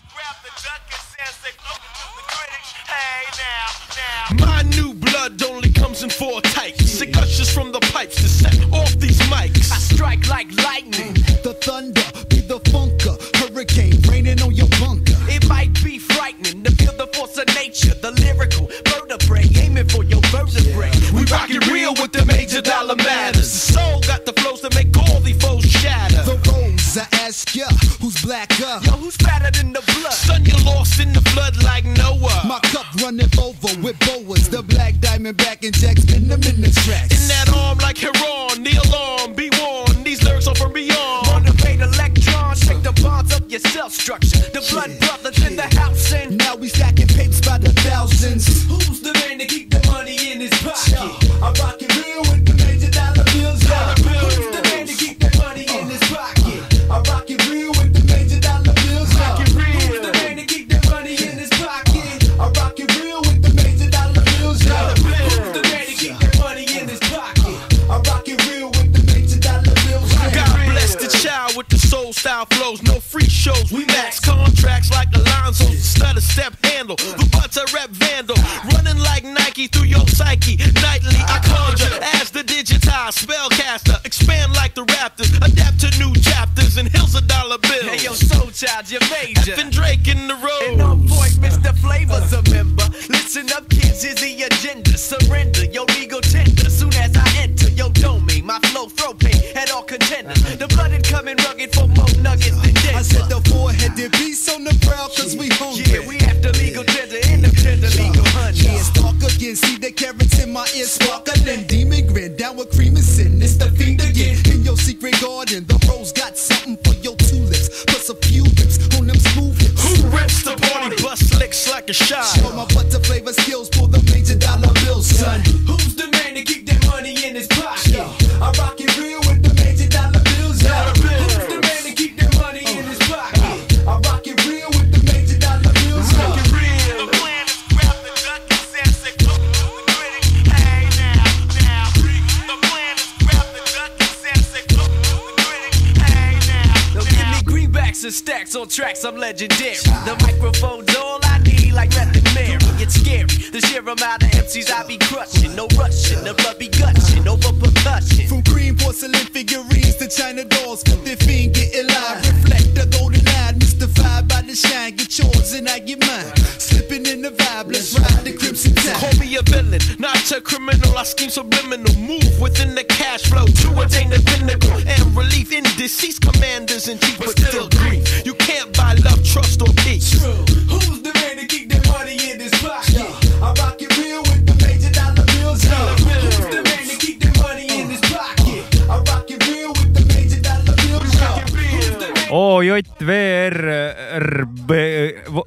[SPEAKER 11] My new blood only comes in four types. It gushes from the pipes to set off these mics. I strike like lightning. The thunder be the funker. Hurricane raining on your bunker. It might be frightening to feel the force of nature. The lyrical vertebrae aiming for your vertebrae. We rock it real with the major dollar matters. The soul got the flows that make all the foes shatter. The rose, I ask ya, who's blacker? Yo, who's fatter than the blood? Son, you lost in the flood like Noah.
[SPEAKER 12] My cup runneth over with boas, the black diamond back and Jack's in the minute tracks.
[SPEAKER 11] In that arm like Heron, the alarm, be warned, these lyrics are from beyond. Motivate electrons, take the bonds of your cell structure. The blood brothers in the house, and now we stacking papers by the thousands. Who's the man to keep the money in his pocket? I rock it real with the major dollar bills. Dollar bills. Who's the man to keep the money in his pocket? I rock it real with the major dollar bills. Rock it real. Who's the man to keep the money in his pocket? I rock it real with the major dollar bills. Dollar bills. Who's the man to keep the money in his pocket? I rock it real with the major dollar bills. God bless the child with the soul style flows. No free shows. We max contracts like Alonzo's. Stutter step handle. The butts I rep vandal. Running like Nike through your psyche. Nightly I conjure as the digitized spellcaster. Expand like the Raptors. Adapt to new chapters and hills of dollar bills. Hey yo, soul child, you're major. Effing Drake in the road. And on point, Mr. Flavor's a member. Listen up, kids, here's the agenda. Surrender your legal tender. Soon as I enter your domain, my flow throw pain at all contenders. The blood is coming rugged for more nuggets than Denver. I said the four-headed beast on the prowl cause we hungry. Yeah, we after legal tender and the tender legal hunter.
[SPEAKER 12] Yeah, stalk again, see the carrots in my ear sparkling. Demon grin, down with cream and sin, it's the fiend again. In your secret garden, the rose got something for your tulips, plus a few rips on them smooth hips.
[SPEAKER 11] Who rips the party bus licks like a shot?
[SPEAKER 12] Show my butter flavor skills, pull the major dollar bills, son.
[SPEAKER 11] Who's the man to keep that money in his pocket? I rock it real with the major dollar bills. Dollar bills. Who's the man to keep that money in his pocket? I rock it real with the major dollar bills. Rock it real. The plan is grab the duck and sense it. Look to the critic. Hey now, now. The plan is grab the duck and sense it. Look to the critic. Hey now, now. give me greenbacks and stacks on tracks. I'm legendary. The microphone's all I need, like nothing Mary. It's scary. The sheer amount of MCs I be crushing. No rushing, the blood be gushing over percussion.
[SPEAKER 12] From green porcelain figurines to China dolls, filthy fiend getting live. Reflect the golden line, mystified by the shine. Get yours and I get mine. Slipping in the vibe, let's ride the crimson tide.
[SPEAKER 11] Call me a villain, not a criminal. I scheme subliminal. Move within the cash flow to attain the pinnacle and relief in deceased commanders in chief, but still grief. You can't buy love, trust, or peace. Who's the man to keep that money in his pocket? I rock it real with the major dollar bills. Dollar bills. Who's the man to keep that money in his pocket? I rock it real with the major dollar bills. Who's the man
[SPEAKER 2] OJVRRB ,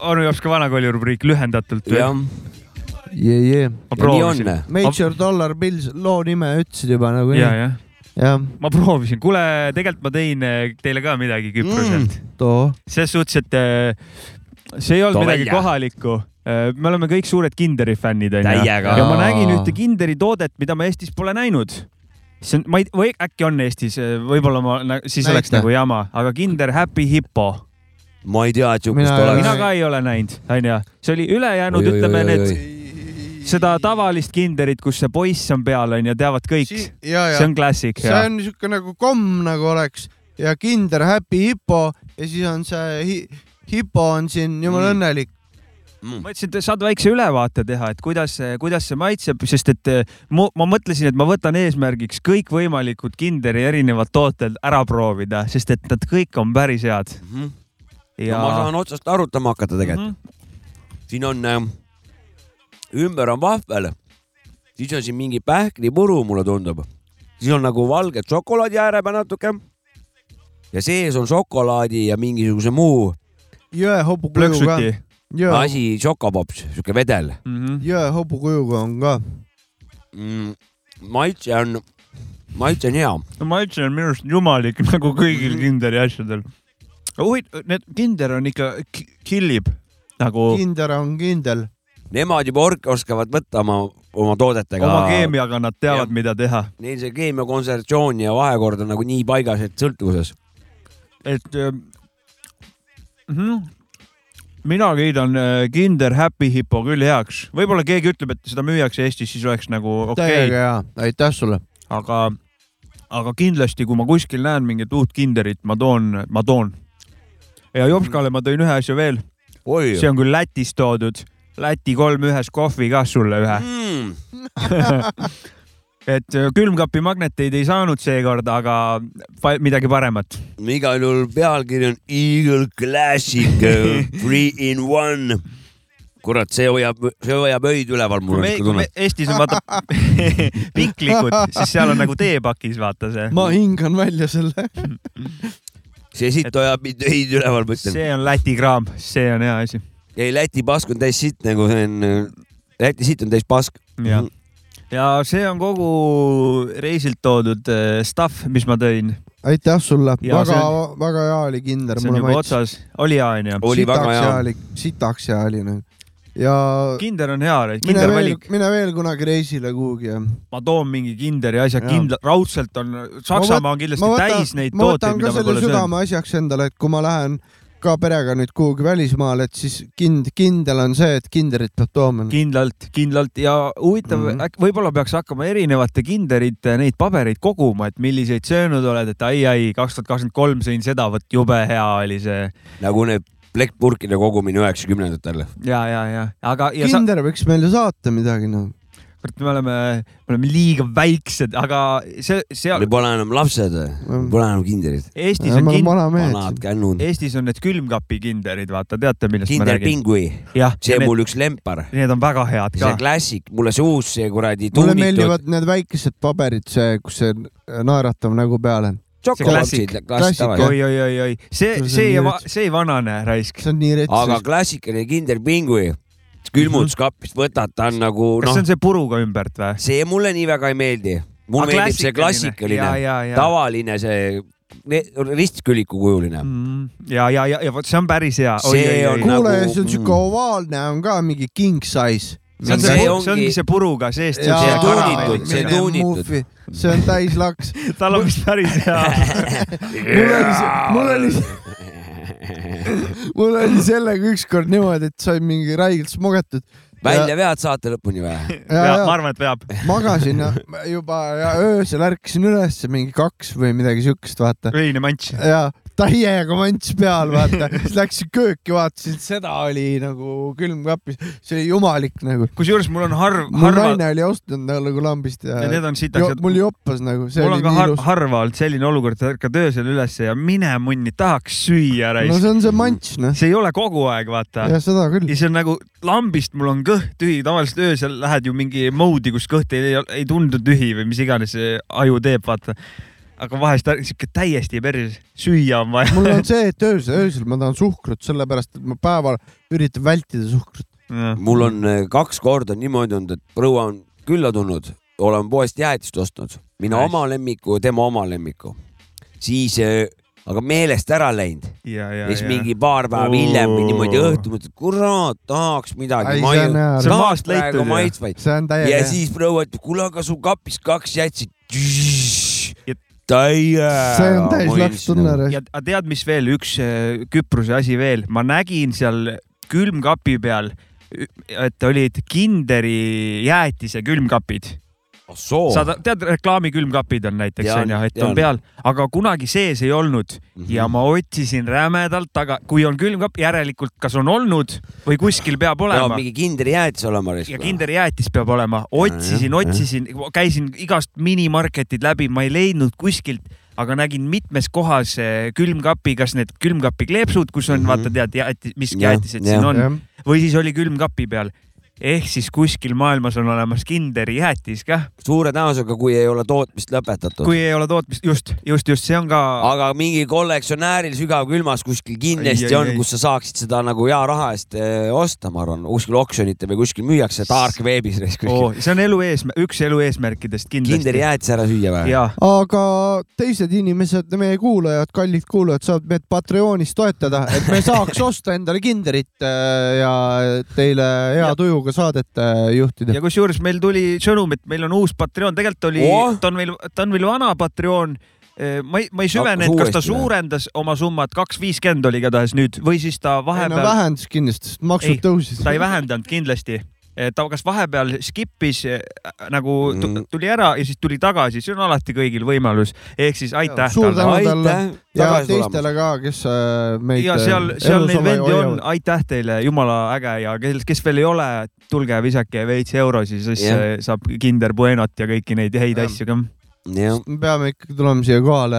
[SPEAKER 2] on ju oska vanakooli rubriik lühendatult
[SPEAKER 3] Jah.
[SPEAKER 2] veel .
[SPEAKER 1] jee , jee .
[SPEAKER 2] proovisin.
[SPEAKER 1] Major Dollar Bills , loo nime ütlesid juba nagu .
[SPEAKER 2] Jaa, jah.
[SPEAKER 1] jah ,
[SPEAKER 2] ma proovisin , kuule , tegelikult ma tõin eh, teile ka midagi Küproselt mm. .
[SPEAKER 1] too .
[SPEAKER 2] selles suhtes , et eh, see ei olnud
[SPEAKER 1] Too
[SPEAKER 2] midagi
[SPEAKER 1] välja.
[SPEAKER 2] kohalikku . me oleme kõik suured Kinderi fännid onju .
[SPEAKER 1] Täiega.
[SPEAKER 2] ja ma
[SPEAKER 1] Aa.
[SPEAKER 2] nägin ühte Kinderi toodet , mida ma Eestis pole näinud . see on , ma ei , või äkki on Eestis , võib-olla ma ,
[SPEAKER 1] Näita.
[SPEAKER 2] siis Näita. oleks nagu jama , aga Kinder Happy Hippo .
[SPEAKER 3] ma ei tea , et
[SPEAKER 2] mina,
[SPEAKER 3] sihukest oleks .
[SPEAKER 2] mina ka ei ole näinud , onju . see oli ülejäänud ,
[SPEAKER 3] Oi, oi,
[SPEAKER 2] ütleme
[SPEAKER 3] oi,
[SPEAKER 2] need
[SPEAKER 3] oi. ,
[SPEAKER 2] seda tavalist Kinderit , kus see poiss on peal onju , teavad kõik
[SPEAKER 1] Si-
[SPEAKER 2] si .
[SPEAKER 1] jaa, jaa.
[SPEAKER 2] see on klassik .
[SPEAKER 1] see on niisugune nagu komm nagu oleks ja kinder Happy Hippo ja siis on see hi hipo on siin jumala mm. õnnelik .
[SPEAKER 2] mm. . ma ütlesin , et saad väikse ülevaate teha , et kuidas , kuidas see maitseb , sest et eh, mu, ma mõtlesin , et ma võtan eesmärgiks kõikvõimalikud Kinderi erinevad tooted ära proovida , sest et nad kõik on päris head
[SPEAKER 3] Mhm.
[SPEAKER 2] ja Mhm.
[SPEAKER 3] no ma saan otsast arutama hakata tegelikult mm . -hmm. siin on äh, , ümber on vahvel , siis on siin mingi pähklipuru , mulle tundub , siis on nagu valget šokolaadi ääre peal natuke ja sees on šokolaadi ja mingisuguse muu
[SPEAKER 1] jõehobu kuju ka . jõe ,
[SPEAKER 3] asi , šokopops , sihuke vedel
[SPEAKER 2] Mhm.
[SPEAKER 1] jõehobu kujuga on ka .
[SPEAKER 3] mm, . maitse on , maitse on hea .
[SPEAKER 2] no maitse on minu arust jumalik nagu kõigil
[SPEAKER 3] Mm.
[SPEAKER 2] Kinderi asjadel . huvitav , need Kinder on ikka , killib nagu
[SPEAKER 1] kinder on kindel .
[SPEAKER 3] Nemad juba orke oskavad võtta oma , oma toodetega .
[SPEAKER 2] oma keemiaga nad teavad , mida teha .
[SPEAKER 3] Neil see keemia kontsentratsioon ja vahekord on nagu nii paigas , et sõltuvuses .
[SPEAKER 2] et äh, mhm. mina kiidan äh, Kinder Happy Hippo küll heaks , võib-olla keegi ütleb , et seda müüakse Eestis , siis oleks nagu okei
[SPEAKER 1] täiega hea , aitäh sulle .
[SPEAKER 2] aga , aga kindlasti , kui ma kuskil näen mingit uut Kinderit , ma toon , ma toon . ja Jopskale ma tõin ühe asja veel .
[SPEAKER 3] Oi.
[SPEAKER 2] see on küll Lätist toodud , Läti kolm ühes kohvi ka sulle ühe
[SPEAKER 3] mm.
[SPEAKER 2] et äh, külmkapi magneteid ei saanud seekord , aga pa- midagi paremat .
[SPEAKER 3] igal juhul pealkiri on Eagle Classic Three in One . kurat , see hoiab , see hoiab öid üleval , mul on
[SPEAKER 2] me,
[SPEAKER 3] niisugune
[SPEAKER 2] kui
[SPEAKER 3] tunne
[SPEAKER 2] me . Eestis on vaata piklikud , siis seal on nagu teepakis vaata see .
[SPEAKER 1] ma hingan välja selle .
[SPEAKER 3] see sitt hoiab mind öid üleval , ma ütlen .
[SPEAKER 2] see on Läti kraam , see on hea asi .
[SPEAKER 3] ei , Läti pask on täis sitt nagu see on , Mhm. Läti sitt on täis pask .
[SPEAKER 2] jah , ja see on kogu reisilt toodud äh, stuff , mis ma tõin .
[SPEAKER 1] aitäh sulle ,
[SPEAKER 2] Ja
[SPEAKER 1] väga
[SPEAKER 2] see on- ,
[SPEAKER 1] väga hea oli kinder ,
[SPEAKER 2] see on
[SPEAKER 1] mulle
[SPEAKER 2] juba
[SPEAKER 1] maitses .
[SPEAKER 2] otsas , oli hea onju ?
[SPEAKER 1] sitaks hea oli , sitaks hea oli nagu. ja
[SPEAKER 2] kinder on hea ,
[SPEAKER 1] mine
[SPEAKER 2] kinder
[SPEAKER 1] veel
[SPEAKER 2] valik .,
[SPEAKER 1] mine veel kunagi reisile kuhugi ja
[SPEAKER 2] ma toon mingi kinderi asja ,
[SPEAKER 1] Jaa.
[SPEAKER 2] kindla- , raudselt on , Saksamaa on kindlasti täis neid
[SPEAKER 1] ma võtan ka
[SPEAKER 2] tooteid , mida ma
[SPEAKER 1] selle
[SPEAKER 2] pole söönud .
[SPEAKER 1] südameasjaks endale , et kui ma lähen ka perega nüüd kuhugi välismaale , et siis kind , kindel on see , et kinderit peab tooma .
[SPEAKER 3] Mm.
[SPEAKER 2] kindlalt , kindlalt ja huvitav mm , -hmm. võib-olla peaks hakkama erinevate kinderite neid pabereid koguma , et milliseid söönud oled , et ai-ai , kaks tuhat kakskümmend kolm sõin seda , vot jube hea oli see
[SPEAKER 3] nagu need plekkpurkide kogumine üheksakümnendatel .
[SPEAKER 2] ja , ja , ja , aga ja sa ,
[SPEAKER 1] kinder võiks meile saata midagi no. .
[SPEAKER 2] me oleme , me oleme liiga väiksed , aga see , seal
[SPEAKER 3] me pole enam lapsed , pole enam kinderid .
[SPEAKER 2] Eestis on kin- ,
[SPEAKER 3] vanad kännud .
[SPEAKER 2] Eestis on need külmkapikinderid , vaata , teate , millest ma
[SPEAKER 3] kinder
[SPEAKER 2] räägin ?
[SPEAKER 3] Pingui ,
[SPEAKER 2] jah ,
[SPEAKER 3] see on mul üks lempar .
[SPEAKER 2] Need on väga head
[SPEAKER 3] see
[SPEAKER 2] ka .
[SPEAKER 3] klassik , mulle see uus , see kuradi
[SPEAKER 1] mulle
[SPEAKER 3] tuunitud .
[SPEAKER 1] meeldivad need väikesed paberid , see , kus see naeratav nägu peal on .
[SPEAKER 2] see klassik ,
[SPEAKER 1] klassik,
[SPEAKER 2] klassik ,
[SPEAKER 1] jah.
[SPEAKER 2] oi , oi , oi , oi , see ,
[SPEAKER 1] See on
[SPEAKER 2] see
[SPEAKER 1] nii ,
[SPEAKER 2] see ei vanane raisk .
[SPEAKER 1] see on nii rets
[SPEAKER 3] aga . klassikaline kinder Pingui , külmutuskapist võtad , ta on nagu
[SPEAKER 2] kas
[SPEAKER 3] noh
[SPEAKER 2] see , on see puruga ümbert või ?
[SPEAKER 3] see mulle nii väga ei meeldi . mulle
[SPEAKER 2] Aga
[SPEAKER 3] meeldib see
[SPEAKER 2] klassikaline.
[SPEAKER 3] klassikaline
[SPEAKER 2] Ja, ja, ja. ,
[SPEAKER 3] tavaline see ne- ristküliku kujuline .
[SPEAKER 2] Mm, ja , ja , ja , ja vot see on päris hea .
[SPEAKER 3] See on
[SPEAKER 1] kuule nagu... , see on siuke ovaalne , on ka mingi king size .
[SPEAKER 2] see on see, see , ongi... see ongi see puruga seest .
[SPEAKER 1] Jaa, see
[SPEAKER 3] tuunitud, see tuunitud. .
[SPEAKER 1] see on täis laks .
[SPEAKER 2] tal on vist päris hea .
[SPEAKER 1] mul oli see , mul oli see , mul oli sellega ükskord niimoodi , et sai mingi räigelt smogetud .
[SPEAKER 3] välja vead saate lõpuni või ?
[SPEAKER 1] Ja, ja.
[SPEAKER 2] ma arvan , et veab .
[SPEAKER 1] magasin ja- juba ja öösel ärkasin üles mingi kaks või midagi siukest , vaata . Äh,
[SPEAKER 2] öine mants .
[SPEAKER 1] ja täiega mants peal , vaata . siis läksin kööki , vaatasin , seda oli nagu külmkapis , see oli jumalik nagu .
[SPEAKER 2] kusjuures mul on harv ,
[SPEAKER 1] mu
[SPEAKER 2] harva ,
[SPEAKER 1] naine oli ostnud nagu lambist ja,
[SPEAKER 2] Ja need on sitaks-
[SPEAKER 1] jo- mul joppas nagu , see
[SPEAKER 2] mul
[SPEAKER 1] oli
[SPEAKER 2] on ka
[SPEAKER 1] nii
[SPEAKER 2] har,
[SPEAKER 1] ilus .
[SPEAKER 2] harva olnud selline olukord , et ärkad öösel ülesse ja mine munni , tahaks süüa
[SPEAKER 1] no
[SPEAKER 2] raisk
[SPEAKER 1] see . on see mants , noh .
[SPEAKER 2] see ei ole kogu aeg , vaata .
[SPEAKER 1] Jah, seda küll.
[SPEAKER 2] ja see on nagu lambist , mul on kõht tühi , tavaliselt öösel lähed ju mingi mode'i , kus kõht ei, ei tundu tühi või mis iganes see aju teeb , vaata . aga vahest ärk- sihuke täiesti päris süüa on vaja .
[SPEAKER 1] mul on see , et öösel , öösel ma tahan suhkrut , sellepärast et ma päeval üritan vältida suhkrut .
[SPEAKER 3] mul on äh, kaks korda niimoodi olnud , et proua on külla tulnud , olen poest jäätist ostnud , mina nice.
[SPEAKER 2] Nice.
[SPEAKER 3] oma lemmiku , tema oma lemmiku , siis äh, aga meelest ära läinud .
[SPEAKER 2] ja ,
[SPEAKER 3] ja
[SPEAKER 2] ja ,
[SPEAKER 3] siis mingi paar päeva hiljem või niimoodi õhtul mõtled , kurat , tahaks midagi .
[SPEAKER 2] Ai, see on hea. See on maast leitud ju. See on täiega
[SPEAKER 3] ja
[SPEAKER 2] hea.
[SPEAKER 3] siis proua ütleb , kuule , aga sul kapis kaks jätsid . täie .
[SPEAKER 1] see on täis lapstunne .
[SPEAKER 2] ja aga tead , mis veel üks äh, Küprose asi veel , ma nägin seal külmkapi peal , et olid Kinderi jäätise külmkapid . sa ta- tead , reklaami külmkapid on näiteks
[SPEAKER 3] Tean,
[SPEAKER 2] onju , et on
[SPEAKER 3] tean.
[SPEAKER 2] peal , aga kunagi sees ei olnud mm -hmm. ja ma otsisin rämedalt , aga kui on külmkapp , järelikult kas on olnud või kuskil peab olema .
[SPEAKER 3] mingi kindri jäätis olema .
[SPEAKER 2] ja kinder jäätis peab olema , otsisin ,
[SPEAKER 3] Nojah, jah.
[SPEAKER 2] otsisin , käisin igast minimarketid läbi , ma ei leidnud kuskilt , aga nägin mitmes kohas eh, külmkapi , kas need külmkapi kleepsud , kus on mm , -hmm. vaata tead , jäätis , mis
[SPEAKER 3] Mhm. Jah,
[SPEAKER 2] jäätised
[SPEAKER 3] jah.
[SPEAKER 2] siin
[SPEAKER 3] Jah.
[SPEAKER 2] on või siis oli külmkapi peal ehk siis kuskil maailmas on olemas kinderi jäätis kah ,
[SPEAKER 3] suure tõenäosusega , kui ei ole tootmist lõpetatud .
[SPEAKER 2] kui ei ole tootmist , just , just , just see on ka .
[SPEAKER 3] aga mingi kollektsionääril sügavkülmas kuskil kindlasti
[SPEAKER 2] Ai,
[SPEAKER 3] ai,
[SPEAKER 2] ai,
[SPEAKER 3] on
[SPEAKER 2] ai. ,
[SPEAKER 3] kus sa saaksid seda nagu hea raha eest eh, osta , ma arvan , kuskil oksjonite või kuskil müüakse dark veebis .
[SPEAKER 2] Oh, see on elu eesmärk , üks elu eesmärkidest kindlasti .
[SPEAKER 3] kinderi jäätis ära süüa või ?
[SPEAKER 2] jaa ,
[SPEAKER 1] aga teised inimesed , meie kuulajad , kallid kuulajad , saavad meid Patreonis toetada , et me saaks osta endale kinderit äh, ja teile hea tujuga saadet äh, juhtida .
[SPEAKER 2] ja kusjuures meil tuli sõnum , et meil on uus Patreon , tegelikult oli
[SPEAKER 1] Oh!
[SPEAKER 2] oh. , ta on meil , ta on meil vana Patreon . ma ei , ma ei süvenenud ,
[SPEAKER 1] Hakkas
[SPEAKER 2] kas ta
[SPEAKER 1] uuesti või?
[SPEAKER 2] suurendas oma summat , kaks viiskümmend oli igatahes nüüd või siis ta
[SPEAKER 1] ei no
[SPEAKER 2] vahepeal .
[SPEAKER 1] vähendas kindlasti , sest maksud tõusid .
[SPEAKER 2] ta ei vähendanud kindlasti . ta kas vahepeal skip'is eh, nagu tu-
[SPEAKER 1] Mm.
[SPEAKER 2] tuli ära ja siis tuli tagasi , see on alati kõigil võimalus , ehk siis aitäh .
[SPEAKER 1] suur tänu talle ja teistele ka , kes äh, meid
[SPEAKER 2] ja seal ,
[SPEAKER 1] äh,
[SPEAKER 2] seal
[SPEAKER 1] elus
[SPEAKER 2] neid
[SPEAKER 1] oma
[SPEAKER 2] vendi on
[SPEAKER 1] hoiavad. ,
[SPEAKER 2] aitäh teile , jumala äge ja kes , kes veel ei ole , tulge visake veits eurosi , siis
[SPEAKER 1] Jah.
[SPEAKER 2] yeah. saab Kinder Buenot ja kõiki neid häid
[SPEAKER 1] Jah.
[SPEAKER 2] asju ka .
[SPEAKER 3] Sest
[SPEAKER 1] me peame ikkagi tulema siia kohale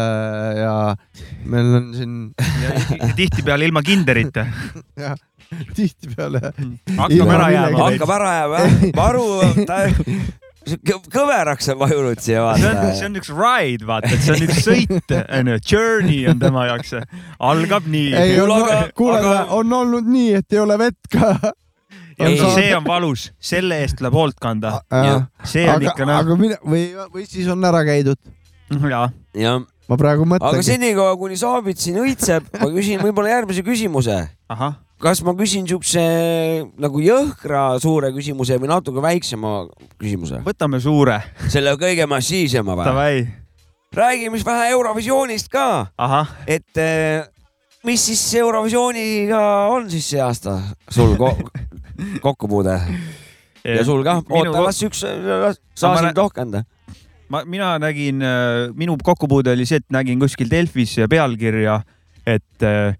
[SPEAKER 1] ja meil on siin
[SPEAKER 2] tihtipeale ilma kinderita .
[SPEAKER 1] jah , tihtipeale .
[SPEAKER 2] hakkab ära jääma .
[SPEAKER 3] hakkab ära jääma jah , varu , ta kõ- kõveraks on vajunud siia
[SPEAKER 2] see on , see
[SPEAKER 3] vaata .
[SPEAKER 2] on üks ride , vaata , et see on üks sõit , onju , journey on tema jaoks . algab nii .
[SPEAKER 1] ei , kuule , on olnud nii , et ei ole vett ka .
[SPEAKER 2] ei , see on valus , selle eest tuleb hoolt kanda . see on
[SPEAKER 1] Äh, aga,
[SPEAKER 2] ikka
[SPEAKER 1] aga
[SPEAKER 2] nagu .
[SPEAKER 1] mine või , või siis on ära käidud .
[SPEAKER 2] jaa .
[SPEAKER 3] jah .
[SPEAKER 1] ma praegu
[SPEAKER 3] aga
[SPEAKER 1] mõtlengi .
[SPEAKER 3] senikaua , kuni Saabit siin õitseb , ma küsin võib-olla järgmise küsimuse . kas ma küsin siukse nagu jõhkra suure küsimuse või natuke väiksema küsimuse ?
[SPEAKER 2] võtame suure .
[SPEAKER 3] selle kõige massiivsema või ?
[SPEAKER 2] Davai .
[SPEAKER 3] räägime siis vähe Eurovisioonist ka .
[SPEAKER 2] ahah .
[SPEAKER 3] et eh, mis siis Eurovisiooniga on siis see aasta sul ko kokkupuude ? ja sul ka ?
[SPEAKER 2] Minu
[SPEAKER 3] oota ,
[SPEAKER 2] kok-
[SPEAKER 3] las üks , saa
[SPEAKER 2] Ma
[SPEAKER 3] sind
[SPEAKER 2] lä-
[SPEAKER 3] rohkenda .
[SPEAKER 2] ma , mina nägin , minu kokkupuude oli see , et nägin kuskil Delfis pealkirja , et äh,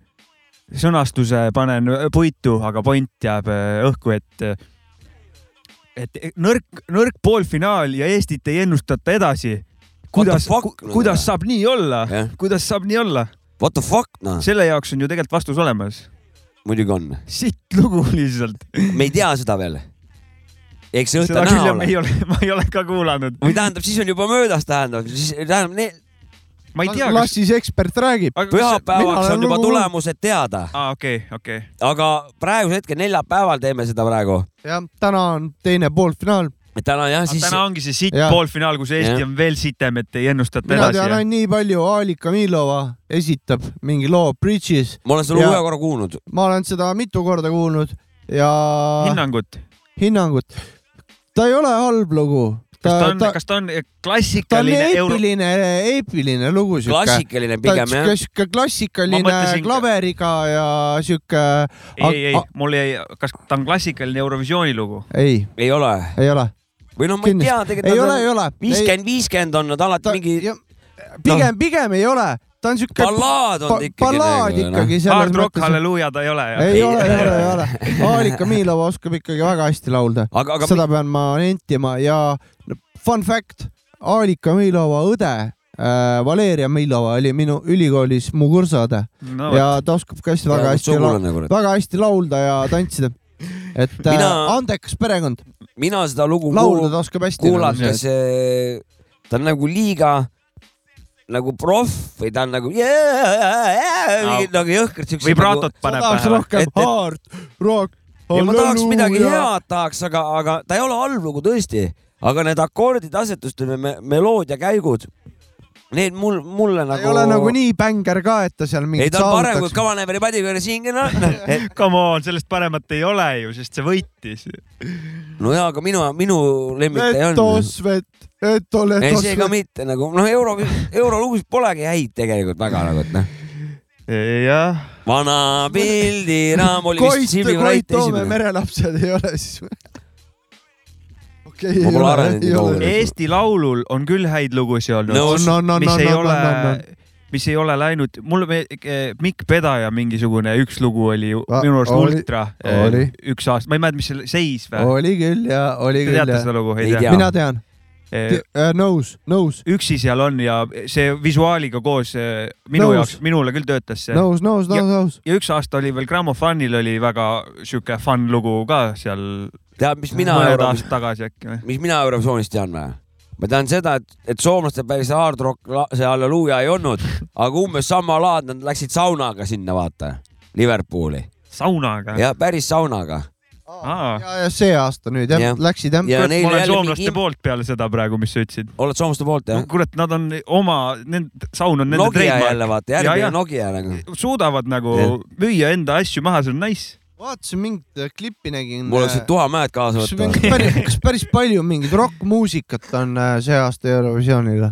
[SPEAKER 2] sõnastuse panen äh, puitu , aga point jääb äh, õhku , et äh, et nõrk , nõrk poolfinaal ja Eestit ei ennustata edasi . kuidas , kuidas saab nii olla
[SPEAKER 3] noh, Jah. ,
[SPEAKER 2] kuidas saab nii olla ?
[SPEAKER 3] What the fuck , noh .
[SPEAKER 2] selle jaoks on ju tegelikult vastus olemas .
[SPEAKER 3] muidugi on .
[SPEAKER 2] sitt lugu lihtsalt .
[SPEAKER 3] me ei tea seda veel . eks see õhtu
[SPEAKER 2] seda küll
[SPEAKER 3] näha
[SPEAKER 2] jah , ma ei
[SPEAKER 3] ole .
[SPEAKER 2] ole , ma ei ole ka kuulanud .
[SPEAKER 3] või tähendab , siis on juba möödas , tähendab , siis tähendab ne... ,
[SPEAKER 2] ma ei tea ,
[SPEAKER 1] las siis ekspert räägib .
[SPEAKER 3] pühapäevaks on juba . tulemused teada ,
[SPEAKER 2] aa , okei , okei .
[SPEAKER 3] aga praegusel hetkel neljapäeval teeme seda praegu .
[SPEAKER 1] jah , täna on teine poolfinaal .
[SPEAKER 3] täna jah ,
[SPEAKER 2] siis . täna ongi see sitt
[SPEAKER 1] Jah.
[SPEAKER 2] poolfinaal , kus Eesti
[SPEAKER 1] Jah.
[SPEAKER 2] ja. on veel sitem , et ei ennustata
[SPEAKER 1] mina
[SPEAKER 2] edasi
[SPEAKER 1] tean . ainult nii palju , Ali Kamilova esitab mingi loo Bridges .
[SPEAKER 3] ma olen seda lugu ühe korra kuulnud .
[SPEAKER 1] ma olen seda mitu korda kuulnud ja .
[SPEAKER 2] hinnangut .
[SPEAKER 1] hinnangut . ta ei ole halb lugu .
[SPEAKER 2] kas ta on , kas ta on
[SPEAKER 1] ta on
[SPEAKER 2] klassikaline euro- ?
[SPEAKER 1] eepiline , eepiline lugu .
[SPEAKER 2] Klassikaline pigem, jah.
[SPEAKER 1] sihuke klassikaline
[SPEAKER 2] Ma mõtlesin-
[SPEAKER 1] klaveriga ja sihuke .
[SPEAKER 2] ei , ei , mul jäi , kas ta on klassikaline Eurovisiooni lugu ?
[SPEAKER 1] ei ,
[SPEAKER 3] ei ole .
[SPEAKER 1] ei ole .
[SPEAKER 3] või noh , ma ei tea , tegelikult .
[SPEAKER 1] ei ole , ei ole .
[SPEAKER 3] viiskümmend , viiskümmend on nad alati mingi .
[SPEAKER 1] pigem , pigem ei ole , ta on sihuke .
[SPEAKER 3] Ballaad on ta ikkagi
[SPEAKER 1] ballaad
[SPEAKER 3] nagu, noh.
[SPEAKER 1] ikkagi .
[SPEAKER 2] Hard Rock Halleluuja ta ei ole .
[SPEAKER 1] ei ole , ei ole , ei ole . Aalika Miilova oskab ikkagi väga hästi laulda .
[SPEAKER 3] aga
[SPEAKER 1] seda pean ma nentima ja fun fact , Aalika Miilova õde äh, Valeria Miilova oli minu ülikoolis mu kursaõde
[SPEAKER 3] No
[SPEAKER 1] no, ja ta oskab ka hästi
[SPEAKER 3] Ja
[SPEAKER 1] väga
[SPEAKER 3] mu
[SPEAKER 1] hästi
[SPEAKER 3] sugulane, , kurat.
[SPEAKER 1] väga hästi laulda ja tantsida . et äh, Mina...
[SPEAKER 3] Mina-
[SPEAKER 1] andekas perekond ,
[SPEAKER 3] mina seda lugu
[SPEAKER 1] Laulda
[SPEAKER 3] kuul-
[SPEAKER 1] ta oskab hästi
[SPEAKER 3] kuulates
[SPEAKER 1] nagu
[SPEAKER 3] äh, ta on nagu liiga nagu proff või ta on nagu yeah, yeah, yeah,
[SPEAKER 2] Aa.
[SPEAKER 3] mingi nagu jõhkralt siukse .
[SPEAKER 2] Vibratot paneb pähe või?
[SPEAKER 1] tahaks rohkem hard rock
[SPEAKER 3] ja ma tahaks midagi
[SPEAKER 2] Halleluuja.
[SPEAKER 3] head tahaks , aga , aga ta ei ole halb lugu tõesti , aga need akordid , asetustel , meloodia käigud , need mul , mulle nagu .
[SPEAKER 1] ei ole nagu nii bängar ka , et ta seal mingit
[SPEAKER 3] ei ta on parem kui Kavaneveri Padivere siin , noh .
[SPEAKER 2] Come on , sellest paremat ei ole ju , sest see võitis .
[SPEAKER 3] no jaa , aga minu , minu lemmik ta ei olnud .
[SPEAKER 1] Letosvet , Leto
[SPEAKER 3] ei , see ka
[SPEAKER 1] Letosvet .
[SPEAKER 3] mitte nagu , noh , euro , eurolugusid polegi häid tegelikult väga nagu , et noh .
[SPEAKER 2] jah .
[SPEAKER 3] vana pildiraam oli
[SPEAKER 1] Koit ,
[SPEAKER 3] vist Silvi
[SPEAKER 1] Koit
[SPEAKER 3] Vrait
[SPEAKER 1] Toome
[SPEAKER 3] esimene .
[SPEAKER 1] merelapsed ei ole siis või ? okei , ei
[SPEAKER 3] Ma pole
[SPEAKER 1] ole ,
[SPEAKER 3] arenenud
[SPEAKER 1] ei
[SPEAKER 3] nii
[SPEAKER 1] ole .
[SPEAKER 2] Eesti Laulul on küll häid lugusid olnud
[SPEAKER 1] No Nõus. no, no,
[SPEAKER 2] mis
[SPEAKER 1] no,
[SPEAKER 2] ei
[SPEAKER 1] no,
[SPEAKER 2] ole
[SPEAKER 1] no, no, ,
[SPEAKER 2] mis ei ole läinud , mul me- eh, Mikk Pedaja mingisugune üks lugu oli ju
[SPEAKER 1] Va-
[SPEAKER 2] minu arust
[SPEAKER 1] oli-
[SPEAKER 2] ultra eh,
[SPEAKER 1] oli. ,
[SPEAKER 2] üks aasta , ma ei mäleta , mis selle seis või ?
[SPEAKER 1] oli küll ja oli
[SPEAKER 2] Te
[SPEAKER 1] küll .
[SPEAKER 2] teate seda lugu, ei Ei tea? tea.
[SPEAKER 1] mina tean . nõus , nõus ,
[SPEAKER 2] üksi seal on ja see visuaaliga koos eh, minu
[SPEAKER 1] Nõus.
[SPEAKER 2] jaoks , minule küll töötas see .
[SPEAKER 1] nõus , nõus , nõus , nõus .
[SPEAKER 2] ja üks aasta oli veel Grammofonil oli väga sihuke fun lugu ka seal .
[SPEAKER 3] tead , mis mina
[SPEAKER 2] mõned
[SPEAKER 3] Euro-
[SPEAKER 2] aastad tagasi äkki või ?
[SPEAKER 3] mis mina Eurovisioonist tean või ? ma tean seda , et , et soomlastel päris hard rock la- see halleluuja ei olnud , aga umbes sama laad , nad läksid saunaga sinna , vaata , Liverpooli .
[SPEAKER 2] saunaga ?
[SPEAKER 3] jah , päris saunaga .
[SPEAKER 1] ja , ja see aasta nüüd jah
[SPEAKER 3] Jah.
[SPEAKER 1] ja. , läksid jah
[SPEAKER 3] Ja
[SPEAKER 2] kurat ,
[SPEAKER 3] neil
[SPEAKER 2] ma olen
[SPEAKER 3] jälle
[SPEAKER 2] soomlaste
[SPEAKER 3] mingi-
[SPEAKER 2] poolt peale seda praegu , mis sa ütlesid .
[SPEAKER 3] oled soomlaste poolt jah ?
[SPEAKER 2] kurat , nad on oma , nende saun on nende
[SPEAKER 3] Nokia jälle vaata , järgmine Nokia nagu .
[SPEAKER 2] suudavad nagu
[SPEAKER 3] Jah.
[SPEAKER 2] müüa enda asju maha , see on nice .
[SPEAKER 1] vaatasin mingit äh, klippi nägin .
[SPEAKER 3] mul oleks nüüd tuhamäed kaasa
[SPEAKER 1] kas mingi
[SPEAKER 3] võtta .
[SPEAKER 1] päris , kas päris palju mingit rokkmuusikat on äh, see aasta Eurovisioonil ?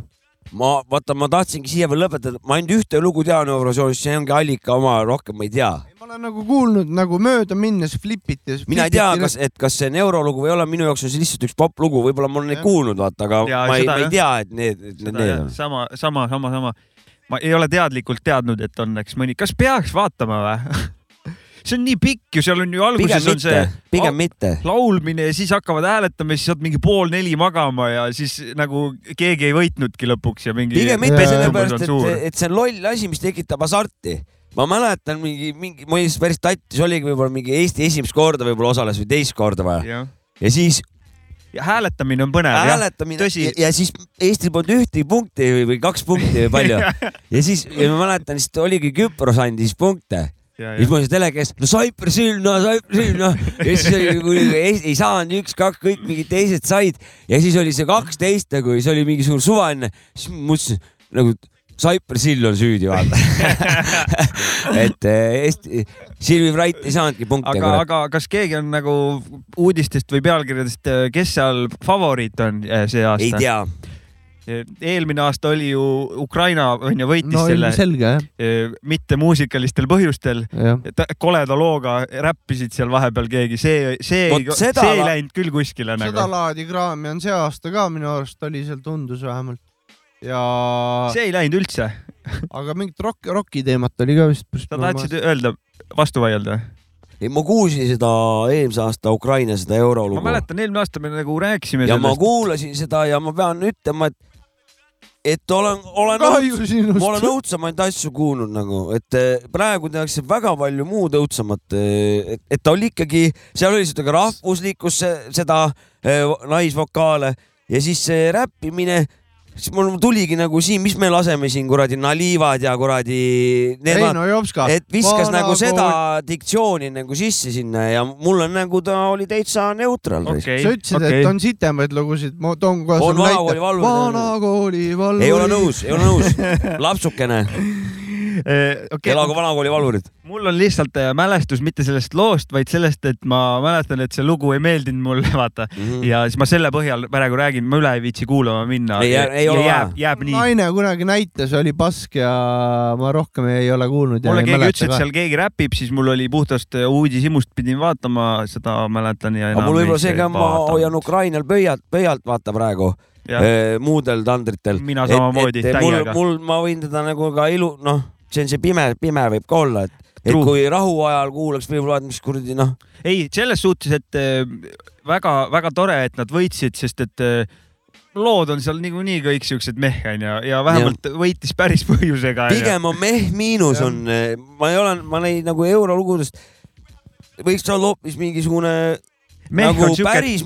[SPEAKER 3] ma , vaata , ma tahtsingi siia veel lõpetada , ma ainult ühte lugu tean Eurovisioonist , see ongi allika oma , rohkem ma ei tea .
[SPEAKER 1] ma olen nagu kuulnud nagu mööda minnes flipiti .
[SPEAKER 3] mina ei tea , kas , et kas see on eurolugu või ei ole , minu jaoks on see lihtsalt üks poplugu , võib-olla ma olen neid kuulnud , vaata , aga
[SPEAKER 2] Jaa,
[SPEAKER 3] ma ei ,
[SPEAKER 2] seda
[SPEAKER 3] ma ei
[SPEAKER 2] jah.
[SPEAKER 3] tea , et need , et need need on .
[SPEAKER 2] sama , sama , sama , sama . ma ei ole teadlikult teadnud , et on , eks mõni , kas peaks vaatama või ? see on nii pikk ju , seal on ju alguses
[SPEAKER 3] pigem
[SPEAKER 2] on see
[SPEAKER 3] mitte , pigem mitte .
[SPEAKER 2] laulmine ja siis hakkavad hääletama ja siis saad mingi pool neli magama ja siis nagu keegi ei võitnudki lõpuks ja mingi . äh,
[SPEAKER 3] pigem mitte sellepärast , et , et see on loll asi , mis tekitab hasarti . ma mäletan mingi , mingi , ma olin siis päris tattis , oligi võib-olla mingi Eesti esimest korda võib-olla osales või teist korda vaja .
[SPEAKER 2] Jah.
[SPEAKER 3] ja siis
[SPEAKER 2] ja hääletamine on põnev .
[SPEAKER 3] hääletamine ja, ja siis Eestil polnud ühtegi punkti või, või kaks punkti või palju . ja siis , ja ma mäletan , siis oligi Küpros andis punkte .
[SPEAKER 2] Ja,
[SPEAKER 3] ja
[SPEAKER 2] ja.
[SPEAKER 3] siis ma olin telekas , no Cyprus Hill , no Cyprus Hill , noh . ja siis oli , kui ei, ei saanud üks-kaks , kõik mingid teised said ja siis oli see kaksteist nagu ja see oli mingi suur suvaline , siis ma mõtlesin nagu Cyprus Hill on süüdi , vaata . et eh, Eesti , Silvi Wright ei saanudki punkte .
[SPEAKER 2] aga , aga kas keegi on nagu uudistest või pealkirjadest , kes seal favoriit on eh, see
[SPEAKER 3] ei
[SPEAKER 2] aasta ?
[SPEAKER 3] tea .
[SPEAKER 2] eelmine aasta oli ju Ukraina onju võitis
[SPEAKER 1] No
[SPEAKER 2] selle
[SPEAKER 1] ilmselge, jah.
[SPEAKER 2] eh, mitte muusikalistel põhjustel
[SPEAKER 1] Jah. .
[SPEAKER 2] koleda looga räppisid seal vahepeal keegi , see , see ,
[SPEAKER 1] Vot
[SPEAKER 2] see
[SPEAKER 1] seda
[SPEAKER 2] ei
[SPEAKER 1] la-
[SPEAKER 2] läinud küll kuskile nagu .
[SPEAKER 1] sedalaadi kraami on see aasta ka minu arust oli seal tundus vähemalt ja .
[SPEAKER 2] see ei läinud üldse .
[SPEAKER 1] aga mingit rock , rocki teemat oli ka vist .
[SPEAKER 2] sa tahtsid öelda , vastu vaielda ?
[SPEAKER 3] ei , ma kuulsin seda eelmise aasta Ukraina seda eurolugu .
[SPEAKER 2] ma mäletan , eelmine aasta me nagu rääkisime
[SPEAKER 3] ja ma
[SPEAKER 2] sellest .
[SPEAKER 3] kuulasin seda ja ma pean ütlema , et , et olen , olen
[SPEAKER 1] Kahju , sinust.
[SPEAKER 3] ma olen õudsemaid asju kuulnud nagu , et eh, praegu tehakse väga palju muud õudsemat , et , et ta oli ikkagi , seal oli seda ka rahvuslikkus , seda eh, naisvokaale ja siis see räppimine , siis mul tuligi nagu siin , mis me laseme siin kuradi naliivad ja kuradi .
[SPEAKER 1] Reino Jopska.
[SPEAKER 3] et viskas
[SPEAKER 1] Vana
[SPEAKER 3] nagu seda
[SPEAKER 1] kool.
[SPEAKER 3] diktsiooni nagu sisse sinna ja mul on nagu ta oli täitsa neutraalne
[SPEAKER 1] okay, . sa ütlesid okay. , et on sitemaid lugusid , ma toon kohe
[SPEAKER 3] On
[SPEAKER 1] sulle
[SPEAKER 3] vanakooli
[SPEAKER 1] näite .
[SPEAKER 3] valvurid on-
[SPEAKER 1] vanakooli valvurid .
[SPEAKER 3] ei ole nõus , ei ole nõus . lapsukene okay. , elagu vanakooli valvurid .
[SPEAKER 2] Eh, mul on lihtsalt äh, mälestus mitte sellest loost , vaid sellest , et ma mäletan , et see lugu ei meeldinud mulle , vaata mm .
[SPEAKER 3] -hmm.
[SPEAKER 2] ja siis ma selle põhjal praegu räägin , ma üle ei viitsi kuulama minna .
[SPEAKER 3] Ei, ei ole
[SPEAKER 2] jääb ,
[SPEAKER 3] vaja.
[SPEAKER 2] jääb nii .
[SPEAKER 1] naine kunagi näitas , oli pask ja ma rohkem ei ole kuulnud .
[SPEAKER 2] mulle keegi ütles , et seal keegi räpib , siis mul oli puhtast äh, uudishimust pidin vaatama , seda mäletan ja
[SPEAKER 3] aga
[SPEAKER 2] enam
[SPEAKER 3] mul võib-olla
[SPEAKER 2] ei-
[SPEAKER 3] see ka , ma
[SPEAKER 2] vaata.
[SPEAKER 3] hoian Ukrainal pöialt , pöialt vaata praegu
[SPEAKER 2] Jah. .
[SPEAKER 3] muudel tandritel .
[SPEAKER 2] Mina samamoodi,
[SPEAKER 3] mul
[SPEAKER 2] täiega. ,
[SPEAKER 3] mul , ma võin teda nagu ka ilu , noh , see on see pime , pime võib ka olla , et , et
[SPEAKER 2] True.
[SPEAKER 3] kui rahuajal kuulaks võib-olla , et mis kuradi noh ,
[SPEAKER 2] ei , selles suhtes , et väga-väga tore , et nad võitsid , sest et äh, lood on seal niikuinii kõik siuksed meh onju ja vähemalt võitis päris põhjusega .
[SPEAKER 3] pigem on meh miinus on , äh, ma ei ole , ma neid nagu eurolugudest , võiks olla hoopis mingisugune
[SPEAKER 2] Mehh
[SPEAKER 3] nagu
[SPEAKER 2] on siuke-
[SPEAKER 3] päris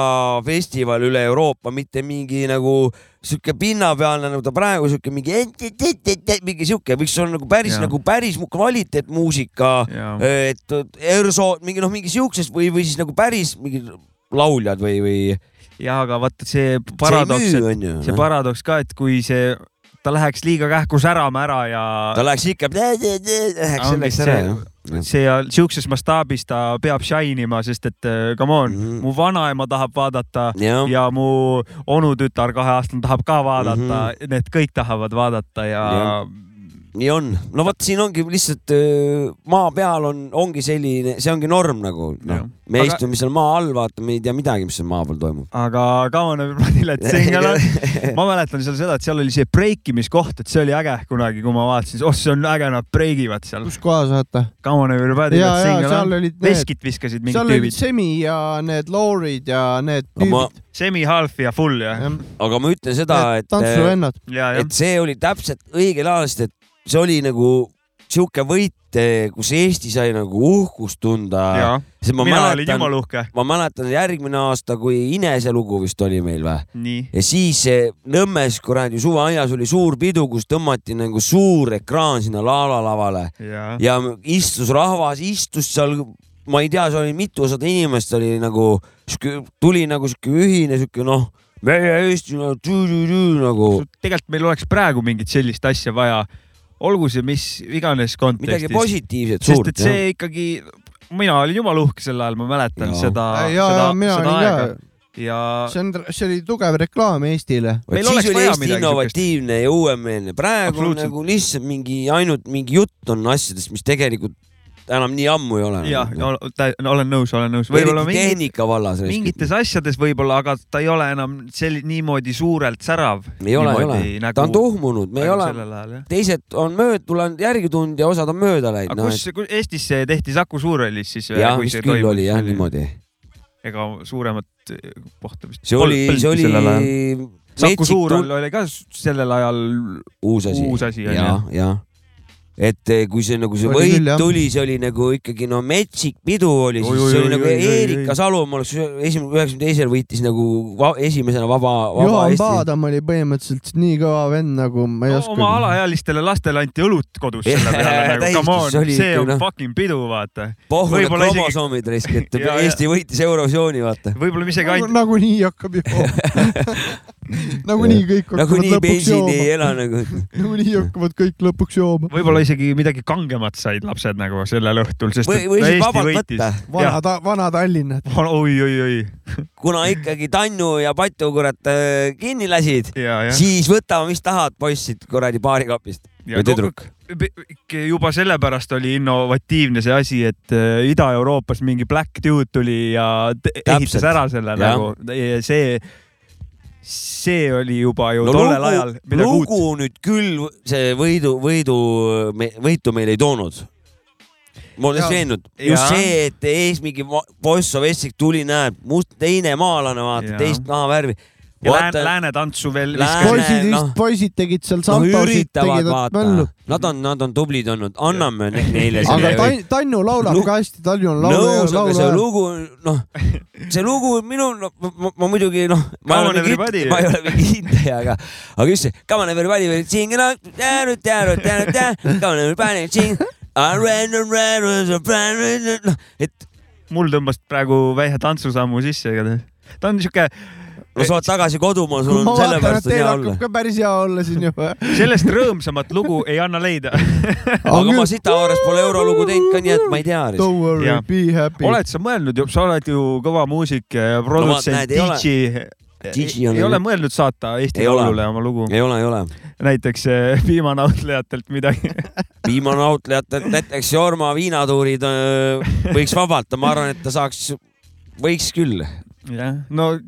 [SPEAKER 3] muusikafestival üle Euroopa , mitte mingi nagu sihuke pinnapealne , nagu ta praegu sihuke mingi et- et- et- et- et- mingi sihuke , võiks olla nagu päris
[SPEAKER 2] Jaa.
[SPEAKER 3] nagu päris mu- kvaliteetmuusika , et ERSO mingi noh , mingi siuksest või , või siis nagu päris mingi lauljad või , või .
[SPEAKER 2] jah , aga vaata see paradoks ,
[SPEAKER 3] see,
[SPEAKER 2] see, see paradoks ka , et kui see , ta läheks liiga kähku särama ära ja .
[SPEAKER 3] ta läheks ikka , läheks selleks ära jah .
[SPEAKER 2] see ja siukses mastaabis ta peab shine ima , sest et eh, come on mm , -hmm. mu vanaema tahab vaadata ja,
[SPEAKER 3] Mhm. Jah.
[SPEAKER 2] ja mu onutütar kaheaastane tahab ka vaadata mm ,
[SPEAKER 3] Mhm.
[SPEAKER 2] -hmm. need kõik tahavad vaadata ja, ja.
[SPEAKER 3] Jah. nii on , no vot , siin ongi lihtsalt öö, maa peal on , ongi selline , see ongi norm nagu , noh , me
[SPEAKER 2] Aga-
[SPEAKER 3] aga... istume seal maa all , vaatame , ei tea midagi , mis seal maa peal toimub .
[SPEAKER 2] aga Kaunel Planet Single on , ma mäletan seal seda , et seal oli see breikimiskoht , et see oli äge kunagi , kui ma vaatasin , oh , see on äge , nad breigivad seal .
[SPEAKER 1] kus kohas vaata ?
[SPEAKER 2] Kaunel
[SPEAKER 1] ja ,
[SPEAKER 2] Planet
[SPEAKER 1] ja
[SPEAKER 2] Single
[SPEAKER 1] seal
[SPEAKER 2] on
[SPEAKER 1] olid , need ,
[SPEAKER 2] veskit viskasid mingid
[SPEAKER 1] seal olid
[SPEAKER 2] tüübid .
[SPEAKER 1] Semi ja need Laurid ja need tüübid
[SPEAKER 3] ma-
[SPEAKER 1] ma... ,
[SPEAKER 2] semi , half ja full jah .
[SPEAKER 3] aga ma ütlen seda , et ,
[SPEAKER 1] tantsuvennad.
[SPEAKER 3] et see oli täpselt õigel aastal , et see oli nagu sihuke võit , kus Eesti sai nagu uhkust tunda
[SPEAKER 2] Jaa. . Mina olin jumala uhke. .
[SPEAKER 3] ma mäletan järgmine aasta , kui Inese lugu vist oli meil või ?
[SPEAKER 2] nii .
[SPEAKER 3] ja siis eh, Nõmmes kuradi suveaias oli suur pidu , kus tõmmati nagu suur ekraan sinna Laala lavale
[SPEAKER 2] Jaa.
[SPEAKER 3] ja istus rahvas , istus seal , ma ei tea , seal oli mitusada inimest oli nagu , tuli nagu sihuke ühine sihuke noh , meie Eesti no, tü-tü-tü, nagu .
[SPEAKER 2] tegelikult meil oleks praegu mingit sellist asja vaja , olgu see mis iganes kontekstis .
[SPEAKER 3] Midagi positiivset,
[SPEAKER 2] sest
[SPEAKER 3] suurt,
[SPEAKER 2] et see
[SPEAKER 3] jah.
[SPEAKER 2] ikkagi , mina olin jumala uhke sel ajal , ma
[SPEAKER 1] Jaa.
[SPEAKER 2] mäletan ja. seda
[SPEAKER 1] Ja, , ja,
[SPEAKER 2] seda ,
[SPEAKER 1] mina
[SPEAKER 2] seda
[SPEAKER 1] olin ka.
[SPEAKER 2] aega . ja
[SPEAKER 1] see on , see oli tugev reklaam Eestile .
[SPEAKER 3] Vot siis oli Eesti innovatiivne ja uuemeelne , praegu on
[SPEAKER 1] Absoluutselt.
[SPEAKER 3] nagu lihtsalt mingi ainult mingi jutt on asjadest , mis tegelikult enam nii ammu ei ole .
[SPEAKER 2] jah , olen nõus , olen nõus .
[SPEAKER 3] võib-olla mingi . tehnika vallas .
[SPEAKER 2] mingites asjades võib-olla , aga ta ei ole enam selli- , niimoodi suurelt särav .
[SPEAKER 3] ei ole , ei ole , ta on tuhmunud , me ei ole
[SPEAKER 2] nagu sellel ajal , jah .
[SPEAKER 3] teised on mööda , tulenud järgi tulnud ja osad on mööda läinud .
[SPEAKER 2] aga kus , kus Eestis see tehti Saku Suurhallis siis ? äh,
[SPEAKER 3] jah , vist küll oli jah . niimoodi .
[SPEAKER 2] ega suuremat äh, kohta vist .
[SPEAKER 3] see oli , see oli .
[SPEAKER 2] Saku Suurhall oli ka s- sellel ajal
[SPEAKER 3] uus asi .
[SPEAKER 2] uus asi, on ju.
[SPEAKER 3] jah , jah . et eh, kui see nagu see
[SPEAKER 2] Oli
[SPEAKER 3] võit
[SPEAKER 2] küll, jah.
[SPEAKER 3] tuli , see oli nagu ikkagi no metsik pidu oli ,
[SPEAKER 2] Oi, oi,
[SPEAKER 3] siis see
[SPEAKER 2] oi,
[SPEAKER 3] oli nagu
[SPEAKER 2] oi, oi,
[SPEAKER 3] Erika Salumaa oleks esimene , üheksakümne teisel võitis nagu va, esimesena vaba , vaba
[SPEAKER 1] Juhan
[SPEAKER 3] Eesti .
[SPEAKER 1] Paadam oli põhimõtteliselt nii kõva vend , nagu ma ei
[SPEAKER 2] oma
[SPEAKER 1] oska .
[SPEAKER 2] alaealistele lastele anti õlut kodus selle peale nagu
[SPEAKER 3] Täistus,
[SPEAKER 2] come on
[SPEAKER 3] see , oli
[SPEAKER 2] see
[SPEAKER 3] ikka,
[SPEAKER 2] on
[SPEAKER 3] noh.
[SPEAKER 2] fucking pidu , vaata .
[SPEAKER 3] pohvrid
[SPEAKER 2] võib-olla isegi-
[SPEAKER 3] kromosoomid risk , et
[SPEAKER 2] Jaa, jaa.
[SPEAKER 3] Eesti võitis Eurovisiooni , vaata .
[SPEAKER 2] võib-olla me isegi ainult .
[SPEAKER 1] Nagu- nagunii hakkab jooma . nagunii kõik hakkavad
[SPEAKER 3] nagunii
[SPEAKER 1] lõpuks
[SPEAKER 3] bensiin ei
[SPEAKER 1] jooma .
[SPEAKER 3] ela nagu .
[SPEAKER 1] nagunii hakkavad kõik lõpuks jooma .
[SPEAKER 2] võib-olla isegi midagi kangemat said lapsed nagu sellel õhtul , sest
[SPEAKER 3] Või-
[SPEAKER 2] et
[SPEAKER 3] või siis
[SPEAKER 2] Eesti
[SPEAKER 3] vabalt võtta.
[SPEAKER 2] võitis .
[SPEAKER 1] vana , vana Tallinn .
[SPEAKER 2] oi , oi , oi .
[SPEAKER 3] kuna ikkagi Tannu ja Patu kurat äh, kinni lasid ,
[SPEAKER 2] jah.
[SPEAKER 3] siis võtame , mis tahad , poissid kuradi baarikapist
[SPEAKER 2] Ja
[SPEAKER 3] või tüdruk .
[SPEAKER 2] juba sellepärast oli innovatiivne see asi , et äh, Ida-Euroopas mingi black dude tuli ja te- ehitas
[SPEAKER 3] Täpselt.
[SPEAKER 2] ära selle
[SPEAKER 3] Jah.
[SPEAKER 2] nagu , see , see oli juba ju
[SPEAKER 3] no
[SPEAKER 2] no, tollel ajal
[SPEAKER 3] lugu ,
[SPEAKER 2] midagi uut .
[SPEAKER 3] lugu nüüd küll see võidu , võidu , võitu meile ei toonud . ma olen
[SPEAKER 2] Jaa.
[SPEAKER 3] täitsa veendunud , just
[SPEAKER 2] Jaa.
[SPEAKER 3] see , et ees mingi va- poiss Sovjetsik tuli , näeb must , teine maalane , vaata
[SPEAKER 2] Jaa.
[SPEAKER 3] teist nahavärvi .
[SPEAKER 2] ja lääne , lääne tantsu veel
[SPEAKER 1] poisid
[SPEAKER 2] viskasid .
[SPEAKER 1] vist , poisid tegid seal
[SPEAKER 3] no
[SPEAKER 1] santosid ,
[SPEAKER 3] noh, üritavad
[SPEAKER 1] tegid möllu
[SPEAKER 3] vaata ., nad on , nad on tublid olnud , anname ne- neile
[SPEAKER 1] aga
[SPEAKER 3] selle
[SPEAKER 1] Tan- Tanju laulab ka hästi , Tanju on
[SPEAKER 3] nõus , aga see
[SPEAKER 1] laulja .
[SPEAKER 3] lugu , noh , see lugu minu , ma muidugi noh , ma ei
[SPEAKER 2] Come on
[SPEAKER 3] ole mingi
[SPEAKER 2] everybody. ,
[SPEAKER 3] ma ei ole mingi hindaja , aga , aga just see , come on everybody , sing it out , down , down , down , down , come on everybody , sing . I ran and ran and ran , noh , et
[SPEAKER 2] mul tõmbas praegu vähe tantsusammu sisse , igatahes . ta on siuke ,
[SPEAKER 3] no sa oled tagasi kodumaal ,
[SPEAKER 1] ma
[SPEAKER 3] sul on
[SPEAKER 1] vaatan , et
[SPEAKER 3] sellepärast on
[SPEAKER 1] teil
[SPEAKER 3] hea
[SPEAKER 1] hakkab
[SPEAKER 3] olla .
[SPEAKER 1] ka päris hea olla siin juba .
[SPEAKER 2] sellest rõõmsamat lugu ei anna leida .
[SPEAKER 3] aga ma sita haaras pole eurolugu teinud ka , nii et ma ei tea .
[SPEAKER 1] Don't worry
[SPEAKER 2] Jah. ,
[SPEAKER 1] be happy .
[SPEAKER 2] oled sa mõelnud , sa oled ju kõva muusik ,
[SPEAKER 3] näed,
[SPEAKER 2] produtsent ,
[SPEAKER 3] ei ole.
[SPEAKER 2] DJ .
[SPEAKER 3] DJ on
[SPEAKER 2] ei
[SPEAKER 3] ju-
[SPEAKER 2] ole mõelnud saata Eesti
[SPEAKER 3] Ei ole.
[SPEAKER 2] Laulule oma lugu ?
[SPEAKER 3] ei ole , ei ole .
[SPEAKER 2] näiteks eh, piimanautlejatelt midagi .
[SPEAKER 3] viimane autlejate , näiteks Jorma viinatuurid öö, võiks vabalt , ma arvan , et ta saaks , võiks küll
[SPEAKER 2] jah , no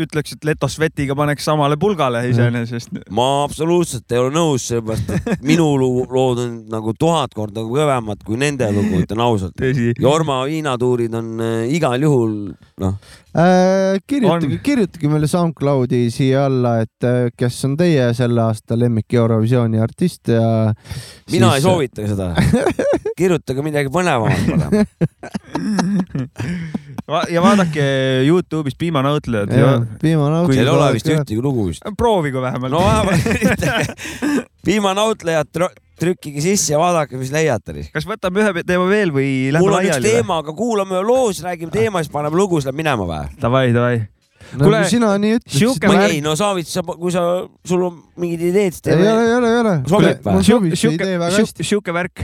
[SPEAKER 2] ütleks , et Leto Svetiga paneks samale pulgale iseenesest .
[SPEAKER 3] ma absoluutselt ei ole nõus , sellepärast et minu lu- lood on nagu tuhat korda kõvemad kui nende lugu , ütlen ausalt .
[SPEAKER 2] tõsi .
[SPEAKER 3] Jorma viinatuurid on äh, igal juhul , noh ,
[SPEAKER 1] kirjutage , kirjutage meile SoundCloudi siia alla , et äh, kes on teie selle aasta lemmik Eurovisiooni artist ja . äh,
[SPEAKER 3] mina ei soovita seda . kirjutage midagi põnevamat , madam .
[SPEAKER 2] ja vaadake Youtube'is piimanõutlejad .
[SPEAKER 3] Teil ei ole vist ühtegi lugu vist ?
[SPEAKER 2] proovigu vähemalt .
[SPEAKER 3] no vähemalt piimanautlejad tr- trükkige sisse ja vaadake , mis leiate .
[SPEAKER 2] kas võtame ühe teema veel või
[SPEAKER 3] mul
[SPEAKER 2] lähme
[SPEAKER 3] on üks
[SPEAKER 2] laiali ?
[SPEAKER 3] teema , aga kuulame loo , siis räägime teema , siis paneme lugu , siis läheb minema või ?
[SPEAKER 2] Davai , davai .
[SPEAKER 1] No kui nagu sina nii ütlesid,
[SPEAKER 3] sihuke
[SPEAKER 1] siis ma-
[SPEAKER 3] ei no Saavits , sa , kui sa , sul on mingid ideed , siis
[SPEAKER 1] ei ole , ei ole , ei ole .
[SPEAKER 3] sobib või ?
[SPEAKER 2] sihuke , sihuke värk .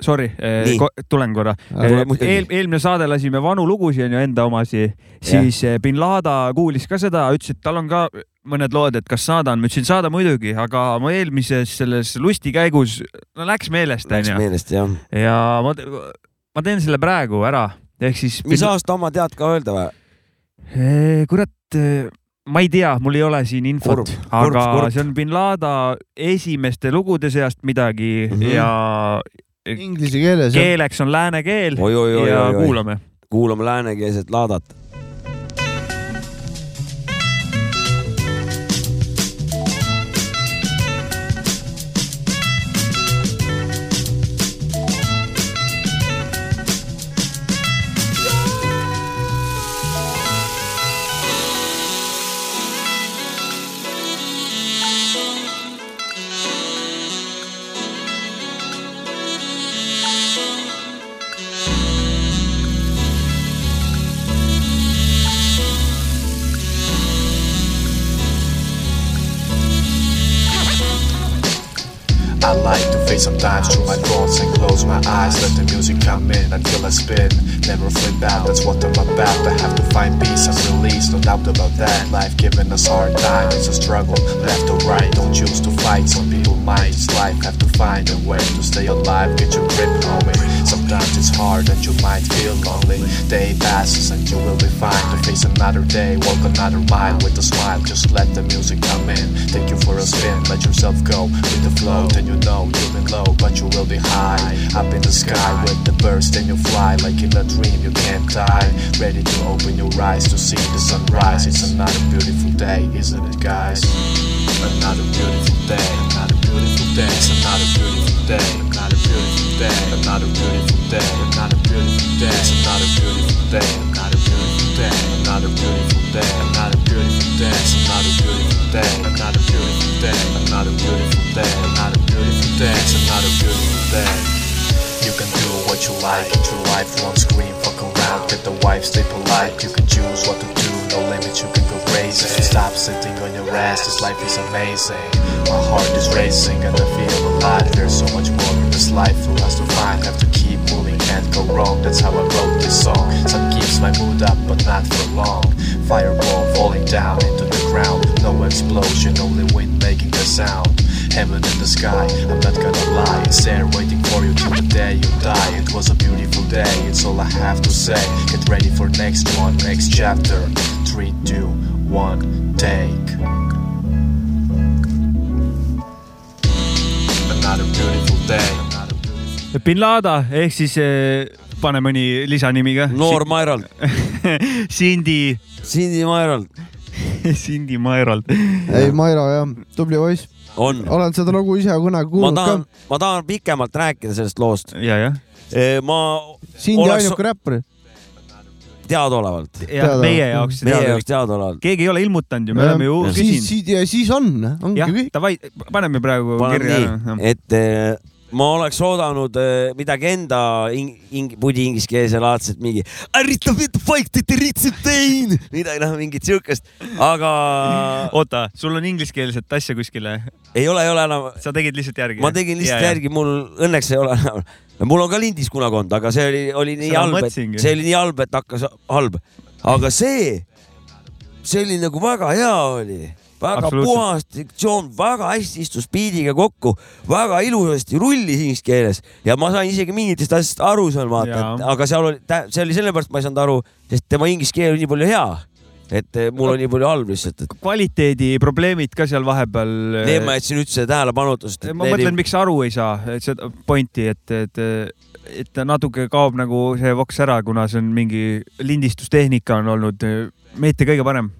[SPEAKER 2] Sorry ,
[SPEAKER 3] Nii.
[SPEAKER 2] tulen korra Eh,
[SPEAKER 3] Aga tule muidugi. .
[SPEAKER 2] eelmine saade lasime vanu lugusid onju , enda omasi , siis eh, bin Lada kuulis ka seda , ütles , et tal on ka mõned lood , et kas saadan , ma ütlesin saada muidugi , aga mu eelmises selles lusti käigus , no läks meelest
[SPEAKER 3] Läks
[SPEAKER 2] onju .
[SPEAKER 3] meelest jah .
[SPEAKER 2] ja ma , ma teen selle praegu ära , Ah, ehk siis .
[SPEAKER 3] mis aasta oma tead ka öelda või ?
[SPEAKER 2] Eh, kurat , ma ei tea , mul ei ole siin infot ,
[SPEAKER 3] kurb,
[SPEAKER 2] aga
[SPEAKER 3] kurb.
[SPEAKER 2] see on bin Lada esimeste lugude seast midagi
[SPEAKER 3] Mhm.
[SPEAKER 2] mm -hmm. ja .
[SPEAKER 1] Inglise keeles .
[SPEAKER 2] keeleks on lääne keel
[SPEAKER 3] oi , oi , oi ,
[SPEAKER 2] ja
[SPEAKER 3] oi , oi .
[SPEAKER 2] kuulame .
[SPEAKER 3] kuulame läänekeelset laadat .
[SPEAKER 13] I like to fade sometimes through my thoughts and close my eyes. Let the music come in until I spin. Never flip out, that's what I'm about. I have to find peace and release, no doubt about that. Life giving us hard time, it's a struggle, left or right. Don't choose to fight, some people might. It's life, have to find a way to stay alive. Get your grip, homie. Sometimes it's hard and you might feel lonely. Day passes and you will be fine to face another day. Walk another mile with a smile. Just let the music come in. Take you for a spin. Let yourself go with the flow. Then you know you've been low, but you will be high. Up in the sky with the birds, then you fly like in a dream. You can't die. Ready to open your eyes to see the sunrise. It's another beautiful day, isn't it, guys? Another beautiful day. Another beautiful day. It's another beautiful day. Another beautiful day. Another beautiful day. Another beautiful day. It's another beautiful day. Another beautiful day. Another beautiful day. Another beautiful day. It's another beautiful day. Another beautiful day. Another beautiful day. Another beautiful day. It's another beautiful day. You can do what you like, get your life on screen, fuck around, get the wife, stay polite. You can choose what to do, no limits, you can go crazy. Stop sitting on your ass, this life is amazing. My heart is racing and I feel alive. There's so much more in this life for us to find. Have to keep moving, can't go wrong. That's how I wrote this song. Sun keeps my mood up, but not for long. Fireball falling down into the ground. No explosion, only wind making the sound. Heaven in the sky, I'm not gonna lie. It's there waiting for you till the day you die. It was a beautiful day, it's all I have to say. Get ready for next one, next chapter. Three, two, one, take. Another beautiful day.
[SPEAKER 2] bin Lada ehk siis eh, pane mõni lisanimi ka .
[SPEAKER 3] Noor Maerald
[SPEAKER 2] Sindi .
[SPEAKER 3] Sindi Maerald
[SPEAKER 2] Sindi Maerald .
[SPEAKER 1] ei , Mairo jah , tubli poiss .
[SPEAKER 3] on .
[SPEAKER 1] olen seda lugu ise kunagi
[SPEAKER 3] ma
[SPEAKER 1] kuulnud ka
[SPEAKER 3] tahan ., ma tahan pikemalt rääkida sellest loost .
[SPEAKER 2] ja , jah .
[SPEAKER 3] ma .
[SPEAKER 1] Sindi ainuke räppar .
[SPEAKER 3] teadaolevalt .
[SPEAKER 1] Jah, Teadaolevalt. meie jaoks
[SPEAKER 3] meie
[SPEAKER 2] teadaolevalt.
[SPEAKER 3] jaoks teadaolevalt .
[SPEAKER 2] keegi ei ole ilmutanud ju , me oleme ju
[SPEAKER 1] siis ,
[SPEAKER 2] küsinud .
[SPEAKER 1] siis , siis on , ongi
[SPEAKER 2] jah
[SPEAKER 1] kõik .,
[SPEAKER 2] davai , paneme praegu
[SPEAKER 3] paneme
[SPEAKER 2] kirja .
[SPEAKER 3] nii , et eh, ma oleks oodanud eh, midagi enda ing- , ing- , pudi ingliskeelse laadset , mingi midagi noh , mingit siukest , aga .
[SPEAKER 2] oota , sul on ingliskeelset asja kuskile ?
[SPEAKER 3] ei ole , ei ole enam .
[SPEAKER 2] sa tegid lihtsalt järgi ?
[SPEAKER 3] ma tegin lihtsalt ja, järgi , mul õnneks ei ole enam . mul on ka lindis kunagi olnud , aga see oli , oli nii
[SPEAKER 2] Seda ma
[SPEAKER 3] halb , et
[SPEAKER 2] mõtlesingi.
[SPEAKER 3] see oli nii halb , et hakkas halb . aga see , see oli nagu väga hea oli , väga
[SPEAKER 2] Absoluutselt.
[SPEAKER 3] puhas diktsioon , väga hästi istus biidiga kokku , väga ilusasti rullis inglise keeles ja ma sain isegi mingitest asjadest aru seal vaata
[SPEAKER 2] Jaa. ,
[SPEAKER 3] aga seal oli , see oli sellepärast , ma ei saanud aru , sest tema inglise keel oli nii palju hea , et eh, mul oli nii palju halb lihtsalt , et
[SPEAKER 2] kvaliteediprobleemid ka seal vahepeal . eh,
[SPEAKER 3] Need ma jätsin üldse tähelepanutusest .
[SPEAKER 2] ma mõtlen , miks aru ei saa , et seda pointi , et , et et ta natuke kaob nagu see voks ära , kuna see on mingi lindistustehnika on olnud eh, meetri kõige parem .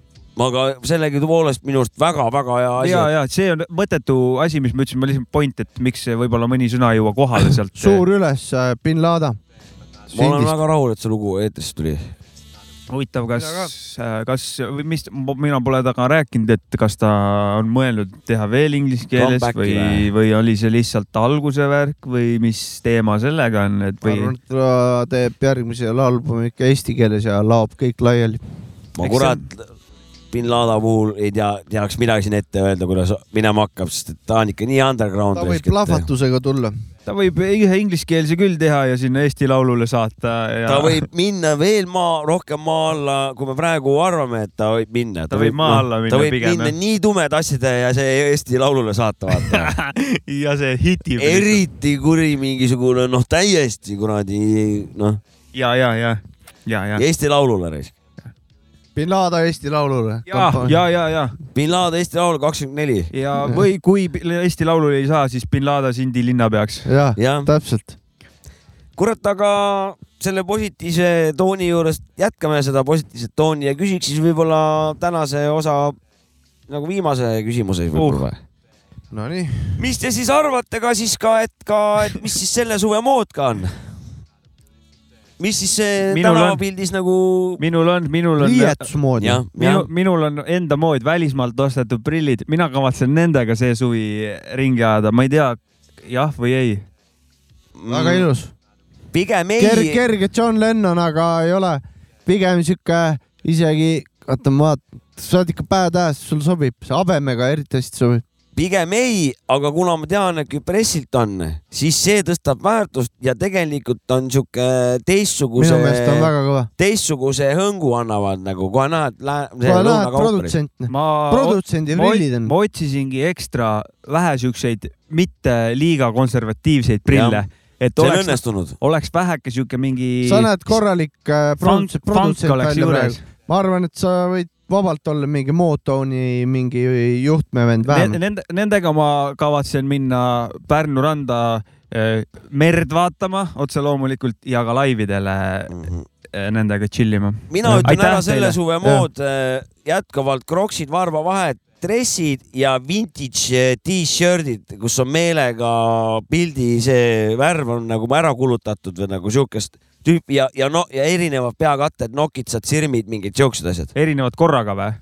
[SPEAKER 3] aga sellegipoolest minu arust väga-väga hea asi .
[SPEAKER 2] ja , ja see on mõttetu asi , mis ma ütlesin , ma lihtsalt point , et miks see võib-olla mõni sõna ei jõua kohale sealt .
[SPEAKER 1] suur üles , bin Laden .
[SPEAKER 2] Ma olen väga
[SPEAKER 3] rahul , et see lugu eetrisse tuli .
[SPEAKER 2] huvitav , kas , kas või mis , mina pole temaga rääkinud , et kas ta on mõelnud teha veel inglise keeles
[SPEAKER 1] Comebacki
[SPEAKER 2] või , või oli see lihtsalt alguse värk või mis teema sellega on , et
[SPEAKER 1] ma
[SPEAKER 2] või
[SPEAKER 1] arvan , et ta teeb järgmise albumi ikka eesti keeles ja laob kõik laiali .
[SPEAKER 3] ma kurat , bin Laden puhul ei tea , teaks midagi siin ette öelda , kuidas minema hakkab , sest et ta on ikka nii underground
[SPEAKER 1] ta . võib plahvatusega tulla .
[SPEAKER 2] ta võib ühe ingliskeelse küll teha ja sinna Eesti Laulule saata ja
[SPEAKER 3] ta võib minna veel maa , rohkem maa alla , kui me praegu arvame , et ta võib minna .
[SPEAKER 2] Ta võib maa alla minna
[SPEAKER 3] ta võib
[SPEAKER 2] pigem,
[SPEAKER 3] minna
[SPEAKER 2] jah.
[SPEAKER 3] nii tumeda asjade ja see Eesti Laulule saata , vaata .
[SPEAKER 2] ja see hitib .
[SPEAKER 3] eriti kuri mingisugune , noh , täiesti kuradi , noh ,
[SPEAKER 2] ja , ja , ja , ja , ja .
[SPEAKER 3] Eesti Laulule raisk .
[SPEAKER 1] bin Laden Eesti Laulule .
[SPEAKER 2] ja , ja , ja , ja .
[SPEAKER 3] bin Laden Eesti Laul kakskümmend neli .
[SPEAKER 2] ja või kui Eesti Laulule ei saa , siis bin Laden Sindi linnapeaks .
[SPEAKER 1] ja,
[SPEAKER 3] ja. ,
[SPEAKER 1] täpselt .
[SPEAKER 3] kurat , aga selle positiivse tooni juurest jätkame seda positiivset tooni ja küsiks siis võib-olla tänase osa nagu viimase küsimuse võib-olla uh. .
[SPEAKER 1] Nonii .
[SPEAKER 3] mis te siis arvate ka siis ka , et ka , et mis siis selle suve mood ka on ? mis siis see
[SPEAKER 2] Minul on-
[SPEAKER 3] tänavapildis nagu
[SPEAKER 2] minul on , minul on .
[SPEAKER 1] riietusmoodi .
[SPEAKER 2] minu , minul on enda mood välismaalt ostetud prillid , mina kavatsen nendega see suvi ringi ajada , ma ei tea , jah või ei .
[SPEAKER 3] Mm.
[SPEAKER 1] väga ilus .
[SPEAKER 3] pigem ei
[SPEAKER 1] Ker, . kerge John Lennon , aga ei ole , pigem sihuke isegi , oota ma vaatan , sa oled ikka badass , sul sobib , see habemega eriti hästi sobib .
[SPEAKER 3] pigem ei , aga kuna ma tean , et Küpressilt on , siis see tõstab väärtust ja tegelikult on sihuke teistsuguse
[SPEAKER 1] minu meelest on , väga kõva .
[SPEAKER 3] teistsuguse hõngu annavad nagu kohe näed ,
[SPEAKER 1] kohe lähed produtsent ,
[SPEAKER 2] ma
[SPEAKER 1] Produtsendi
[SPEAKER 2] ma-
[SPEAKER 1] prillid on.
[SPEAKER 2] ma otsisingi ekstra vähe siukseid , mitte liiga konservatiivseid prille
[SPEAKER 3] Jah. ,
[SPEAKER 2] et
[SPEAKER 3] See on
[SPEAKER 2] oleks
[SPEAKER 3] õnnestunud. ,
[SPEAKER 2] oleks väheke siuke mingi .
[SPEAKER 1] sa näed korralik äh,
[SPEAKER 2] Funk-
[SPEAKER 1] produtsent ,
[SPEAKER 2] funk
[SPEAKER 1] produtsent
[SPEAKER 2] oleks
[SPEAKER 1] välja
[SPEAKER 2] juures.
[SPEAKER 1] praegu . ma arvan , et sa võid vabalt olla mingi Motoni mingi juhtmevend vähemalt .
[SPEAKER 2] Nende , nendega ma kavatsen minna Pärnu randa eh, merd vaatama otse loomulikult ja ka laividele eh, nendega chill ima .
[SPEAKER 3] Mhm. mina ütlen ära selle teile. suve mood , jätkuvalt kroksid varba vahet , dressid ja vintage eh, t-shirt'id , kus on meelega pildi see värv on nagu ära kulutatud või nagu siukest tüüpi ja , ja no ja erinevad peakatted , nokitsad , sirmid , mingid siuksed asjad .
[SPEAKER 2] erinevad korraga või ?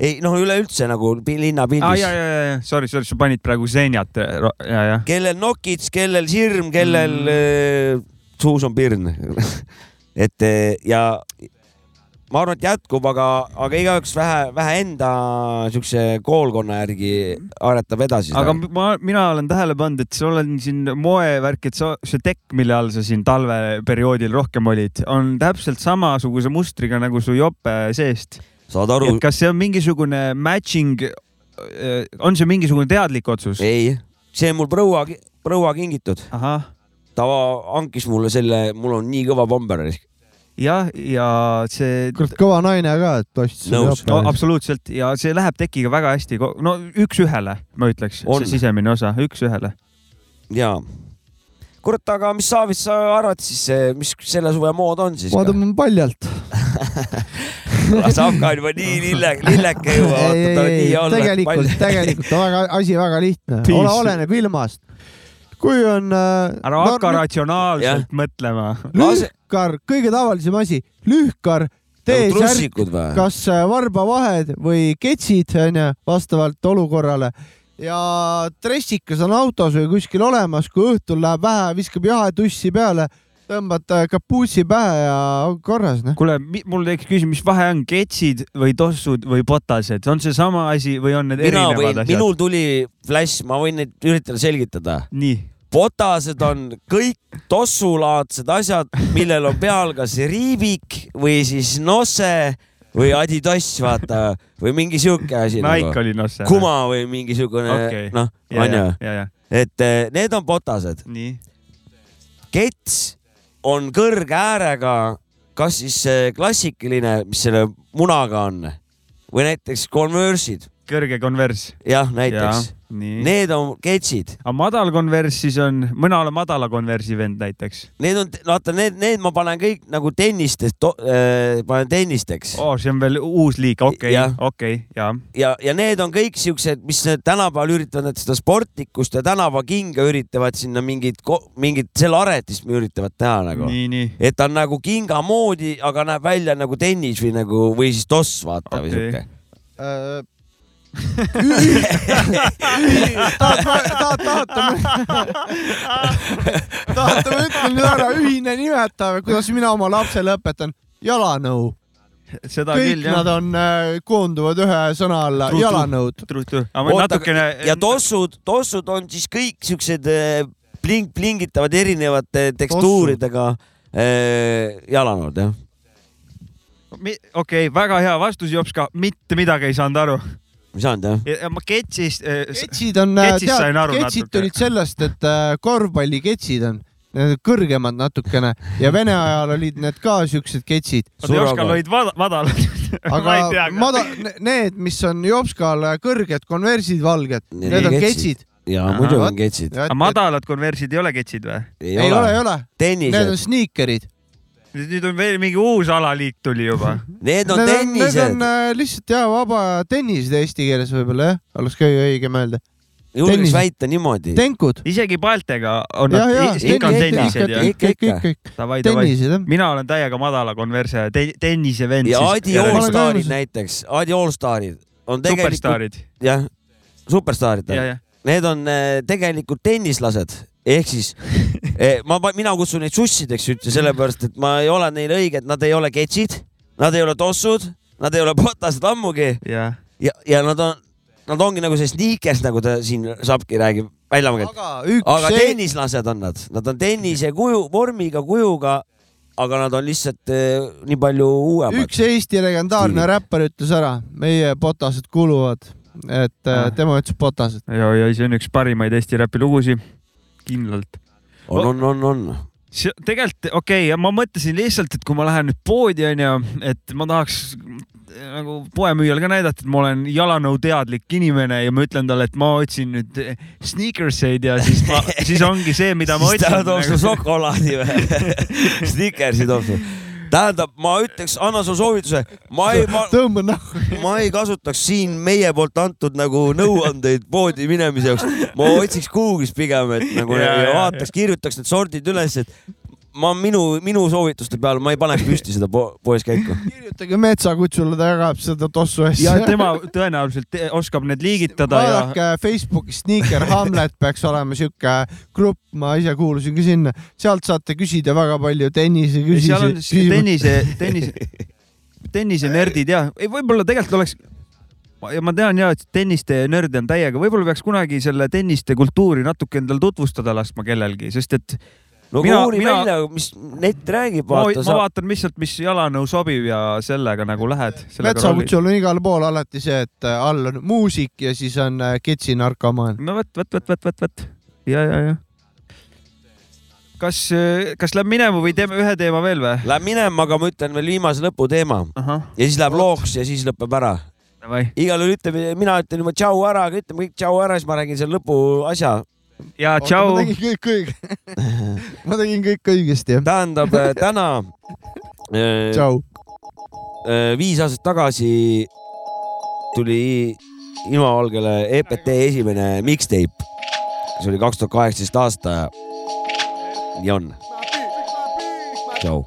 [SPEAKER 3] ei noh , üleüldse nagu pi-
[SPEAKER 2] aa ah, ja ,
[SPEAKER 3] linnapildis ,
[SPEAKER 2] ja , ja , ja sorry , sorry , sa panid praegu seenjat , eh, ja , ja .
[SPEAKER 3] kellel nokits , kellel sirm , kellel mm. suus on pirn . et eh, ja ma arvan , et jätkub , aga , aga igaüks vähe , vähe enda siukse koolkonna järgi aretab edasi
[SPEAKER 2] aga
[SPEAKER 3] seda .
[SPEAKER 2] m- ma , mina olen tähele pannud , et sul on siin moevärk , et sa , see tekk , mille all sa siin talveperioodil rohkem olid , on täpselt samasuguse mustriga nagu su jope seest .
[SPEAKER 3] saad aru-
[SPEAKER 2] et kas see on mingisugune matching , on see mingisugune teadlik otsus ?
[SPEAKER 3] ei , see on mul proua , proua kingitud . ta hankis mulle selle , mul on nii kõva bomber .
[SPEAKER 2] jah , ja see .
[SPEAKER 1] kurat , kõva naine ka , et ostis
[SPEAKER 2] nõus , no, . absoluutselt ja see läheb tekiga väga hästi , no üks-ühele , ma ütleks ,
[SPEAKER 3] On.
[SPEAKER 2] see sisemine osa , üks-ühele .
[SPEAKER 3] jaa . kurat , aga mis sa , mis sa arvad siis , mis selle suve mood on siis ?
[SPEAKER 1] vaatame paljalt .
[SPEAKER 3] Savka on juba nii lille , lilleke juba , vaata ta on nii all .
[SPEAKER 1] tegelikult , tegelikult on väga , asi väga lihtne ,
[SPEAKER 2] Peace.
[SPEAKER 1] ole , oleneb ilmast . kui on äh,
[SPEAKER 2] ära
[SPEAKER 1] no-
[SPEAKER 2] hakka ratsionaalselt mõtlema .
[SPEAKER 1] lühkar , kõige tavalisem asi , lühkar , T-särk ,
[SPEAKER 3] nagu trussikud või ?
[SPEAKER 1] kas äh, varbavahed või ketsid onju , vastavalt olukorrale ja dressikas on autos või kuskil olemas , kui õhtul läheb vähe , viskab jahetussi peale , tõmbad äh, kapuutsi pähe ja on korras , noh .
[SPEAKER 2] kuule , mul tekkis küsimus , mis vahe on ketsid või tossud või botased , on see sama asi või on need
[SPEAKER 3] mina
[SPEAKER 2] erinevad
[SPEAKER 3] võin ,
[SPEAKER 2] asjad ?
[SPEAKER 3] minul tuli flash , ma võin neid üritada selgitada .
[SPEAKER 2] nii .
[SPEAKER 3] botased on kõik tossulaadsed asjad , millel on peal kas riibik või siis nose või adidass , vaata , või mingi sihuke asi .
[SPEAKER 2] Nike oli nosse.
[SPEAKER 3] nagu. kuma või mingi siukene okay.
[SPEAKER 2] Okei. ,
[SPEAKER 3] noh ,
[SPEAKER 2] Ja,
[SPEAKER 3] onju
[SPEAKER 2] ja, ja, ja. .
[SPEAKER 3] et eh, need on botased .
[SPEAKER 2] nii .
[SPEAKER 3] kets on kõrge äärega , kas siis eh, klassikaline , mis selle munaga on või näiteks Converse'id
[SPEAKER 2] kõrge konvers .
[SPEAKER 3] jah , näiteks . Need on ketsid .
[SPEAKER 2] aga madal konvers siis on , mina olen madala konversi vend näiteks .
[SPEAKER 3] Need on , vaata need , need ma panen kõik nagu tennistest , äh, panen tennisteks
[SPEAKER 2] oh, . see on veel uus liik , okei
[SPEAKER 3] Jah. ,
[SPEAKER 2] okei , ja .
[SPEAKER 3] ja , ja need on kõik siuksed , mis need tänapäeval üritavad need seda sportlikkust ja tänavakinga üritavad sinna mingit , mingit selle aretist üritavad teha nagu .
[SPEAKER 2] nii , nii .
[SPEAKER 3] et ta on nagu kinga moodi , aga näeb välja nagu tennis või nagu , või siis toss , vaata okay. või siuke .
[SPEAKER 1] Äh, tahad , tahad , tahad , tahad , ma ütlen nüüd ära , ühine nimetaja , kuidas mina oma lapsele õpetan , jalanõu .
[SPEAKER 2] seda
[SPEAKER 1] kõik
[SPEAKER 2] küll jah .
[SPEAKER 1] nad on , koonduvad ühe sõna alla , jalanõud .
[SPEAKER 2] aga ma natukene- eh,
[SPEAKER 3] ja tossud , tossud on siis kõik siuksed eh, pling , plingitavad erinevate tekstuuridega eh, jalanõud , jah .
[SPEAKER 2] okei okay, , väga hea vastus , Jops ka , mitte midagi ei saanud aru .
[SPEAKER 3] ei saanud jah ?
[SPEAKER 2] ma ketsist . ketsid
[SPEAKER 1] ketsid on ,
[SPEAKER 2] ketsist sain aru
[SPEAKER 1] ketsid
[SPEAKER 2] natuke .
[SPEAKER 1] tulid sellest , et äh, korvpalliketsid on , need on kõrgemad natukene ja Vene ajal olid need ka siuksed ketsid .
[SPEAKER 2] Joškal olid vada- madalad . ma ei tea
[SPEAKER 1] aga . mada- , need , mis on Jopskal kõrged konversid valged ,
[SPEAKER 2] Need
[SPEAKER 1] need
[SPEAKER 2] on
[SPEAKER 1] on
[SPEAKER 2] ketsid.
[SPEAKER 1] ketsid .
[SPEAKER 3] ja
[SPEAKER 2] Ahah.
[SPEAKER 3] muidu on
[SPEAKER 2] Vot-
[SPEAKER 3] ketsid .
[SPEAKER 2] aga madalad konversid ei ole ketsid või ?
[SPEAKER 1] ei ole , ei ole . Need on
[SPEAKER 3] tennised ,
[SPEAKER 1] sniikerid .
[SPEAKER 2] nüüd on veel mingi uus alaliik tuli juba .
[SPEAKER 3] need
[SPEAKER 1] Need on , need on äh, lihtsalt jah , vaba tennised eesti keeles võib-olla jah , oleks ka ju õige mõelda .
[SPEAKER 3] Julgeks väita niimoodi.
[SPEAKER 1] tenkud .
[SPEAKER 2] isegi paltega on
[SPEAKER 1] Jah, jah,
[SPEAKER 2] nad , ikka on
[SPEAKER 1] ikka,
[SPEAKER 2] tennised
[SPEAKER 1] ikka,
[SPEAKER 2] ja .
[SPEAKER 1] ikka, ikka, ikka, ikka.
[SPEAKER 2] davai , davai
[SPEAKER 1] Tennised, jah. ,
[SPEAKER 2] mina olen täiega madala konverse te, , tennise vend .
[SPEAKER 3] ja Adi Allstarid näiteks , Adi Allstarid on
[SPEAKER 2] Superstaarid.
[SPEAKER 3] tegelikult , jah , superstaarid
[SPEAKER 2] Jah, jah. .
[SPEAKER 3] Need on eh, tegelikult tennislased , ehk siis eh, ma , mina kutsun neid sussideks üldse sellepärast , et ma ei ole neile õige , et nad ei ole ketsid , nad ei ole tossud , nad ei ole botased ammugi
[SPEAKER 2] ja ,
[SPEAKER 3] ja , ja nad on , nad ongi nagu see sneakers , nagu ta siin Sapki räägib , välja mõeldud .
[SPEAKER 1] üks
[SPEAKER 3] aga
[SPEAKER 1] see-
[SPEAKER 3] tennislased on nad , nad on tennise kuju , vormiga , kujuga , aga nad on lihtsalt eh, nii palju uuemad .
[SPEAKER 1] üks Eesti legendaarne räppar ütles ära , meie botased kuluvad , et
[SPEAKER 2] Ah.
[SPEAKER 1] äh, tema ütles botased .
[SPEAKER 2] ja , ja see on üks parimaid Eesti räpi lugusid , kindlalt .
[SPEAKER 3] on , on , on , on .
[SPEAKER 2] see tegelikult okei okay, , ma mõtlesin lihtsalt , et kui ma lähen nüüd poodi onju , et ma tahaks nagu poemüüjal ka näidata , et ma olen jalanõuteadlik inimene ja ma ütlen talle , et ma otsin nüüd eh, sneakerseid ja siis ma , siis ongi see , mida ma nagu-
[SPEAKER 3] siis
[SPEAKER 2] otsin .
[SPEAKER 3] ta toob sulle šokolaadi või ? Snickersi toob sulle . tähendab , ma ütleks , anna sulle soovituse , ma ei , ma ,
[SPEAKER 1] tõmba nahku .
[SPEAKER 3] ma ei kasutaks siin meie poolt antud nagu nõuandeid poodi minemise jaoks . ma otsiks Google'is pigem , et nagu
[SPEAKER 2] Ja,
[SPEAKER 3] ja,
[SPEAKER 2] ja,
[SPEAKER 3] ja,
[SPEAKER 2] ja.
[SPEAKER 3] vaataks , kirjutaks need sordid üles , et ma minu , minu soovituste peale , ma ei paneks püsti seda po poes käiku .
[SPEAKER 1] kirjutage metsakutsule , ta jagab seda tossu
[SPEAKER 2] ja
[SPEAKER 1] asja .
[SPEAKER 2] tema tõenäoliselt te- oskab need liigitada ja
[SPEAKER 1] vaadake ja... Facebookis Sneaker Hamlet peaks olema siuke äh, grupp , ma ise kuulusin ka sinna , sealt saate küsida väga palju tennise
[SPEAKER 2] Ja seal on
[SPEAKER 1] küsimusi
[SPEAKER 2] siis . tennise , tennise , tennisenerdid ja , ei võib-olla tegelikult oleks , ma tean ja , et tenniste nörde on täiega , võib-olla peaks kunagi selle tenniste kultuuri natuke endale tutvustada laskma kellelgi , sest et
[SPEAKER 3] no mina, uuri mina... välja , mis net räägib ,
[SPEAKER 2] ma,
[SPEAKER 3] vaata
[SPEAKER 2] ma vaatan lihtsalt , mis jalanõu sobib ja sellega nagu lähed .
[SPEAKER 1] metsakutsul on igal pool alati see , et äh, all on muusik ja siis on äh, ketsi narkomaan .
[SPEAKER 2] no vot , vot , vot , vot , vot , vot ja , ja , ja . kas , kas läheb minema või teeme ühe teema veel või ?
[SPEAKER 3] Läheb minema , aga ma ütlen veel viimase lõputeema
[SPEAKER 2] Ahah.
[SPEAKER 3] ja siis läheb looks ja siis lõpeb ära . igalühel ütleme , mina ütlen juba tšau ära , aga ütleme kõik tšau ära , siis ma räägin selle lõpu asja .
[SPEAKER 2] ja
[SPEAKER 1] ma tegin kõik õige . ma tegin kõik õigesti , jah .
[SPEAKER 3] tähendab äh, täna äh,
[SPEAKER 1] Tšau.
[SPEAKER 3] äh, viis aastat tagasi tuli ilmavalgele EPT esimene mixtape , see oli kaks tuhat kaheksateist aasta . nii on . tšau .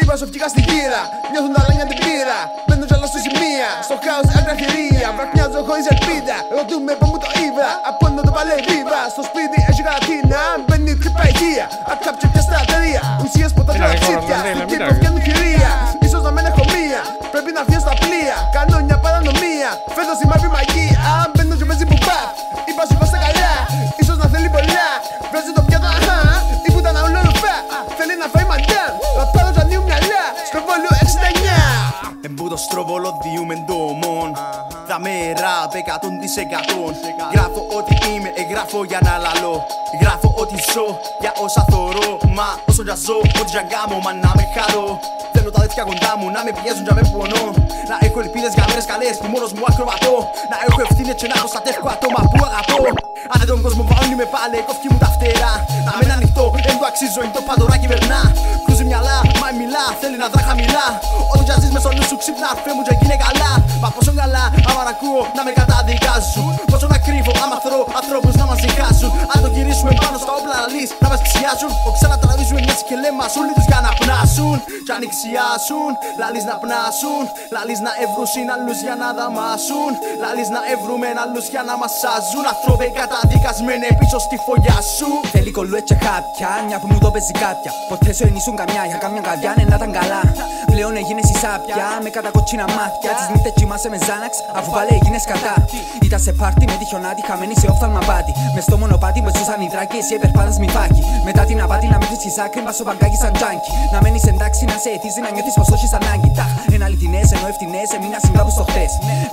[SPEAKER 14] Είπα σοφτικά στην κύρα, νιώθουν τα λάνια την πύρα. Μπαίνουν κι άλλα στη σημεία, στο χάος ακραχειρία. Βραχνιάζω χωρίς ελπίδα, ρωτούμε πού μου το είδα. Από όντα το παλεύει, στο σπίτι έχει κατίνα. Μπαίνει τρύπα υγεία, απ' κάποια πια στα ατελεία. Ουσίες ποτά και
[SPEAKER 15] Μίλαγε
[SPEAKER 14] λαψίτια,
[SPEAKER 15] χώρα, Ανδρέα,
[SPEAKER 14] στην
[SPEAKER 15] μίλαγε.
[SPEAKER 14] κύρκο φτιάχνουν χειρία. Ίσως να μην έχω μία, πρέπει να βγει στα πλοία. Κανόνια παρανομία, φέτος η μαύρη μαγεία. Αν μπαίνω και παίζει που πα, είπα σου είπα στα καλά. Ίσως να θέλει πολλά, βάζει το πιάτο, αχά. Ή που ήταν όλο ρουφά, θέλει να φάει μαντάμ. Ρωτάω τα νιου μυαλά, στο βόλιο 69.
[SPEAKER 16] Εμπούτο στροβολό διού μεντόμων. Δαμέ ραπ 100%. Γράφω ό,τι είμαι, εγγράφω για να λαλώ. Γράφω ό,τι ζω για όσα θωρώ. Μα όσο για ζω, ό,τι για γάμω, μα να με χαρώ. Δεν θέλω τα τέτοια κοντά μου να με πιέζουν για με πονώ. Να έχω ελπίδε για μέρε καλέ που μόνο μου ακροβατώ. Να έχω ευθύνε και να προστατεύω άτομα που αγαπώ. Αν δεν τον κόσμο βαώνει με πάλι, κόφτει μου τα φτερά. Να μεν ανοιχτό, δεν το αξίζω, είναι το παντορά κυβερνά. Κρούζει μυαλά, μα μιλά, θέλει να δρά χαμηλά. Όταν τζαζεί με σονού σου ξυπνά, φε μου και γίνε καλά. Μα πόσο καλά, άμα να ακούω να με καταδικάζουν. Πόσο να κρύβω, άμα θρώ ανθρώπου να μα δικάσουν. Αν το γυρίσουμε πάνω στα όπλα λαλή, να μα ξιάσουν. Ο ξανατραβίζουμε μια και λέμε μας όλοι του για να πνάσουν. Κι αν ηξιάσουν, λαλή να πνάσουν. Λαλή να ευρούσουν άλλου για να δαμάσουν. Λαλή να ευρούμε άλλου για να μα σάζουν. Ανθρώποι καταδικασμένοι πίσω στη φωλιά σου.
[SPEAKER 15] Τελικό λουέτσε κάποια, μια που μου το παίζει κάποια. Ποτέ σου ενίσουν καμιά, για καμιά καβιά ναι, να ήταν καλά. Πλέον έγινε η σάπια, με κατακοτσίνα μάτια. Τι νύχτε κοιμάσαι με ζάναξ, αφού πάλι έγινε κατά. Ήταν σε πάρτι με τη χιονάτη, χαμένη σε όφθαλμα πάτη. Με στο μονοπάτι με ζούσαν οι δράκοι, εσύ επερπάτα με φάκι. Μετά την απάτη να μην τη άκρη, μπα στο παγκάκι σαν τζάνκι. Να μένει εντάξει, να σε εθίζει, να νιώθει πω όχι ανάγκη. Ταχ, εν αληθινέ, ενώ ε, ευθυνέ, εμείνα συμβά που στο χτε.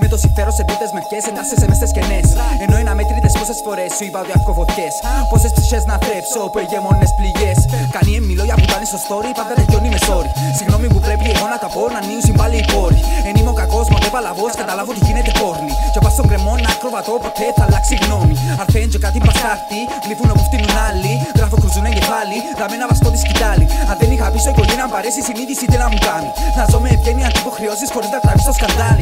[SPEAKER 15] Με το συμφέρον σε ε, πίτε μερικέ, εντάσσεσαι με στι κενέ. Ενώ είναι αμέτρητε πόσε φορέ σου είπα ότι αύκω φωτιέ. Πόσε ψυχέ να θρέψω, όπου εγεμόνε πληγέ. Κανεί εν μιλώ για πουτάνε στο story, πάντα τελειώνει με sorry. Συγγνώμη που πρέπει εγώ να τα πω, να νιούσουν πάλι οι πόροι. Εν είμαι ο κακό, μα δεν παλαβό, καταλάβω ότι γίνεται πόρνη. Και πα στον κρεμό να ακροβατώ, ποτέ θα αλλάξει γνώμη. Αρθέν και κάτι μπαστάρτη, γλυφούν όπου φτύνουν άλλοι. Γράφω κρουζούν εγκεφάλι, δαμένα βαστώ τη σκητάλη. Αν δεν είχα πίσω οικογένεια, αν παρέσει η συνείδηση τι να μου κάνει. Να ζω με ευγένεια τύπου χρεώσει χωρί να τραβήξω σκανδάλι.